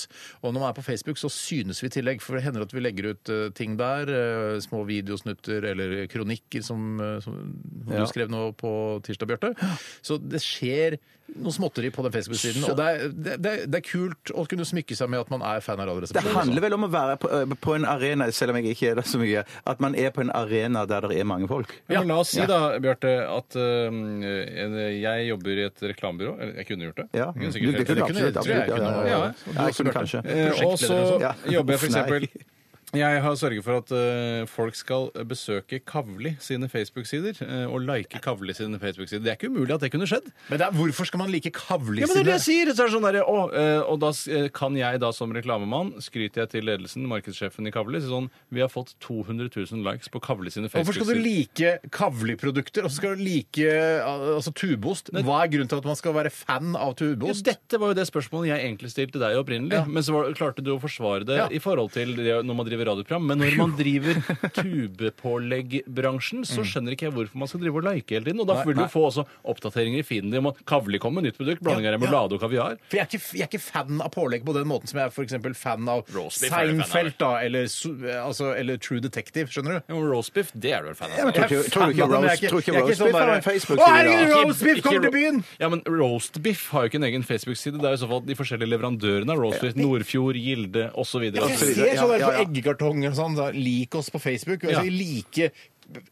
[SPEAKER 5] Og når man er på Facebook, så synes vi i tillegg. For det hender at vi legger ut ø, ting der. ø, Små videosnutter eller kronikker som, ø, som du skrev nå på tirsdag, Bjarte. Så det skjer noe småtteri på den Facebook-siden. Og det er, det, det, er- det er kult å kunne smykke seg med at man er fan av
[SPEAKER 7] Det
[SPEAKER 5] Radioresepsjonen.
[SPEAKER 7] handler vel om å være på, eh, på en arena, selv om jeg ikke er der så mye, at man er på en arena der det er mange folk.
[SPEAKER 6] Ja, men la oss si da, Bjarte, at øhm, en- jeg jobber i et reklamebyrå. Eller jeg kunne gjort det.
[SPEAKER 7] Ja. Mm. Du-
[SPEAKER 6] Jeg kunne sikkert
[SPEAKER 7] du
[SPEAKER 6] helt-
[SPEAKER 7] kunne
[SPEAKER 6] det kunne-
[SPEAKER 7] absolutt,
[SPEAKER 6] tror jeg jeg
[SPEAKER 7] absolutt,
[SPEAKER 6] kunne.
[SPEAKER 7] ja, ja, ja.
[SPEAKER 6] Ja, ja.
[SPEAKER 7] Ja, jeg kunne kanskje.
[SPEAKER 6] Eh, Og så
[SPEAKER 5] Prosjektleder
[SPEAKER 7] og sånn. Ja.
[SPEAKER 6] jobber jeg for
[SPEAKER 7] Uff, nei.
[SPEAKER 6] eksempel jeg har sørget for at eh, folk skal besøke Kavli sine Facebook-sider eh, og like Kavli sine Facebook-sider. Det er ikke umulig at det kunne skjedd.
[SPEAKER 5] Men det er, hvorfor skal man like
[SPEAKER 6] Ja, men det er det
[SPEAKER 5] kavlisene?
[SPEAKER 6] jeg sier! Så er det sånn der, å, eh, og da s- eh, kan jeg da som reklamemann skryter jeg til ledelsen, markedssjefen i Kavli, si sånn Vi har fått 200 000 likes på Kavli sine
[SPEAKER 5] Hvorfor skal du
[SPEAKER 6] Facebook-sider.
[SPEAKER 5] like kavliprodukter, og så skal du like al- altså, tubeost? Hva er grunnen til at man skal være fan av
[SPEAKER 6] Jo,
[SPEAKER 5] tubeost?
[SPEAKER 6] dette var jo det spørsmålet jeg egentlig stilte deg opprinnelig. Men så var, klarte du å forsvare det
[SPEAKER 5] Ja.
[SPEAKER 6] i forhold til det, når man driver radioprogram. Men når man driver tubepåleggbransjen, så skjønner ikke jeg hvorfor man skal drive og like hele tiden. Og da vil du få også oppdateringer i feeden din om at Kavli kom med nytt produkt. Blanding av remulade og kaviar.
[SPEAKER 5] For jeg er, ikke, jeg er ikke fan av pålegg på den måten som jeg er for eksempel fan av
[SPEAKER 6] Roastbeef er du fan av,
[SPEAKER 5] Seinfeld da, eller, su- altså, eller True Detective. Skjønner du?
[SPEAKER 6] Ja, men Roastbiff, det er du vel fan av?
[SPEAKER 7] men tror
[SPEAKER 5] Jeg
[SPEAKER 7] ikke-
[SPEAKER 5] er
[SPEAKER 7] tror du ikke
[SPEAKER 5] fan av den, jeg er
[SPEAKER 7] roast- tror ikke
[SPEAKER 5] jeg er
[SPEAKER 7] roastbeef
[SPEAKER 5] sånn
[SPEAKER 7] har
[SPEAKER 5] der,
[SPEAKER 7] en Facebook-side
[SPEAKER 5] Å,
[SPEAKER 7] da?
[SPEAKER 5] herregud, roastbeef
[SPEAKER 6] Ikke-
[SPEAKER 5] kommer til
[SPEAKER 6] ikke-
[SPEAKER 5] byen!
[SPEAKER 6] Ja, men Roastbiff har jo ikke en egen Facebook-side. Det er jo i så fall de forskjellige leverandørene av Roastbiff. Nordfjord, Gilde osv.
[SPEAKER 5] Jeg
[SPEAKER 7] så
[SPEAKER 5] ser
[SPEAKER 7] videre.
[SPEAKER 5] sånn der
[SPEAKER 7] Ja,
[SPEAKER 5] på
[SPEAKER 7] ja, ja.
[SPEAKER 5] eggekartonger og sånn. da, Lik oss på Facebook.
[SPEAKER 6] Ja.
[SPEAKER 5] Altså, like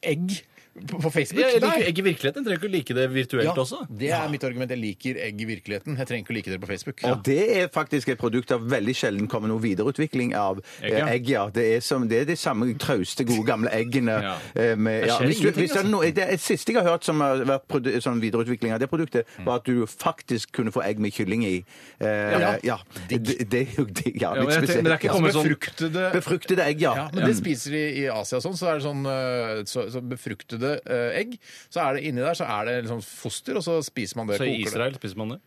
[SPEAKER 5] egg på på Facebook.
[SPEAKER 6] Jeg
[SPEAKER 5] Nei.
[SPEAKER 6] liker egg i virkeligheten. Trenger ikke å like det virtuelt
[SPEAKER 5] Ja,
[SPEAKER 6] også.
[SPEAKER 5] det er mitt argument. Jeg liker egg i virkeligheten. Jeg trenger ikke å like dere på Facebook.
[SPEAKER 7] Og det er faktisk et produkt av veldig sjelden kommer noe videreutvikling av
[SPEAKER 6] Egg, ja.
[SPEAKER 7] eh, egg. ja. Det er, som, det er de samme trauste, gode gamle eggene.
[SPEAKER 6] Ja.
[SPEAKER 7] eh, med-
[SPEAKER 6] Det
[SPEAKER 7] hvis
[SPEAKER 6] skjer
[SPEAKER 7] du-
[SPEAKER 6] ingenting,
[SPEAKER 7] hvis det, er
[SPEAKER 6] altså.
[SPEAKER 7] noe, det, er- siste jeg har hørt som har vært produ, sånn videreutvikling av det produktet,
[SPEAKER 6] Mm.
[SPEAKER 7] var at du faktisk kunne få egg med kylling i. Eh, ja. Det, det er jo digg. Ja,
[SPEAKER 6] Ja,
[SPEAKER 7] litt
[SPEAKER 6] men jeg tenker-
[SPEAKER 7] spesielt.
[SPEAKER 6] men det er ikke
[SPEAKER 7] Ja.
[SPEAKER 6] kommet sånn-
[SPEAKER 5] Befruktede
[SPEAKER 7] Befruktede egg, ja.
[SPEAKER 5] Ja, men det spiser de i Asia og sånn, så er det sånn eh, så, så befruktede eh, egg. Så er det inni der så er det liksom foster, og så spiser man det.
[SPEAKER 6] Så
[SPEAKER 5] koker
[SPEAKER 6] i
[SPEAKER 5] det.
[SPEAKER 6] Israel spiser man det.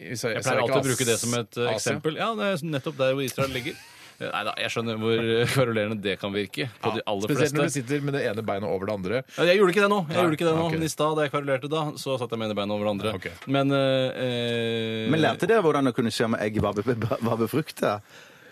[SPEAKER 5] I Israel-
[SPEAKER 6] Jeg
[SPEAKER 5] så er det
[SPEAKER 6] pleier
[SPEAKER 5] ikke
[SPEAKER 6] alltid å
[SPEAKER 5] As-
[SPEAKER 6] bruke det som et eh,
[SPEAKER 5] Asia.
[SPEAKER 6] eksempel. Ja, det er nettopp der hvor Israel ligger. Nei da, jeg skjønner hvor eh, kverulerende det kan virke på de aller
[SPEAKER 5] Spesielt når du
[SPEAKER 6] fleste.
[SPEAKER 5] sitter med det ene beinet over det andre.
[SPEAKER 6] Ja, Jeg gjorde ikke det nå. Jeg
[SPEAKER 5] Nei,
[SPEAKER 6] gjorde ikke det nå.
[SPEAKER 5] ok.
[SPEAKER 6] Men i stad da jeg kverulerte, da, så satt jeg med ene beina over det andre.
[SPEAKER 5] Ok.
[SPEAKER 6] Men, eh,
[SPEAKER 7] Men lærte dere hvordan å kunne se om egg var, be, var befrukta?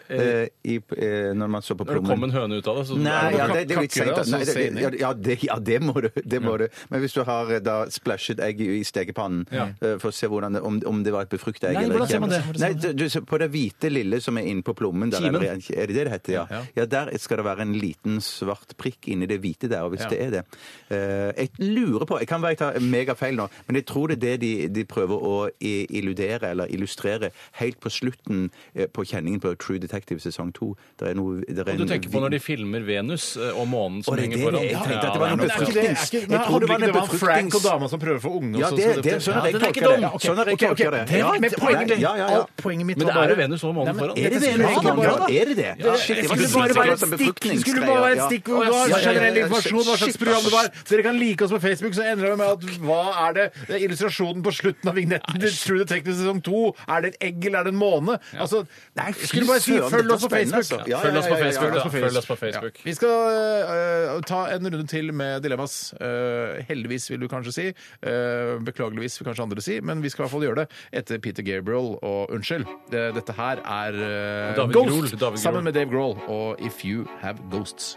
[SPEAKER 7] Eh, i, eh, når man så på
[SPEAKER 6] Når det kom
[SPEAKER 7] plommen?
[SPEAKER 6] en høne ut av det, så
[SPEAKER 7] Nei, ja, det, det er jo litt
[SPEAKER 5] Kakker
[SPEAKER 7] seint.
[SPEAKER 5] det,
[SPEAKER 7] da.
[SPEAKER 5] altså,
[SPEAKER 7] Nei, det- det-
[SPEAKER 5] sening.
[SPEAKER 7] Ja, ja, det- ja, det må du. Det må du. Men hvis du har eh, da splashet egg i i stekepannen eh, for å se hvordan det, om, om det var et befrukta egg
[SPEAKER 6] Nei,
[SPEAKER 7] eller
[SPEAKER 6] hvordan ser man det? Hvordan
[SPEAKER 7] Nei, du, du, ser på det hvite lille som er inne på plommen der,
[SPEAKER 6] Kimen?
[SPEAKER 7] eller, Er det det det heter? Ja. ja, der skal det være en liten svart prikk inni det hvite der, og hvis det er det eh, Jeg lurer på Jeg kan være jeg tar megafeil nå, men jeg tror det er det de, de prøver å i- illudere eller illustrere helt på slutten eh, på kjenningen på True Detective sesong to. Det er noe det er
[SPEAKER 6] Og du tenker på når de filmer Venus eh, og månen som
[SPEAKER 7] Å, det er
[SPEAKER 6] henger
[SPEAKER 7] det
[SPEAKER 6] foran?
[SPEAKER 7] jeg tenkte, at det
[SPEAKER 6] Ja,
[SPEAKER 7] var
[SPEAKER 6] nei,
[SPEAKER 7] noe
[SPEAKER 5] Men
[SPEAKER 6] men
[SPEAKER 5] er ikke det, er ikke,
[SPEAKER 7] Jeg
[SPEAKER 5] men,
[SPEAKER 7] trodde
[SPEAKER 5] handler
[SPEAKER 7] det
[SPEAKER 5] ikke det
[SPEAKER 7] var
[SPEAKER 5] om
[SPEAKER 7] en
[SPEAKER 5] Frank og
[SPEAKER 7] befruktnings-
[SPEAKER 5] dama som prøver å få unge?
[SPEAKER 7] Ja,
[SPEAKER 5] og så-
[SPEAKER 7] det,
[SPEAKER 5] så
[SPEAKER 7] det, sånn
[SPEAKER 6] Ja,
[SPEAKER 7] jeg
[SPEAKER 6] den er ikke
[SPEAKER 7] tolker
[SPEAKER 6] dum.
[SPEAKER 7] det. Sånn jeg
[SPEAKER 5] Ok, ok,
[SPEAKER 7] tolker det.
[SPEAKER 5] tenk-
[SPEAKER 7] Ja,
[SPEAKER 5] Men poenget mitt,
[SPEAKER 7] ja, ja, ja.
[SPEAKER 5] alt poenget mitt
[SPEAKER 6] Men
[SPEAKER 5] var
[SPEAKER 6] det er
[SPEAKER 5] bare-
[SPEAKER 6] jo Venus og månen
[SPEAKER 5] Nei, men
[SPEAKER 6] foran.
[SPEAKER 7] Er det
[SPEAKER 5] dette
[SPEAKER 7] det?
[SPEAKER 5] skulle egentlig bare-
[SPEAKER 7] Er det det? Shit,
[SPEAKER 5] Det
[SPEAKER 7] det var
[SPEAKER 5] skulle
[SPEAKER 7] så bra
[SPEAKER 5] bare være et
[SPEAKER 7] som
[SPEAKER 5] stikk. Det skulle bare være et stikkord.
[SPEAKER 7] Ja,
[SPEAKER 5] Det
[SPEAKER 7] ja, ja,
[SPEAKER 5] var
[SPEAKER 7] ja,
[SPEAKER 5] generell
[SPEAKER 7] ja, ja.
[SPEAKER 5] informasjon, hva slags
[SPEAKER 7] Shit,
[SPEAKER 5] program det var.
[SPEAKER 7] ass.
[SPEAKER 5] Dere kan like oss på Facebook, så endrer vi med at hva er det? det er illustrasjonen på slutten av vignetten til True Detective sesong 2. Er det et egg, eller er det en måne? Altså,
[SPEAKER 7] Nei, fy
[SPEAKER 5] skulle bare si
[SPEAKER 7] søren,
[SPEAKER 5] følg
[SPEAKER 7] dette
[SPEAKER 5] oss på
[SPEAKER 7] var spennende,
[SPEAKER 5] Facebook.
[SPEAKER 7] altså. Ja,
[SPEAKER 6] Følg oss på
[SPEAKER 7] ja, ja, ja, ja.
[SPEAKER 6] Facebook. da. Følg oss på
[SPEAKER 5] Ja.
[SPEAKER 6] Facebook.
[SPEAKER 5] Vi skal øh, ta en runde til med dilemmas. Øh, heldigvis, vil du kanskje si. Øh, beklageligvis, vil kanskje andre si. Men vi skal i hvert fall gjøre det etter Peter Gabriel og Unnskyld. Det, dette her er øh,
[SPEAKER 6] David
[SPEAKER 5] Ghost
[SPEAKER 6] Grohl, David Grohl.
[SPEAKER 5] sammen med Dave Grohl og If You Have Ghosts.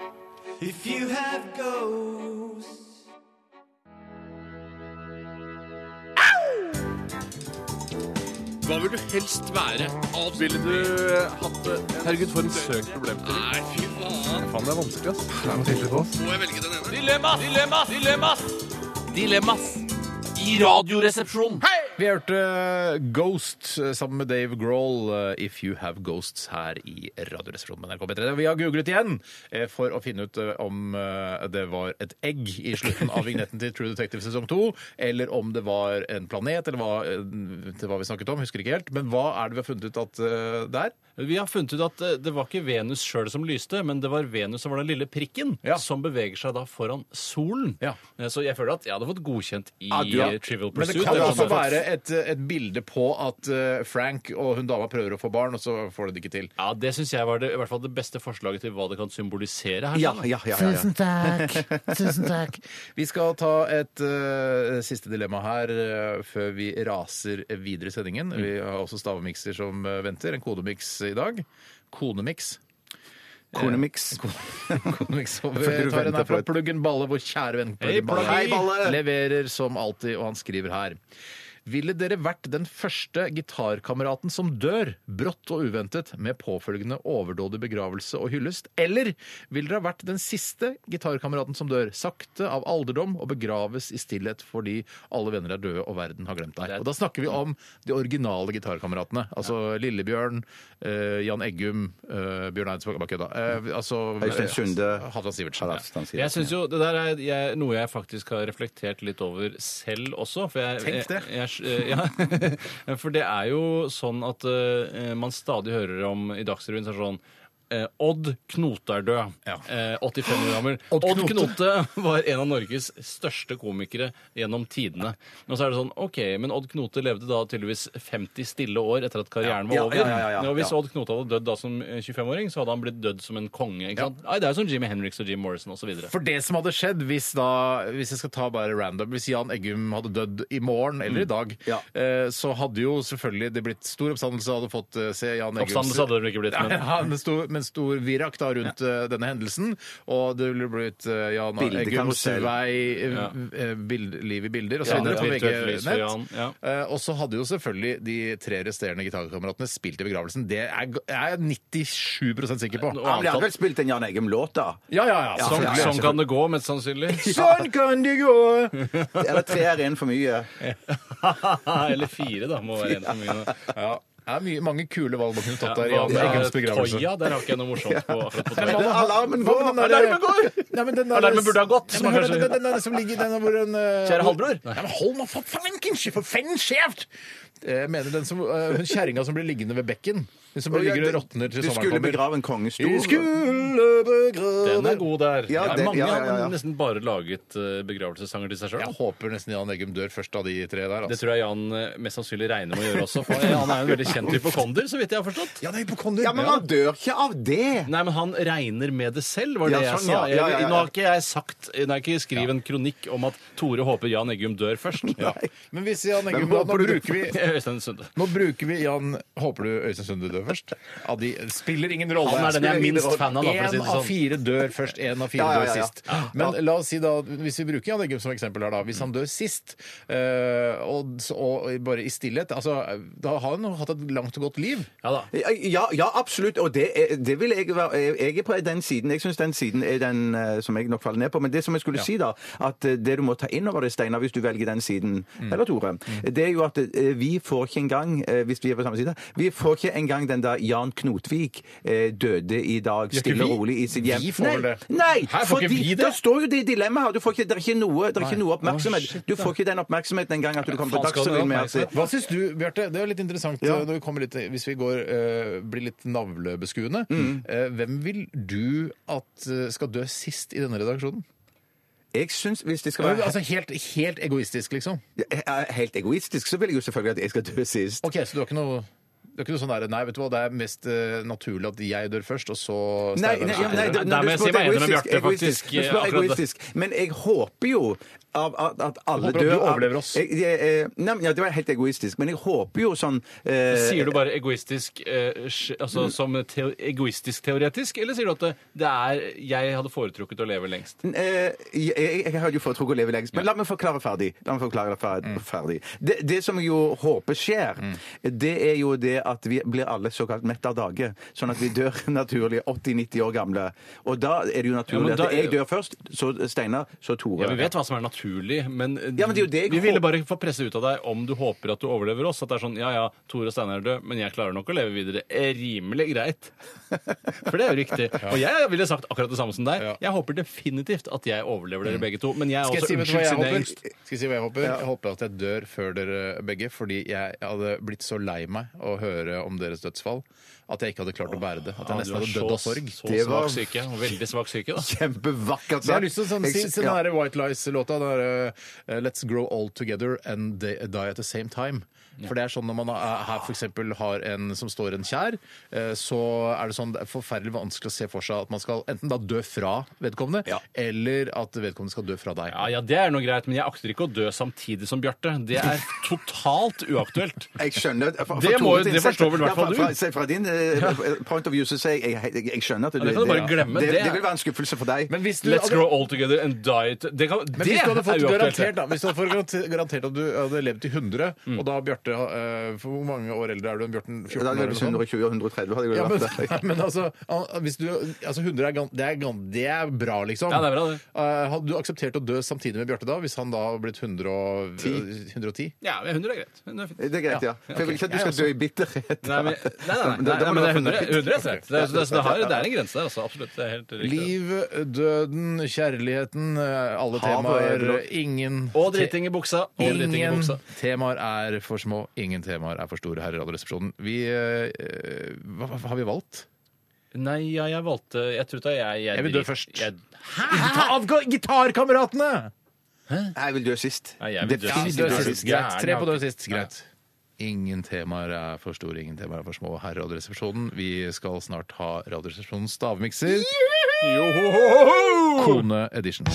[SPEAKER 10] Hva vil du helst være? Ville du hatt det? Herregud, for en søk problem til. Nei, fy faen. Faen, det er vanskelig, ass. Det er noe tydelig på oss. Må jeg velge den ene? Dilemmas! Dilemmas! Dilemmas! Dilemmas! I radioresepsjonen. Hei!
[SPEAKER 5] Vi hørte Ghost eh, sammen med Dave Grohl, eh, If You Have Ghosts, her i Radioresepsjonen med NRK P3. Vi har googlet igjen eh, for å finne ut eh, om eh, det var et egg i slutten av vignetten til True Detective sesong 2, eller om det var en planet, eller hva, eh, til hva vi snakket om, husker ikke helt. Men hva er det vi har funnet ut at eh, det er?
[SPEAKER 6] Vi har funnet ut at eh, det var ikke Venus sjøl som lyste, men det var Venus som var den lille prikken
[SPEAKER 5] Ja.
[SPEAKER 6] som beveger seg da foran solen.
[SPEAKER 5] Ja.
[SPEAKER 6] Eh, Så jeg føler at jeg hadde fått godkjent i
[SPEAKER 5] Ja, du har-
[SPEAKER 6] eh, Trivial
[SPEAKER 5] Men
[SPEAKER 6] Pursuit.
[SPEAKER 5] det kan
[SPEAKER 6] eller
[SPEAKER 5] jo også
[SPEAKER 6] sånn.
[SPEAKER 5] være et, eh, et bilde på at eh, Frank og hun dama prøver å få barn, og så får de det ikke til.
[SPEAKER 6] Ja, Det syns jeg var det, i hvert fall det beste forslaget til hva det kan symbolisere her.
[SPEAKER 7] Ja, ja, ja, ja, ja.
[SPEAKER 5] Tusen takk. Tusen takk. Vi skal ta et eh, siste dilemma her eh, før vi raser videre i sendingen. Vi har også stavmikser som eh, venter. En kodemiks i dag. Konemiks.
[SPEAKER 7] Konemix.
[SPEAKER 5] Konemiks. Og liksom, Vi
[SPEAKER 7] Følte du
[SPEAKER 5] tar en her
[SPEAKER 7] ventet på
[SPEAKER 5] fra
[SPEAKER 7] et-
[SPEAKER 5] Pluggen Balle, vår kjære venn Pluggen Balle.
[SPEAKER 7] Hei, Balle!
[SPEAKER 5] Leverer som alltid, og han skriver her. Ville dere vært den første gitarkameraten som dør, brått og uventet, med påfølgende overdådig begravelse og hyllest? Eller ville dere ha vært den siste gitarkameraten som dør, sakte av alderdom og begraves i stillhet fordi alle venner er døde og verden har glemt deg? Og da snakker vi om de originale gitarkameratene. Altså Lillebjørn, eh, Jan Eggum, eh, Bjørn Eidsvåg Bare kødda. Eh, altså
[SPEAKER 7] Øystein Sunde.
[SPEAKER 5] Halvdan Sivertsen. ja.
[SPEAKER 6] Jeg synes jo, Det der er jeg, noe jeg faktisk har reflektert litt over selv også. For jeg,
[SPEAKER 5] Tenk det.
[SPEAKER 6] Jeg, jeg, ja, for det er jo sånn at eh, man stadig hører om i Dagsrevyen så er det sånn eh, Odd Knote er død.
[SPEAKER 5] Ja.
[SPEAKER 6] Eh, 85 år gammel.
[SPEAKER 5] Odd
[SPEAKER 6] Odd,
[SPEAKER 5] Knote.
[SPEAKER 6] Knote var en av Norges største komikere gjennom tidene. Og så er det sånn, ok, Men Odd Knote levde da tydeligvis 50 stille år etter at karrieren var
[SPEAKER 7] Ja,
[SPEAKER 6] over.
[SPEAKER 7] ja, ja, ja, ja.
[SPEAKER 6] Og hvis
[SPEAKER 7] Ja.
[SPEAKER 6] Odd Knote hadde dødd da som eh, 25-åring, så hadde han blitt dødd som en konge. ikke sant? Nei, det er jo sånn Jimmy Henriks og Jim Morrison osv.
[SPEAKER 5] For det som hadde skjedd hvis da Hvis jeg skal ta bare random Hvis Jan Eggum hadde dødd i morgen eller i dag,
[SPEAKER 7] Ja.
[SPEAKER 5] eh, så hadde jo selvfølgelig det blitt stor oppstandelse. Hadde fått eh, se Jan Eggums
[SPEAKER 6] Oppstandelse hadde det vel ikke blitt, men
[SPEAKER 5] ja, men stor, men stor virak da rundt eh, denne hendelsen. Og det ville blitt eh, Jan Eggums
[SPEAKER 7] Bildekarusell.
[SPEAKER 5] vei, eh,
[SPEAKER 6] Ja.
[SPEAKER 5] eh, bild, liv i bilder og så
[SPEAKER 6] Ja,
[SPEAKER 5] videre.
[SPEAKER 6] ja.
[SPEAKER 5] på
[SPEAKER 6] Virtuelt
[SPEAKER 5] begge
[SPEAKER 6] lys for Jan,
[SPEAKER 5] nett.
[SPEAKER 6] ja.
[SPEAKER 5] Eh, og så hadde jo selvfølgelig de tre resterende gitarkameratene spilt i begravelsen. Det er g- jeg er 97 sikker på.
[SPEAKER 7] Han hadde vel spilt en Jan Eggum-låt, da?
[SPEAKER 5] Ja, ja, ja.
[SPEAKER 6] sånn,
[SPEAKER 5] selvfølgelig.
[SPEAKER 6] sånn kan det gå, mest sannsynlig.
[SPEAKER 5] Sånn kan det gå!
[SPEAKER 7] Eller tre er en for mye?
[SPEAKER 6] Eller fire, da. Må være en for mye. nå.
[SPEAKER 5] Ja. Det er mye, mange kule valg man kunne
[SPEAKER 6] Ja,
[SPEAKER 5] tatt der. Jan
[SPEAKER 6] hva med
[SPEAKER 5] Eggums begravelse.
[SPEAKER 6] Toya, der har ikke jeg noe morsomt på. akkurat på
[SPEAKER 5] Hva
[SPEAKER 6] Toya.
[SPEAKER 5] med-
[SPEAKER 7] Alarmen går!
[SPEAKER 5] hva med den der-
[SPEAKER 7] Alarmen går!
[SPEAKER 5] Nei, men den der-
[SPEAKER 6] Alarmen burde ha gått,
[SPEAKER 5] Ja,
[SPEAKER 6] som
[SPEAKER 5] men
[SPEAKER 6] man
[SPEAKER 5] hør,
[SPEAKER 6] kanskje-
[SPEAKER 5] Den, den, den der som ligger den der hvor en eh,
[SPEAKER 6] Kjære halvbror?
[SPEAKER 5] Nei, men hold nå for fanken ikke, for faen skjevt! Jeg mener den som, eh, hun kjerringa som blir liggende ved bekken. Hun som ligger og råtner til
[SPEAKER 7] Du skulle
[SPEAKER 5] sommeren kommer.
[SPEAKER 7] begrave en kongestor.
[SPEAKER 5] Vi skulle begrave
[SPEAKER 6] Den er god der.
[SPEAKER 7] Ja,
[SPEAKER 6] Ja,
[SPEAKER 7] det-
[SPEAKER 6] mange
[SPEAKER 7] ja, ja, ja.
[SPEAKER 6] har nesten bare laget eh, begravelsessanger til seg
[SPEAKER 5] Jeg
[SPEAKER 6] sjøl.
[SPEAKER 5] håper nesten Jan Eggum dør først av de tre der.
[SPEAKER 6] Det
[SPEAKER 5] Altså.
[SPEAKER 6] tror jeg Jan eh, mest sannsynlig regner med å gjøre også. For han er jo en veldig kjent hypokonder, så vidt jeg har forstått.
[SPEAKER 5] Ja, det er hypokonder!
[SPEAKER 7] Ja, men man dør ikke av det!
[SPEAKER 6] Nei, men han regner med det selv, var det
[SPEAKER 7] Ja,
[SPEAKER 6] jeg
[SPEAKER 7] sånn,
[SPEAKER 6] sa.
[SPEAKER 7] ja. Ja, ja, ja.
[SPEAKER 6] Jeg, nå har ikke jeg sagt Nå har jeg ikke skrevet en kronikk om at Tore håper Jan Eggum dør først.
[SPEAKER 5] Ja. Men hvis Jan Eggum
[SPEAKER 7] Men
[SPEAKER 5] da,
[SPEAKER 7] håper
[SPEAKER 5] Nå
[SPEAKER 7] du-
[SPEAKER 5] bruker vi
[SPEAKER 6] Øystein Sunde.
[SPEAKER 5] nå bruker vi Jan Håper du Øystein Sunde dør først? Ja, de spiller ingen rolle.
[SPEAKER 6] Han er den jeg er minst fan av, da, for å si
[SPEAKER 5] Én
[SPEAKER 6] det
[SPEAKER 5] av
[SPEAKER 6] sånn.
[SPEAKER 5] fire dør først, én av fire
[SPEAKER 7] Ja, ja, ja,
[SPEAKER 5] dør
[SPEAKER 7] ja.
[SPEAKER 5] sist. Men la oss si da, hvis vi bruker Jan Eggum som eksempel her, da. Hvis han dør sist, eh, og, og bare i stillhet, altså Da har han jo hatt et langt og godt liv.
[SPEAKER 6] Ja da.
[SPEAKER 7] Ja, ja, absolutt. Og det, er- det vil jeg være Jeg er på den siden. Jeg syns den siden er den eh, som jeg nok faller ned på. Men det som jeg skulle si,
[SPEAKER 5] Mm.
[SPEAKER 7] da, at eh, det du må ta inn over deg, Steinar, hvis du velger den siden, eller Tore, det er jo at eh, vi får ikke engang, eh, hvis vi er på samme side, vi får ikke engang den der Jan Knotvik eh, døde i dag
[SPEAKER 5] ikke
[SPEAKER 7] stille og
[SPEAKER 5] vi?
[SPEAKER 7] rolig i sitt hjem.
[SPEAKER 5] Vi får
[SPEAKER 7] nei,
[SPEAKER 5] vel det.
[SPEAKER 7] Nei,
[SPEAKER 5] Her får ikke
[SPEAKER 7] fordi
[SPEAKER 5] vi det.
[SPEAKER 7] da står jo det dilemmaet her. Du får ikke, det er ikke noe, det er ikke noe oppmerksomhet.
[SPEAKER 5] shit,
[SPEAKER 7] du får ikke den oppmerksomheten engang at du kommer på
[SPEAKER 6] Faen, skal du
[SPEAKER 7] Dagsrevyen med at
[SPEAKER 6] oppmerksomhet?
[SPEAKER 5] Hva syns du, Bjarte? Det er litt interessant eh, når vi kommer litt, hvis vi går, eh, blir litt navlebeskuende.
[SPEAKER 7] Mm.
[SPEAKER 5] Eh, hvem vil du at eh, skal dø sist i denne redaksjonen?
[SPEAKER 7] Jeg syns, hvis det skal være
[SPEAKER 5] Altså helt, helt egoistisk, liksom.
[SPEAKER 7] Ja, Helt egoistisk så vil jeg jo selvfølgelig at jeg skal dø sist.
[SPEAKER 5] OK, så du har ikke noe det er ikke noe sånn der, nei, vet du hva, det er mest eh, naturlig at jeg dør først, og så
[SPEAKER 7] Nei,
[SPEAKER 5] Steinar
[SPEAKER 7] nei,
[SPEAKER 5] etter.
[SPEAKER 7] ja, nei, når
[SPEAKER 6] Der
[SPEAKER 7] du
[SPEAKER 6] må jeg si
[SPEAKER 7] spurte
[SPEAKER 6] meg enig med
[SPEAKER 7] egoistisk, egoistisk,
[SPEAKER 6] Bjarte, faktisk, eh,
[SPEAKER 7] når du spør
[SPEAKER 6] akkurat der.
[SPEAKER 7] egoistisk. Men jeg håper jo av, at, at alle
[SPEAKER 5] Håper at
[SPEAKER 7] dør
[SPEAKER 5] du
[SPEAKER 7] av-
[SPEAKER 5] overlever oss.
[SPEAKER 7] Jeg, jeg, eh, nei, men ja, det var helt egoistisk. Men jeg håper jo sånn eh,
[SPEAKER 6] Sier du bare egoistisk eh, sj- altså, som teo egoistisk-teoretisk, eller sier du at det, det er jeg hadde foretrukket å leve lengst?
[SPEAKER 7] Eh, jeg, jeg, jeg hadde jo foretrukket å leve lengst, men la meg forklare ferdig. La meg forklare det fer-
[SPEAKER 6] Mm.
[SPEAKER 7] ferdig. Det, det som jeg jo håper skjer, det er jo det at vi blir alle såkalt mett av dage. Sånn at vi dør naturlig 80-90 år gamle. Og da er det jo naturlig
[SPEAKER 6] Ja, men da-
[SPEAKER 7] at jeg dør først, så Steinar, så Tore.
[SPEAKER 6] Ja, Vi vet hva som er naturlig, men, eh,
[SPEAKER 7] Ja, men det er jo det jeg
[SPEAKER 6] vi ville
[SPEAKER 7] håper-
[SPEAKER 6] bare få presse ut av deg om du håper at du overlever oss. At det er sånn ja ja, Tore og Steinar er døde, men jeg klarer nok å leve videre. Eh, Rimelig greit. For det er jo riktig. Og jeg ville sagt akkurat det samme som deg.
[SPEAKER 5] Ja. Mm.
[SPEAKER 6] Jeg håper definitivt at jeg overlever dere begge to. Men jeg er
[SPEAKER 5] Skal jeg,
[SPEAKER 6] også
[SPEAKER 5] si, vet du hva
[SPEAKER 6] unnskyld
[SPEAKER 5] jeg
[SPEAKER 6] siden jeg
[SPEAKER 5] håper?
[SPEAKER 6] er yngst.
[SPEAKER 5] Skal jeg si hva jeg håper? Jeg håper at jeg dør før dere begge, fordi jeg hadde blitt så lei meg å høre om deres dødsfall at jeg ikke hadde klart å være det. At jeg
[SPEAKER 6] Ja, du
[SPEAKER 5] nesten
[SPEAKER 6] er
[SPEAKER 5] hadde
[SPEAKER 6] så-
[SPEAKER 5] dødd av sorg.
[SPEAKER 6] Så
[SPEAKER 7] Det var-
[SPEAKER 6] svak syke. og Veldig svak syke, da.
[SPEAKER 7] Kjempevakkert
[SPEAKER 5] Så jeg har lyst til å sånn, si,
[SPEAKER 7] Jeg-
[SPEAKER 5] si den
[SPEAKER 7] ja.
[SPEAKER 5] der White Lies-låta. den der, eh, Let's grow old together and they- die at the same time. For det er sånn Når man er- her for eksempel har en som står en kjær, eh, så er det sånn det er forferdelig vanskelig å se for seg at man skal enten da dø fra vedkommende, eller at vedkommende skal dø fra deg.
[SPEAKER 6] Ja, ja, det er noe greit, men jeg akter ikke å dø samtidig som Bjarte. Det er totalt uaktuelt.
[SPEAKER 7] Jeg skjønner fra- fra
[SPEAKER 6] Det må jo-
[SPEAKER 7] Tore sin
[SPEAKER 6] det forstår
[SPEAKER 7] side-
[SPEAKER 6] vel i hvert fall
[SPEAKER 7] ja, fra,
[SPEAKER 6] du.
[SPEAKER 7] fra, fra din eh, point of view så sier jeg, jeg, jeg, jeg skjønner at du
[SPEAKER 6] Ja, det kan du bare glemme.
[SPEAKER 7] Det,
[SPEAKER 6] Det er-
[SPEAKER 7] det vil være en skuffelse for deg.
[SPEAKER 5] Men hvis du
[SPEAKER 6] Let's
[SPEAKER 5] hadde-
[SPEAKER 6] grow all together and die it. Det, kan,
[SPEAKER 5] Men
[SPEAKER 6] det
[SPEAKER 5] hvis du
[SPEAKER 6] er
[SPEAKER 5] hadde fått
[SPEAKER 6] uaktuelt.
[SPEAKER 5] garantert, da, hvis du hadde fått garante- garantert at du hadde levd til 100, og da Bjarte eh, for Hvor mange år eldre er du enn Bjørten?
[SPEAKER 7] Ja,
[SPEAKER 5] 14
[SPEAKER 7] Da
[SPEAKER 5] år?
[SPEAKER 7] hadde
[SPEAKER 5] eller
[SPEAKER 7] det
[SPEAKER 5] noe
[SPEAKER 7] vært
[SPEAKER 5] sånt?
[SPEAKER 7] 120 og 130 hadde jeg
[SPEAKER 5] Ja,
[SPEAKER 7] jo
[SPEAKER 5] men,
[SPEAKER 7] vært der.
[SPEAKER 5] men altså, al- hvis du, altså 100 er, gan- det er, gan- det er bra, liksom.
[SPEAKER 6] Ja, det er bra, det.
[SPEAKER 5] Eh, hadde du akseptert å dø samtidig med Bjarte da, hvis han da hadde blitt 100 og, 110?
[SPEAKER 6] Ja, men 100 er greit. 100 er fint.
[SPEAKER 7] Eh, Det er greit, ja. For jeg vil ikke at du skal dø i bitterhet.
[SPEAKER 6] Nei, men, nei, nei, nei,
[SPEAKER 7] Da- da
[SPEAKER 6] nei,
[SPEAKER 7] må
[SPEAKER 6] men det
[SPEAKER 7] du
[SPEAKER 6] er
[SPEAKER 7] være
[SPEAKER 6] 100,
[SPEAKER 7] fornøyd.
[SPEAKER 6] 100 er streit. Det, er- det, er- det, har- det er en grense der, altså. Absolutt. Det er helt riktig.
[SPEAKER 5] Liv, døden, kjærligheten, eh, alle
[SPEAKER 7] Havet er
[SPEAKER 5] temaer,
[SPEAKER 7] blått.
[SPEAKER 5] ingen
[SPEAKER 6] Og dritting i buksa. Og dritting i
[SPEAKER 5] Ingen
[SPEAKER 6] buksa.
[SPEAKER 5] temaer er for små, ingen temaer er for store her i Radioresepsjonen. Vi eh, hva, hva har vi valgt?
[SPEAKER 6] Nei, ja, jeg valgte Jeg tror da jeg
[SPEAKER 5] Jeg vil dø først.
[SPEAKER 6] Jeg,
[SPEAKER 5] Avgå gitarkameratene!
[SPEAKER 7] Nei, Jeg vil dø sist.
[SPEAKER 6] Nei, jeg vil dø
[SPEAKER 5] Ja,
[SPEAKER 6] sist.
[SPEAKER 5] dø
[SPEAKER 6] du er
[SPEAKER 5] sist.
[SPEAKER 6] så gæren,
[SPEAKER 5] Greit. Tre på
[SPEAKER 6] ja.
[SPEAKER 5] død sist. Greit. Ingen temaer er for store, ingen temaer er for små her i Radioresepsjonen. Vi skal snart ha Radioresepsjonens stavmikser. Kone edition.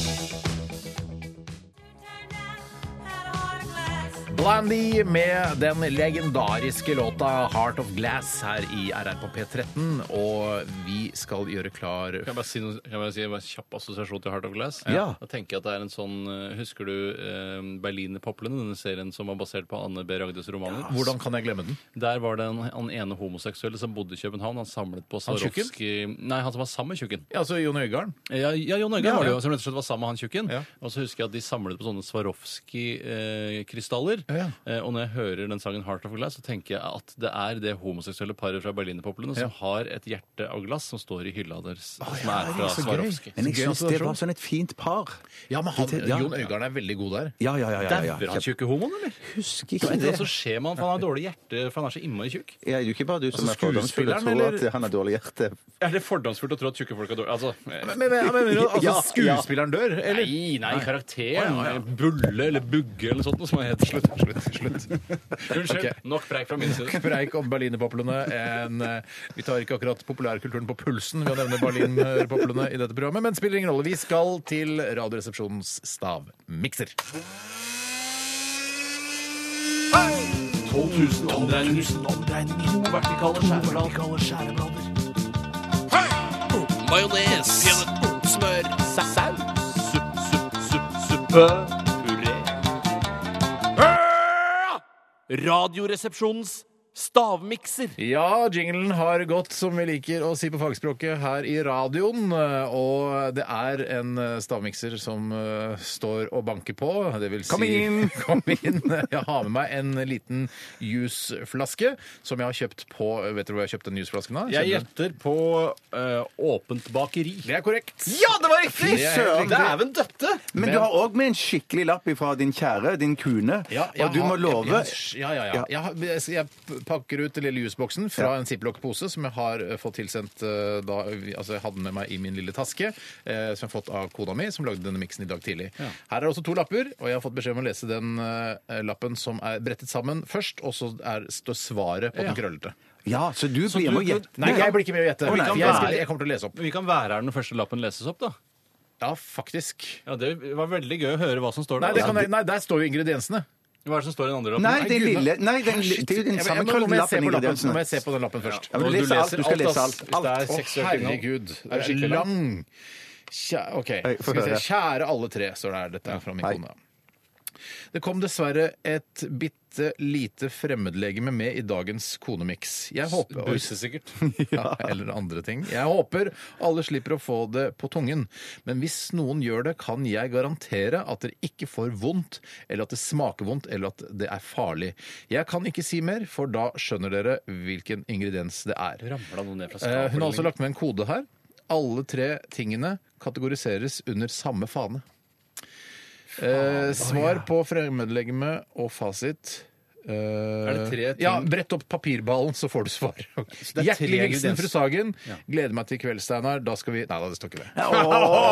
[SPEAKER 5] Blandy med den legendariske låta 'Heart of Glass' her i RR på P13. Og vi skal gjøre klar
[SPEAKER 6] Kan jeg bare si noe, kan jeg bare si en kjapp assosiasjon til Heart of Glass?
[SPEAKER 7] Ja.
[SPEAKER 6] Da tenker jeg at det er en sånn eh, Husker du eh, Berlinerpoplene, denne serien som var basert på Anne B. Ragdes romaner?
[SPEAKER 5] Hvordan kan jeg glemme den?
[SPEAKER 6] Der var det en, han ene homoseksuelle som bodde i København. Han samlet på
[SPEAKER 5] Han tjukken?
[SPEAKER 6] Swarovski Nei, han som var sammen med tjukken.
[SPEAKER 5] Ja, Altså Jon Øigarden.
[SPEAKER 6] Ja, ja Jon
[SPEAKER 5] Ja,
[SPEAKER 6] Øigarden var det
[SPEAKER 5] ja.
[SPEAKER 6] jo, som rett og slett var sammen med han tjukken.
[SPEAKER 5] Ja.
[SPEAKER 6] Og så husker jeg at de samlet på sånne Swarovski-krystaller.
[SPEAKER 5] Ja,
[SPEAKER 6] Eh, og når jeg hører den sangen 'Heart of Glass', så tenker jeg at det er det homoseksuelle paret fra Berlinerpoplene som har et hjerte av glass som står i hylla deres, som er fra
[SPEAKER 5] så gøy.
[SPEAKER 6] Swarovski.
[SPEAKER 7] Men jeg syns
[SPEAKER 5] Så gøy
[SPEAKER 7] det
[SPEAKER 5] assosiasjon.
[SPEAKER 7] var sånn et fint par.
[SPEAKER 5] Ja, men han,
[SPEAKER 7] Ja.
[SPEAKER 5] Jon Øigarden er veldig god der.
[SPEAKER 7] Ja, ja, ja. ja, ja,
[SPEAKER 6] Dauer han
[SPEAKER 7] Jeg
[SPEAKER 6] tjukke homoen, eller?
[SPEAKER 7] husker
[SPEAKER 6] Jeg
[SPEAKER 7] ikke
[SPEAKER 6] tror
[SPEAKER 7] det.
[SPEAKER 5] altså
[SPEAKER 6] også skjer man, for han har dårlig hjerte, for han er så innmari tjukk.
[SPEAKER 7] Ja, det er jo ikke bare du som
[SPEAKER 5] Altså,
[SPEAKER 7] er fordomsfull og
[SPEAKER 5] skuespilleren,
[SPEAKER 7] tror
[SPEAKER 5] eller?
[SPEAKER 7] at han har dårlig hjerte.
[SPEAKER 6] Er det fordomsfullt å tro at tjukke folk har dårlig altså, eh,
[SPEAKER 5] Men, men, men, men altså,
[SPEAKER 7] Ja, ja.
[SPEAKER 5] skuespilleren dør, eller?
[SPEAKER 6] Nei, nei, karakteren. Bulle eller Bugge eller noe sånt. Som han heter. Slutt, slutt, Unnskyld.
[SPEAKER 5] Ok.
[SPEAKER 6] Nok preik fra min side.
[SPEAKER 5] Preik om berlinerpoplene. En, eh, Vi tar ikke akkurat populærkulturen på pulsen ved å nevne berlinerpoplene i dette programmet, men spiller ingen rolle. Vi skal til Radioresepsjonens stavmikser.
[SPEAKER 10] 12 000 omdreininger. To vertikale skjæreblader. Majones. Smør. Saus. Supp, supp, supp, suppe. Puré. Radioresepsjonens
[SPEAKER 11] Stavmikser.
[SPEAKER 5] Ja, jinglen har gått, som vi liker å si på fagspråket, her i radioen. eh, Og det er en stavmikser som eh, står og banker på. Det vil si
[SPEAKER 7] Kom inn!
[SPEAKER 5] Kom inn! Jeg har med meg en liten jusflaske som jeg har kjøpt på Vet du hvor jeg kjøpte den jusflasken av?
[SPEAKER 6] Jeg gjetter på eh, åpent bakeri.
[SPEAKER 5] Det er korrekt.
[SPEAKER 11] Ja, det var riktig!
[SPEAKER 5] Det er helt riktig.
[SPEAKER 11] Dæven døtte!
[SPEAKER 7] Men du har òg med en skikkelig lapp fra din kjære, din kune, og du må love
[SPEAKER 5] Ja, ja, ja. ja. Jeg, har- jeg, jeg pakker ut den lille jusboksen fra en ziplock-pose som jeg har eh, fått tilsendt eh, da Altså, jeg hadde den med meg i min lille taske, eh, som jeg har fått av kona mi, som lagde denne miksen i dag tidlig. Her er også to lapper, og jeg har fått beskjed om å lese den eh, lappen som er brettet sammen først, og så er, står svaret på den krøllete.
[SPEAKER 7] Ja, så du
[SPEAKER 6] Så
[SPEAKER 7] blir
[SPEAKER 6] du-
[SPEAKER 7] med og gjette.
[SPEAKER 5] Nei, jeg blir ikke med å gjette.
[SPEAKER 6] Å, nei.
[SPEAKER 5] for Jeg, skal- jeg kommer til å lese opp.
[SPEAKER 6] Vi kan være her når første lappen leses opp, da.
[SPEAKER 5] Ja, faktisk.
[SPEAKER 6] Ja, Det var veldig gøy å høre hva som står
[SPEAKER 5] Nei,
[SPEAKER 6] der.
[SPEAKER 5] det kan jeg, nei der står jo ingrediensene.
[SPEAKER 6] Hva er det som står i den andre lappen?
[SPEAKER 7] Nei, den
[SPEAKER 5] Gud,
[SPEAKER 7] lille Nei, den, det er jo den
[SPEAKER 5] Jeg-
[SPEAKER 7] samme
[SPEAKER 5] jeg- nå må jeg se
[SPEAKER 7] krølllappen.
[SPEAKER 5] på lappen-
[SPEAKER 7] ingrediensene.
[SPEAKER 5] Nå må jeg se på den lappen først.
[SPEAKER 7] Ja, men du
[SPEAKER 6] Og du
[SPEAKER 7] leser alt.
[SPEAKER 6] leser
[SPEAKER 7] Du skal
[SPEAKER 6] alt,
[SPEAKER 7] lese
[SPEAKER 6] ass.
[SPEAKER 7] alt.
[SPEAKER 6] Hvis det er
[SPEAKER 5] Å,
[SPEAKER 6] seksuelt innhold.
[SPEAKER 5] herregud.
[SPEAKER 6] Det er skikkelig langt.
[SPEAKER 5] lang Kjæ, OK.
[SPEAKER 7] Oi, få
[SPEAKER 5] Skal vi se.
[SPEAKER 7] høre.
[SPEAKER 5] Kjære alle tre, står det her. Dette er fra min
[SPEAKER 7] Hei.
[SPEAKER 5] kone. Det kom dessverre et bitte lite fremmedlegeme med i dagens konemiks. Jeg håper
[SPEAKER 6] Busse, sikkert.
[SPEAKER 5] ja, eller andre ting. Jeg håper alle slipper å få det på tungen. Men hvis noen gjør det, kan jeg garantere at dere ikke får vondt, eller at det smaker vondt, eller at det er farlig. Jeg kan ikke si mer, for da skjønner dere hvilken ingrediens det er.
[SPEAKER 6] Ramla noe ned fra
[SPEAKER 5] Eh,
[SPEAKER 6] skapet?
[SPEAKER 5] Hun har også lagt med en kode her. Alle tre tingene kategoriseres under samme fane. Eh, svar på fremmedlegeme og fasit. er
[SPEAKER 6] det tre ting?
[SPEAKER 5] Ja, brett opp papirballen, så får du svar.
[SPEAKER 6] det
[SPEAKER 5] Hjertelig
[SPEAKER 6] er tre
[SPEAKER 5] hilsen
[SPEAKER 6] ingredienser.
[SPEAKER 5] fru Sagen. Gleder meg til i kveld, Steinar. Da skal vi Nei da, det står ikke det.
[SPEAKER 7] Åh,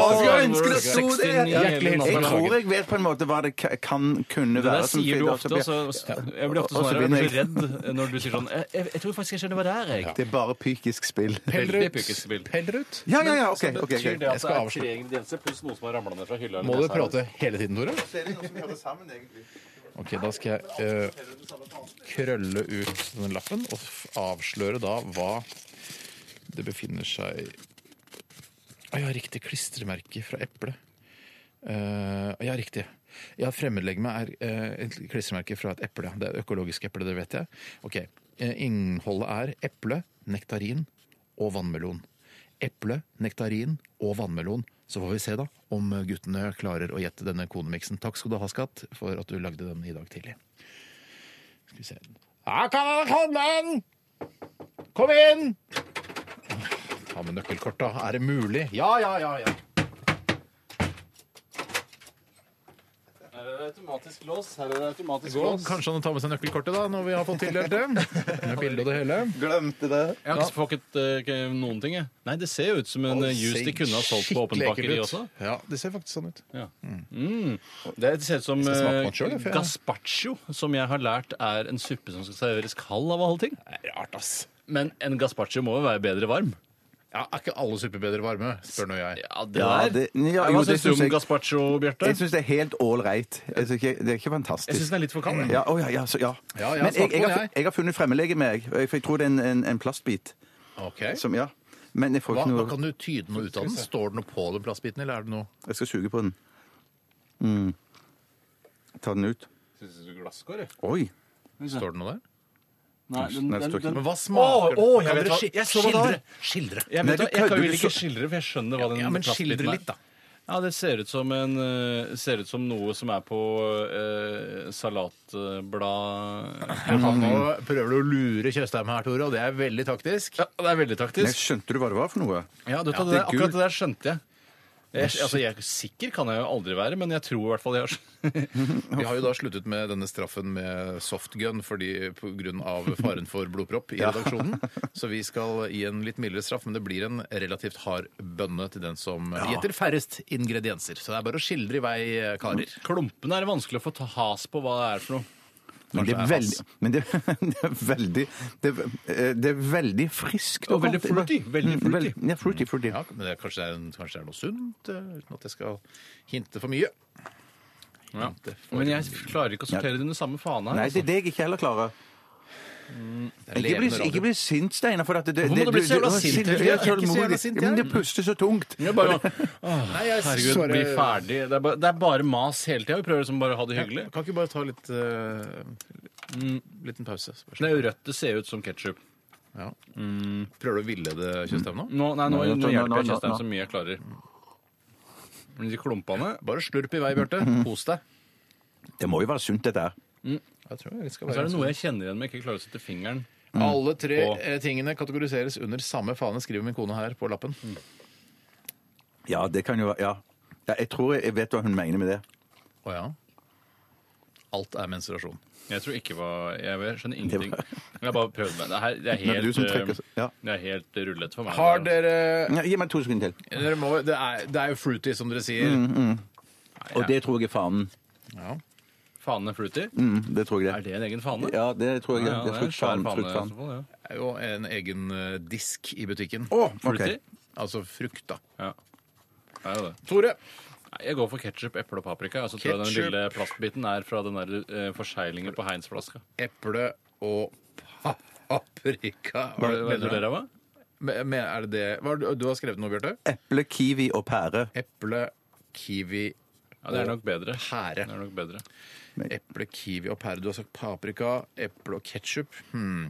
[SPEAKER 7] skulle jeg ønske det sto det!
[SPEAKER 6] 69
[SPEAKER 5] Hjertelig
[SPEAKER 7] Jeg
[SPEAKER 5] hilsen fra
[SPEAKER 7] tror
[SPEAKER 5] Sagen.
[SPEAKER 7] jeg vet på en måte hva det ka- kan kunne
[SPEAKER 6] Det der
[SPEAKER 7] være. som
[SPEAKER 6] sier du
[SPEAKER 7] fyller opp
[SPEAKER 6] ofte,
[SPEAKER 7] oppi-
[SPEAKER 6] og så Jeg blir ofte
[SPEAKER 7] Og så
[SPEAKER 6] sånn her, jeg
[SPEAKER 7] begynner
[SPEAKER 6] blir så redd når du sier sånn Jeg, jeg, jeg tror faktisk jeg skjønner hva det er, jeg.
[SPEAKER 7] Det er bare pykisk spill.
[SPEAKER 5] Pellerud.
[SPEAKER 6] Veldig pukkespill.
[SPEAKER 5] Pellerud.
[SPEAKER 7] Ja, ja, ja, ok. ok,
[SPEAKER 6] Betyr
[SPEAKER 7] ok.
[SPEAKER 5] Jeg
[SPEAKER 6] det at det
[SPEAKER 5] skal
[SPEAKER 6] er
[SPEAKER 5] avslutte.
[SPEAKER 6] tre ingredienser pluss noe som har ramla ned fra hylla? eller
[SPEAKER 5] Må du
[SPEAKER 6] nesa?
[SPEAKER 5] prate hele tiden, Tore? Ok, da skal jeg eh, krølle ut denne lappen og f- avsløre da hva det befinner seg Å, jeg har riktig klistremerke fra eplet. Eh, ja, riktig. Ja, fremmedlegeme er eh, et klistremerke fra et eple. Det er økologisk eple, det vet jeg. Ok, eh, Innholdet er eple, nektarin og vannmelon. Eple, nektarin og vannmelon. Så får vi se da om guttene klarer å gjette denne konemiksen. Takk skal du ha, skatt, for at du lagde den i dag tidlig. Skal vi se Ja, kan dere komme inn? Kom inn! Ta med nøkkelkort, da. Er det mulig? Ja, ja, ja. ja.
[SPEAKER 6] Her er det automatisk lås. Her er det automatisk
[SPEAKER 5] Og
[SPEAKER 6] lås.
[SPEAKER 5] kanskje han tar med seg nøkkelkortet da, når vi har fått tildelt det. Med bilde og det hele.
[SPEAKER 7] Glemte det.
[SPEAKER 6] Jeg har ikke fåkket noen ting, jeg. Nei, det ser jo ut som en eh, juice de kunne ha solgt på åpent
[SPEAKER 5] Skikkelig
[SPEAKER 6] bakeri
[SPEAKER 5] ekkelt ut.
[SPEAKER 6] også. Mm.
[SPEAKER 5] Ja, det ser faktisk sånn ut.
[SPEAKER 6] Det ser ut som
[SPEAKER 5] skal smake på
[SPEAKER 6] eh,
[SPEAKER 5] den selv, jeg, for jeg-
[SPEAKER 6] gazpacho, som jeg har lært er en suppe som skal serveres kald av alle ting.
[SPEAKER 5] Det er rart, ass.
[SPEAKER 6] Men en gazpacho må jo være bedre varm.
[SPEAKER 5] Ja, Er ikke alle supper bedre varme, spør nå jeg.
[SPEAKER 6] Ja, det
[SPEAKER 7] Ja,
[SPEAKER 6] der.
[SPEAKER 7] det- ja, jo,
[SPEAKER 6] Hva
[SPEAKER 7] det
[SPEAKER 6] syns du
[SPEAKER 7] synes
[SPEAKER 6] om
[SPEAKER 7] jeg-
[SPEAKER 6] gazpacho, Bjarte?
[SPEAKER 7] Jeg syns det er helt ålreit. Jeg synes ikke- Det er ikke
[SPEAKER 6] Jeg syns
[SPEAKER 7] fantastisk.
[SPEAKER 6] den er litt for
[SPEAKER 5] Mm.
[SPEAKER 6] kald.
[SPEAKER 7] Ja, å, ja, ja, så, ja.
[SPEAKER 5] Ja, ja,
[SPEAKER 7] Men jeg, jeg,
[SPEAKER 5] smakfond,
[SPEAKER 7] har,
[SPEAKER 5] jeg.
[SPEAKER 7] jeg har funnet fremmedlege med, jeg. For jeg tror det er en, en, en plastbit.
[SPEAKER 5] Ok.
[SPEAKER 7] Som, ja. Men jeg får
[SPEAKER 5] Hva,
[SPEAKER 7] ikke
[SPEAKER 5] hva
[SPEAKER 7] noe
[SPEAKER 5] Kan du tyde noe ut av den? Står det noe på den plastbiten, eller er det noe
[SPEAKER 7] Jeg skal suge på den. Mm. Ta den ut.
[SPEAKER 6] Syns du glasskår, jeg?
[SPEAKER 7] Oi.
[SPEAKER 5] Står det noe der?
[SPEAKER 6] Nei, den,
[SPEAKER 7] Nei, det står ikke.
[SPEAKER 5] Men hva smaker
[SPEAKER 6] Å, å, jeg
[SPEAKER 5] Kan
[SPEAKER 6] vet
[SPEAKER 5] dere
[SPEAKER 6] hva-
[SPEAKER 5] skil-
[SPEAKER 6] jeg så hva det var.
[SPEAKER 5] Skildre.
[SPEAKER 7] Nei,
[SPEAKER 6] Jeg,
[SPEAKER 7] du
[SPEAKER 6] vet, da, jeg
[SPEAKER 7] kødder,
[SPEAKER 6] kan jo
[SPEAKER 7] du
[SPEAKER 6] ikke
[SPEAKER 7] så-
[SPEAKER 6] skildre, for jeg skjønner hva den
[SPEAKER 5] Ja, men
[SPEAKER 6] plastbiten
[SPEAKER 5] skildre
[SPEAKER 6] er.
[SPEAKER 5] litt, da.
[SPEAKER 6] Ja, det ser ut som, en, eh, ser ut som noe som er på eh, salatblad
[SPEAKER 5] Nå prøver du å lure Tjøstheim her, Tore, og det er veldig taktisk.
[SPEAKER 6] Ja, det er veldig
[SPEAKER 7] Men
[SPEAKER 6] taktisk.
[SPEAKER 7] skjønte du hva det var for noe?
[SPEAKER 6] Ja, du,
[SPEAKER 7] Ja, det
[SPEAKER 6] tar det der,
[SPEAKER 7] er gul.
[SPEAKER 6] akkurat det der skjønte jeg. jeg altså, jeg Sikker kan jeg jo aldri være, men jeg tror i hvert fall jeg har skjønt.
[SPEAKER 5] Vi har jo da sluttet med denne straffen med softgun fordi pga. faren for blodpropp i redaksjonen. Så vi skal gi en litt mildere straff, men det blir en relativt hard bønne til den som gjetter færrest ingredienser. Så det er bare å skildre i vei, eh, karer.
[SPEAKER 6] Klumpene er det vanskelig å få ta has på hva det er for noe.
[SPEAKER 7] Men det er
[SPEAKER 5] Kanskje det
[SPEAKER 7] veldig men det, det er veldig det, er- eh, det er veldig friskt
[SPEAKER 6] Og veldig fruity, veldig
[SPEAKER 7] Mm,
[SPEAKER 6] fruity.
[SPEAKER 7] veld- Ja, fruity, fruity.
[SPEAKER 5] Ja, men det, kanskje, det er en, kanskje det er noe sunt, eh, uten at jeg skal hinte for mye. Hinte for
[SPEAKER 6] Men jeg klarer ikke å sortere det under samme fane her.
[SPEAKER 7] Nei, det er det jeg ikke heller klarer.
[SPEAKER 5] Det er
[SPEAKER 7] Ikke bli,
[SPEAKER 5] levende radio.
[SPEAKER 7] ikke bli sint, Steinar. for at det- det-
[SPEAKER 6] Hvorfor må du bli så jævla
[SPEAKER 7] å,
[SPEAKER 6] sint, Helge?
[SPEAKER 7] jeg er
[SPEAKER 6] Jeg er ikke så
[SPEAKER 5] jævla
[SPEAKER 7] tålmodig.
[SPEAKER 5] sint,
[SPEAKER 7] Ja, Men
[SPEAKER 5] jeg.
[SPEAKER 7] det puster så tungt.
[SPEAKER 6] Jeg bare, Åh,
[SPEAKER 5] Nei, jeg
[SPEAKER 6] herregud,
[SPEAKER 5] svarer-
[SPEAKER 6] bli ferdig. Det er bare, det er bare mas hele tida. Vi prøver liksom bare å ha det hyggelig.
[SPEAKER 5] Kan ikke bare ta litt eh, Liten pause. spørsmål.
[SPEAKER 6] Det er jo rødt. Det ser ut som ketsjup.
[SPEAKER 5] Ja. Prøver du å villede Tjøstheim nå?
[SPEAKER 6] Nå, nei, nå,
[SPEAKER 5] Nei,
[SPEAKER 6] nå,
[SPEAKER 5] jeg tror-
[SPEAKER 6] hjelper
[SPEAKER 5] nå-
[SPEAKER 6] jeg
[SPEAKER 5] nå-
[SPEAKER 6] Tjøstheim
[SPEAKER 5] nå.
[SPEAKER 6] så mye jeg klarer. Men de klumpene
[SPEAKER 5] Bare slurp i vei, Bjarte.
[SPEAKER 6] Mm.
[SPEAKER 5] Kos deg.
[SPEAKER 7] Det må jo være sunt, dette her.
[SPEAKER 5] Jeg tror vi skal
[SPEAKER 6] Og så er
[SPEAKER 5] være
[SPEAKER 6] det noe jeg kjenner igjen med, ikke klarer å sette fingeren
[SPEAKER 5] Mm. Alle tre
[SPEAKER 6] på.
[SPEAKER 5] eh, tingene kategoriseres under samme fane, skriver min kone her på lappen.
[SPEAKER 7] Ja, det kan jo være Ja. ja jeg tror jeg vet hva hun mener med det.
[SPEAKER 5] Å ja. Alt er menstruasjon.
[SPEAKER 6] Jeg tror ikke hva Jeg vet- skjønner ingenting. Jeg har bare prøvd meg. Det, her, det, er,
[SPEAKER 7] Men det er du
[SPEAKER 6] helt,
[SPEAKER 7] som trekker-
[SPEAKER 6] eh, det er helt rullete for meg.
[SPEAKER 5] Har dere
[SPEAKER 7] Ja, gi meg to sekunder til.
[SPEAKER 5] Mm. Dere må, det, er, det er jo fruity, som dere sier.
[SPEAKER 7] Mm, mm.
[SPEAKER 5] ja.
[SPEAKER 7] Og det tror jeg er fanen.
[SPEAKER 5] Ja.
[SPEAKER 6] Fanen er fruity?
[SPEAKER 7] Mm, det tror jeg det.
[SPEAKER 6] Er det en egen fane?
[SPEAKER 7] Ja, det tror jeg.
[SPEAKER 6] Ja, ja,
[SPEAKER 7] det er
[SPEAKER 6] det er en svær
[SPEAKER 7] fruktfan.
[SPEAKER 6] fane i
[SPEAKER 7] fruktfan.
[SPEAKER 6] så fall, ja.
[SPEAKER 5] Det er jo en egen eh, disk i butikken.
[SPEAKER 6] eh,
[SPEAKER 7] Å, ok. Fruity?
[SPEAKER 5] Altså frukt, da.
[SPEAKER 6] Ja. Det er jo det.
[SPEAKER 5] Tore?
[SPEAKER 6] Nei, Jeg går for ketsjup, eple og paprika. Og så tror jeg den
[SPEAKER 5] Ketchup.
[SPEAKER 6] lille plastbiten er fra den der eh, forseglingen på Heinz-flaska.
[SPEAKER 5] Eple og pa- paprika.
[SPEAKER 6] Hva mener du dere, hva?
[SPEAKER 5] Men, men er det det hva, har du- Du har skrevet noe, Bjarte?
[SPEAKER 7] Eple, kiwi og pære.
[SPEAKER 5] Eple, kiwi
[SPEAKER 6] Ja, det er
[SPEAKER 5] og
[SPEAKER 6] nok bedre.
[SPEAKER 5] pære.
[SPEAKER 6] Det er nok bedre.
[SPEAKER 5] Eple, kiwi og pære. Du har sagt paprika, eple og ketsjup. Hmm.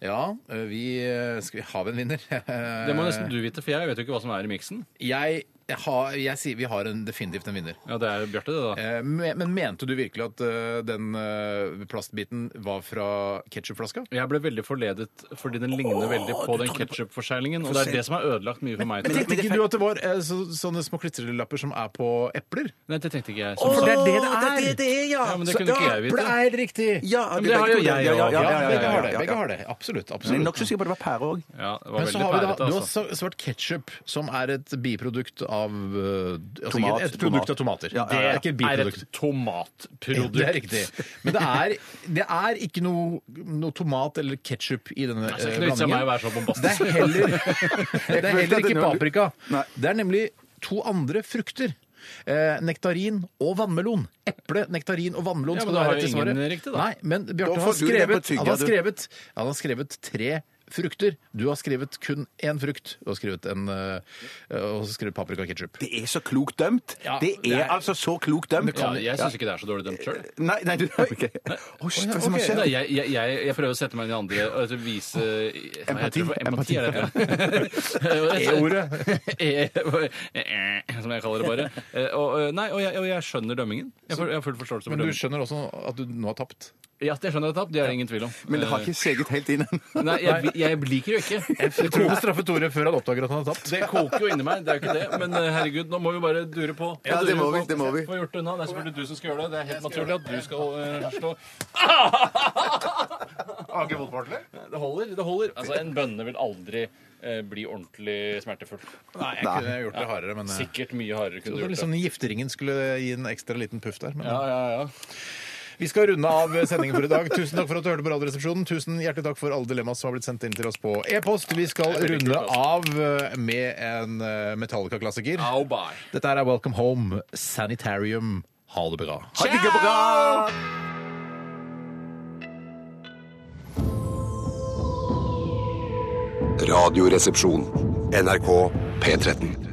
[SPEAKER 5] Ja, eh, vi eh, Skal vi ha en vinner?
[SPEAKER 6] Det må nesten du vite, for jeg vet jo ikke hva som er i miksen.
[SPEAKER 5] Jeg, jeg, har, jeg sier vi har en, definitivt en vinner.
[SPEAKER 6] Ja, det er Bjarte, det, da.
[SPEAKER 5] Eh, me- Men mente du virkelig at eh, den eh, plastbiten var fra ketsjupflaska?
[SPEAKER 6] Jeg ble veldig forledet fordi den ligner veldig på den ketsjupforseglingen. Og det er det som har ødelagt mye for meg.
[SPEAKER 5] Men tenkte ikke du at det var eh, så, sånne små klistrelapper som er på epler?
[SPEAKER 6] Nei, det tenkte ikke jeg.
[SPEAKER 5] For det er det det er!
[SPEAKER 7] ja!
[SPEAKER 6] Ja, men det kunne ikke jeg
[SPEAKER 5] For det
[SPEAKER 6] vite.
[SPEAKER 5] er helt riktig!
[SPEAKER 7] Ja,
[SPEAKER 6] Men det har jo jeg
[SPEAKER 7] ja, ja, ja,
[SPEAKER 6] også.
[SPEAKER 7] ja, ja,
[SPEAKER 5] begge har
[SPEAKER 7] ja,
[SPEAKER 5] det.
[SPEAKER 7] ja,
[SPEAKER 5] begge
[SPEAKER 7] ja.
[SPEAKER 5] har det. Absolutt.
[SPEAKER 7] Men jeg er
[SPEAKER 5] absolutt.
[SPEAKER 7] nokså sikker på at det var pære òg.
[SPEAKER 6] Ja, det var
[SPEAKER 5] Men så
[SPEAKER 6] veldig
[SPEAKER 5] har vi da,
[SPEAKER 6] pærete,
[SPEAKER 5] Du har
[SPEAKER 6] altså.
[SPEAKER 5] s- svart ketsjup, som er et biprodukt av eh, altså,
[SPEAKER 7] Tomat,
[SPEAKER 5] Et produkt
[SPEAKER 7] tomat.
[SPEAKER 5] av tomater.
[SPEAKER 7] Ja, ja, ja.
[SPEAKER 5] Det er ikke et
[SPEAKER 6] Er
[SPEAKER 5] biprodukt.
[SPEAKER 6] et tomatprodukt.
[SPEAKER 5] Det er riktig. Men det er, det er ikke noe, noe tomat eller ketsjup i denne
[SPEAKER 6] Altså,
[SPEAKER 5] eh,
[SPEAKER 6] ikke noe vits i meg å
[SPEAKER 5] blandingen.
[SPEAKER 6] være så
[SPEAKER 5] Det
[SPEAKER 6] bombastisk.
[SPEAKER 5] er heller, det er heller ikke paprika.
[SPEAKER 7] Nei.
[SPEAKER 5] Det er nemlig to andre frukter. Eh, nektarin og vannmelon. Eple, nektarin og vannmelon.
[SPEAKER 6] Ja,
[SPEAKER 5] skal
[SPEAKER 6] men da
[SPEAKER 5] du ha
[SPEAKER 6] har
[SPEAKER 5] rett
[SPEAKER 6] jo
[SPEAKER 5] til svaret.
[SPEAKER 6] ingen riktig, da.
[SPEAKER 5] Nei, men
[SPEAKER 7] Da
[SPEAKER 5] Bjarte
[SPEAKER 7] får du
[SPEAKER 5] har
[SPEAKER 7] det på
[SPEAKER 5] skrevet,
[SPEAKER 7] tygga,
[SPEAKER 5] han har
[SPEAKER 7] du.
[SPEAKER 5] skrevet, han har skrevet tre frukter. Du har skrevet kun én frukt. Du har skrevet en eh, og så skrevet paprika og ketsjup.
[SPEAKER 7] Det er så klokt dømt!
[SPEAKER 5] Ja,
[SPEAKER 7] det er
[SPEAKER 5] det er-
[SPEAKER 7] altså så klokt dømt!
[SPEAKER 6] Ja, jeg syns ikke det er så dårlig dømt sjøl.
[SPEAKER 7] Nei, nei, du OK. Å, shit, hva er det som har skjedd?
[SPEAKER 6] Nei, Altså, jeg, jeg, jeg, jeg prøver å sette meg inn i andre og altså vise
[SPEAKER 7] Empati.
[SPEAKER 6] Empati, er det
[SPEAKER 5] E-ordet.
[SPEAKER 6] E- Som jeg kaller det bare. Eh, Og, eh, nei, og, jeg, og jeg skjønner dømmingen. Jeg får- jeg har full forståelse for
[SPEAKER 5] Men du
[SPEAKER 6] dømmingen.
[SPEAKER 5] skjønner også at du nå har tapt?
[SPEAKER 6] Ja, jeg skjønner det, Tapp. Det er det ingen tvil om.
[SPEAKER 7] Men det har ikke seget helt inn
[SPEAKER 6] Eh,
[SPEAKER 7] ennå.
[SPEAKER 6] Nei, jeg, jeg liker jo ikke.
[SPEAKER 5] Jeg tror vi straffer Tore før han oppdager at han har tapt.
[SPEAKER 6] Det koker jo inni meg, det er jo ikke det. Men eh, herregud, nå må vi bare dure på.
[SPEAKER 7] Ja, det må vi, det må vi.
[SPEAKER 6] Få gjort det unna. Det er selvfølgelig du som skal gjøre det. Det er helt naturlig at du skal eh, slå.
[SPEAKER 5] Age motpartner?
[SPEAKER 6] Det holder. det holder. Altså, En bønne vil aldri eh, bli ordentlig smertefull.
[SPEAKER 5] Nei, jeg kunne gjort det hardere, men eh,
[SPEAKER 6] Sikkert mye hardere
[SPEAKER 5] det
[SPEAKER 6] kunne du
[SPEAKER 5] var
[SPEAKER 6] gjort
[SPEAKER 5] litt
[SPEAKER 6] det.
[SPEAKER 5] sånn Gifteringen skulle gi en ekstra liten puff der. Men
[SPEAKER 6] Ja, ja, ja.
[SPEAKER 5] vi skal runde av sendingen for i dag. Tusen takk for at du hørte på Radioresepsjonen. Tusen hjertelig takk for alle dilemmaer som har blitt sendt inn til oss på e-post. Vi skal runde
[SPEAKER 7] altså.
[SPEAKER 5] av eh, med en eh, Metallica-klassiker.
[SPEAKER 6] Au, bye.
[SPEAKER 5] Dette her er Welcome Home Sanitarium. Ha det bra.
[SPEAKER 7] Ha det ikke bra!
[SPEAKER 1] Radioresepsjon. NRK P13.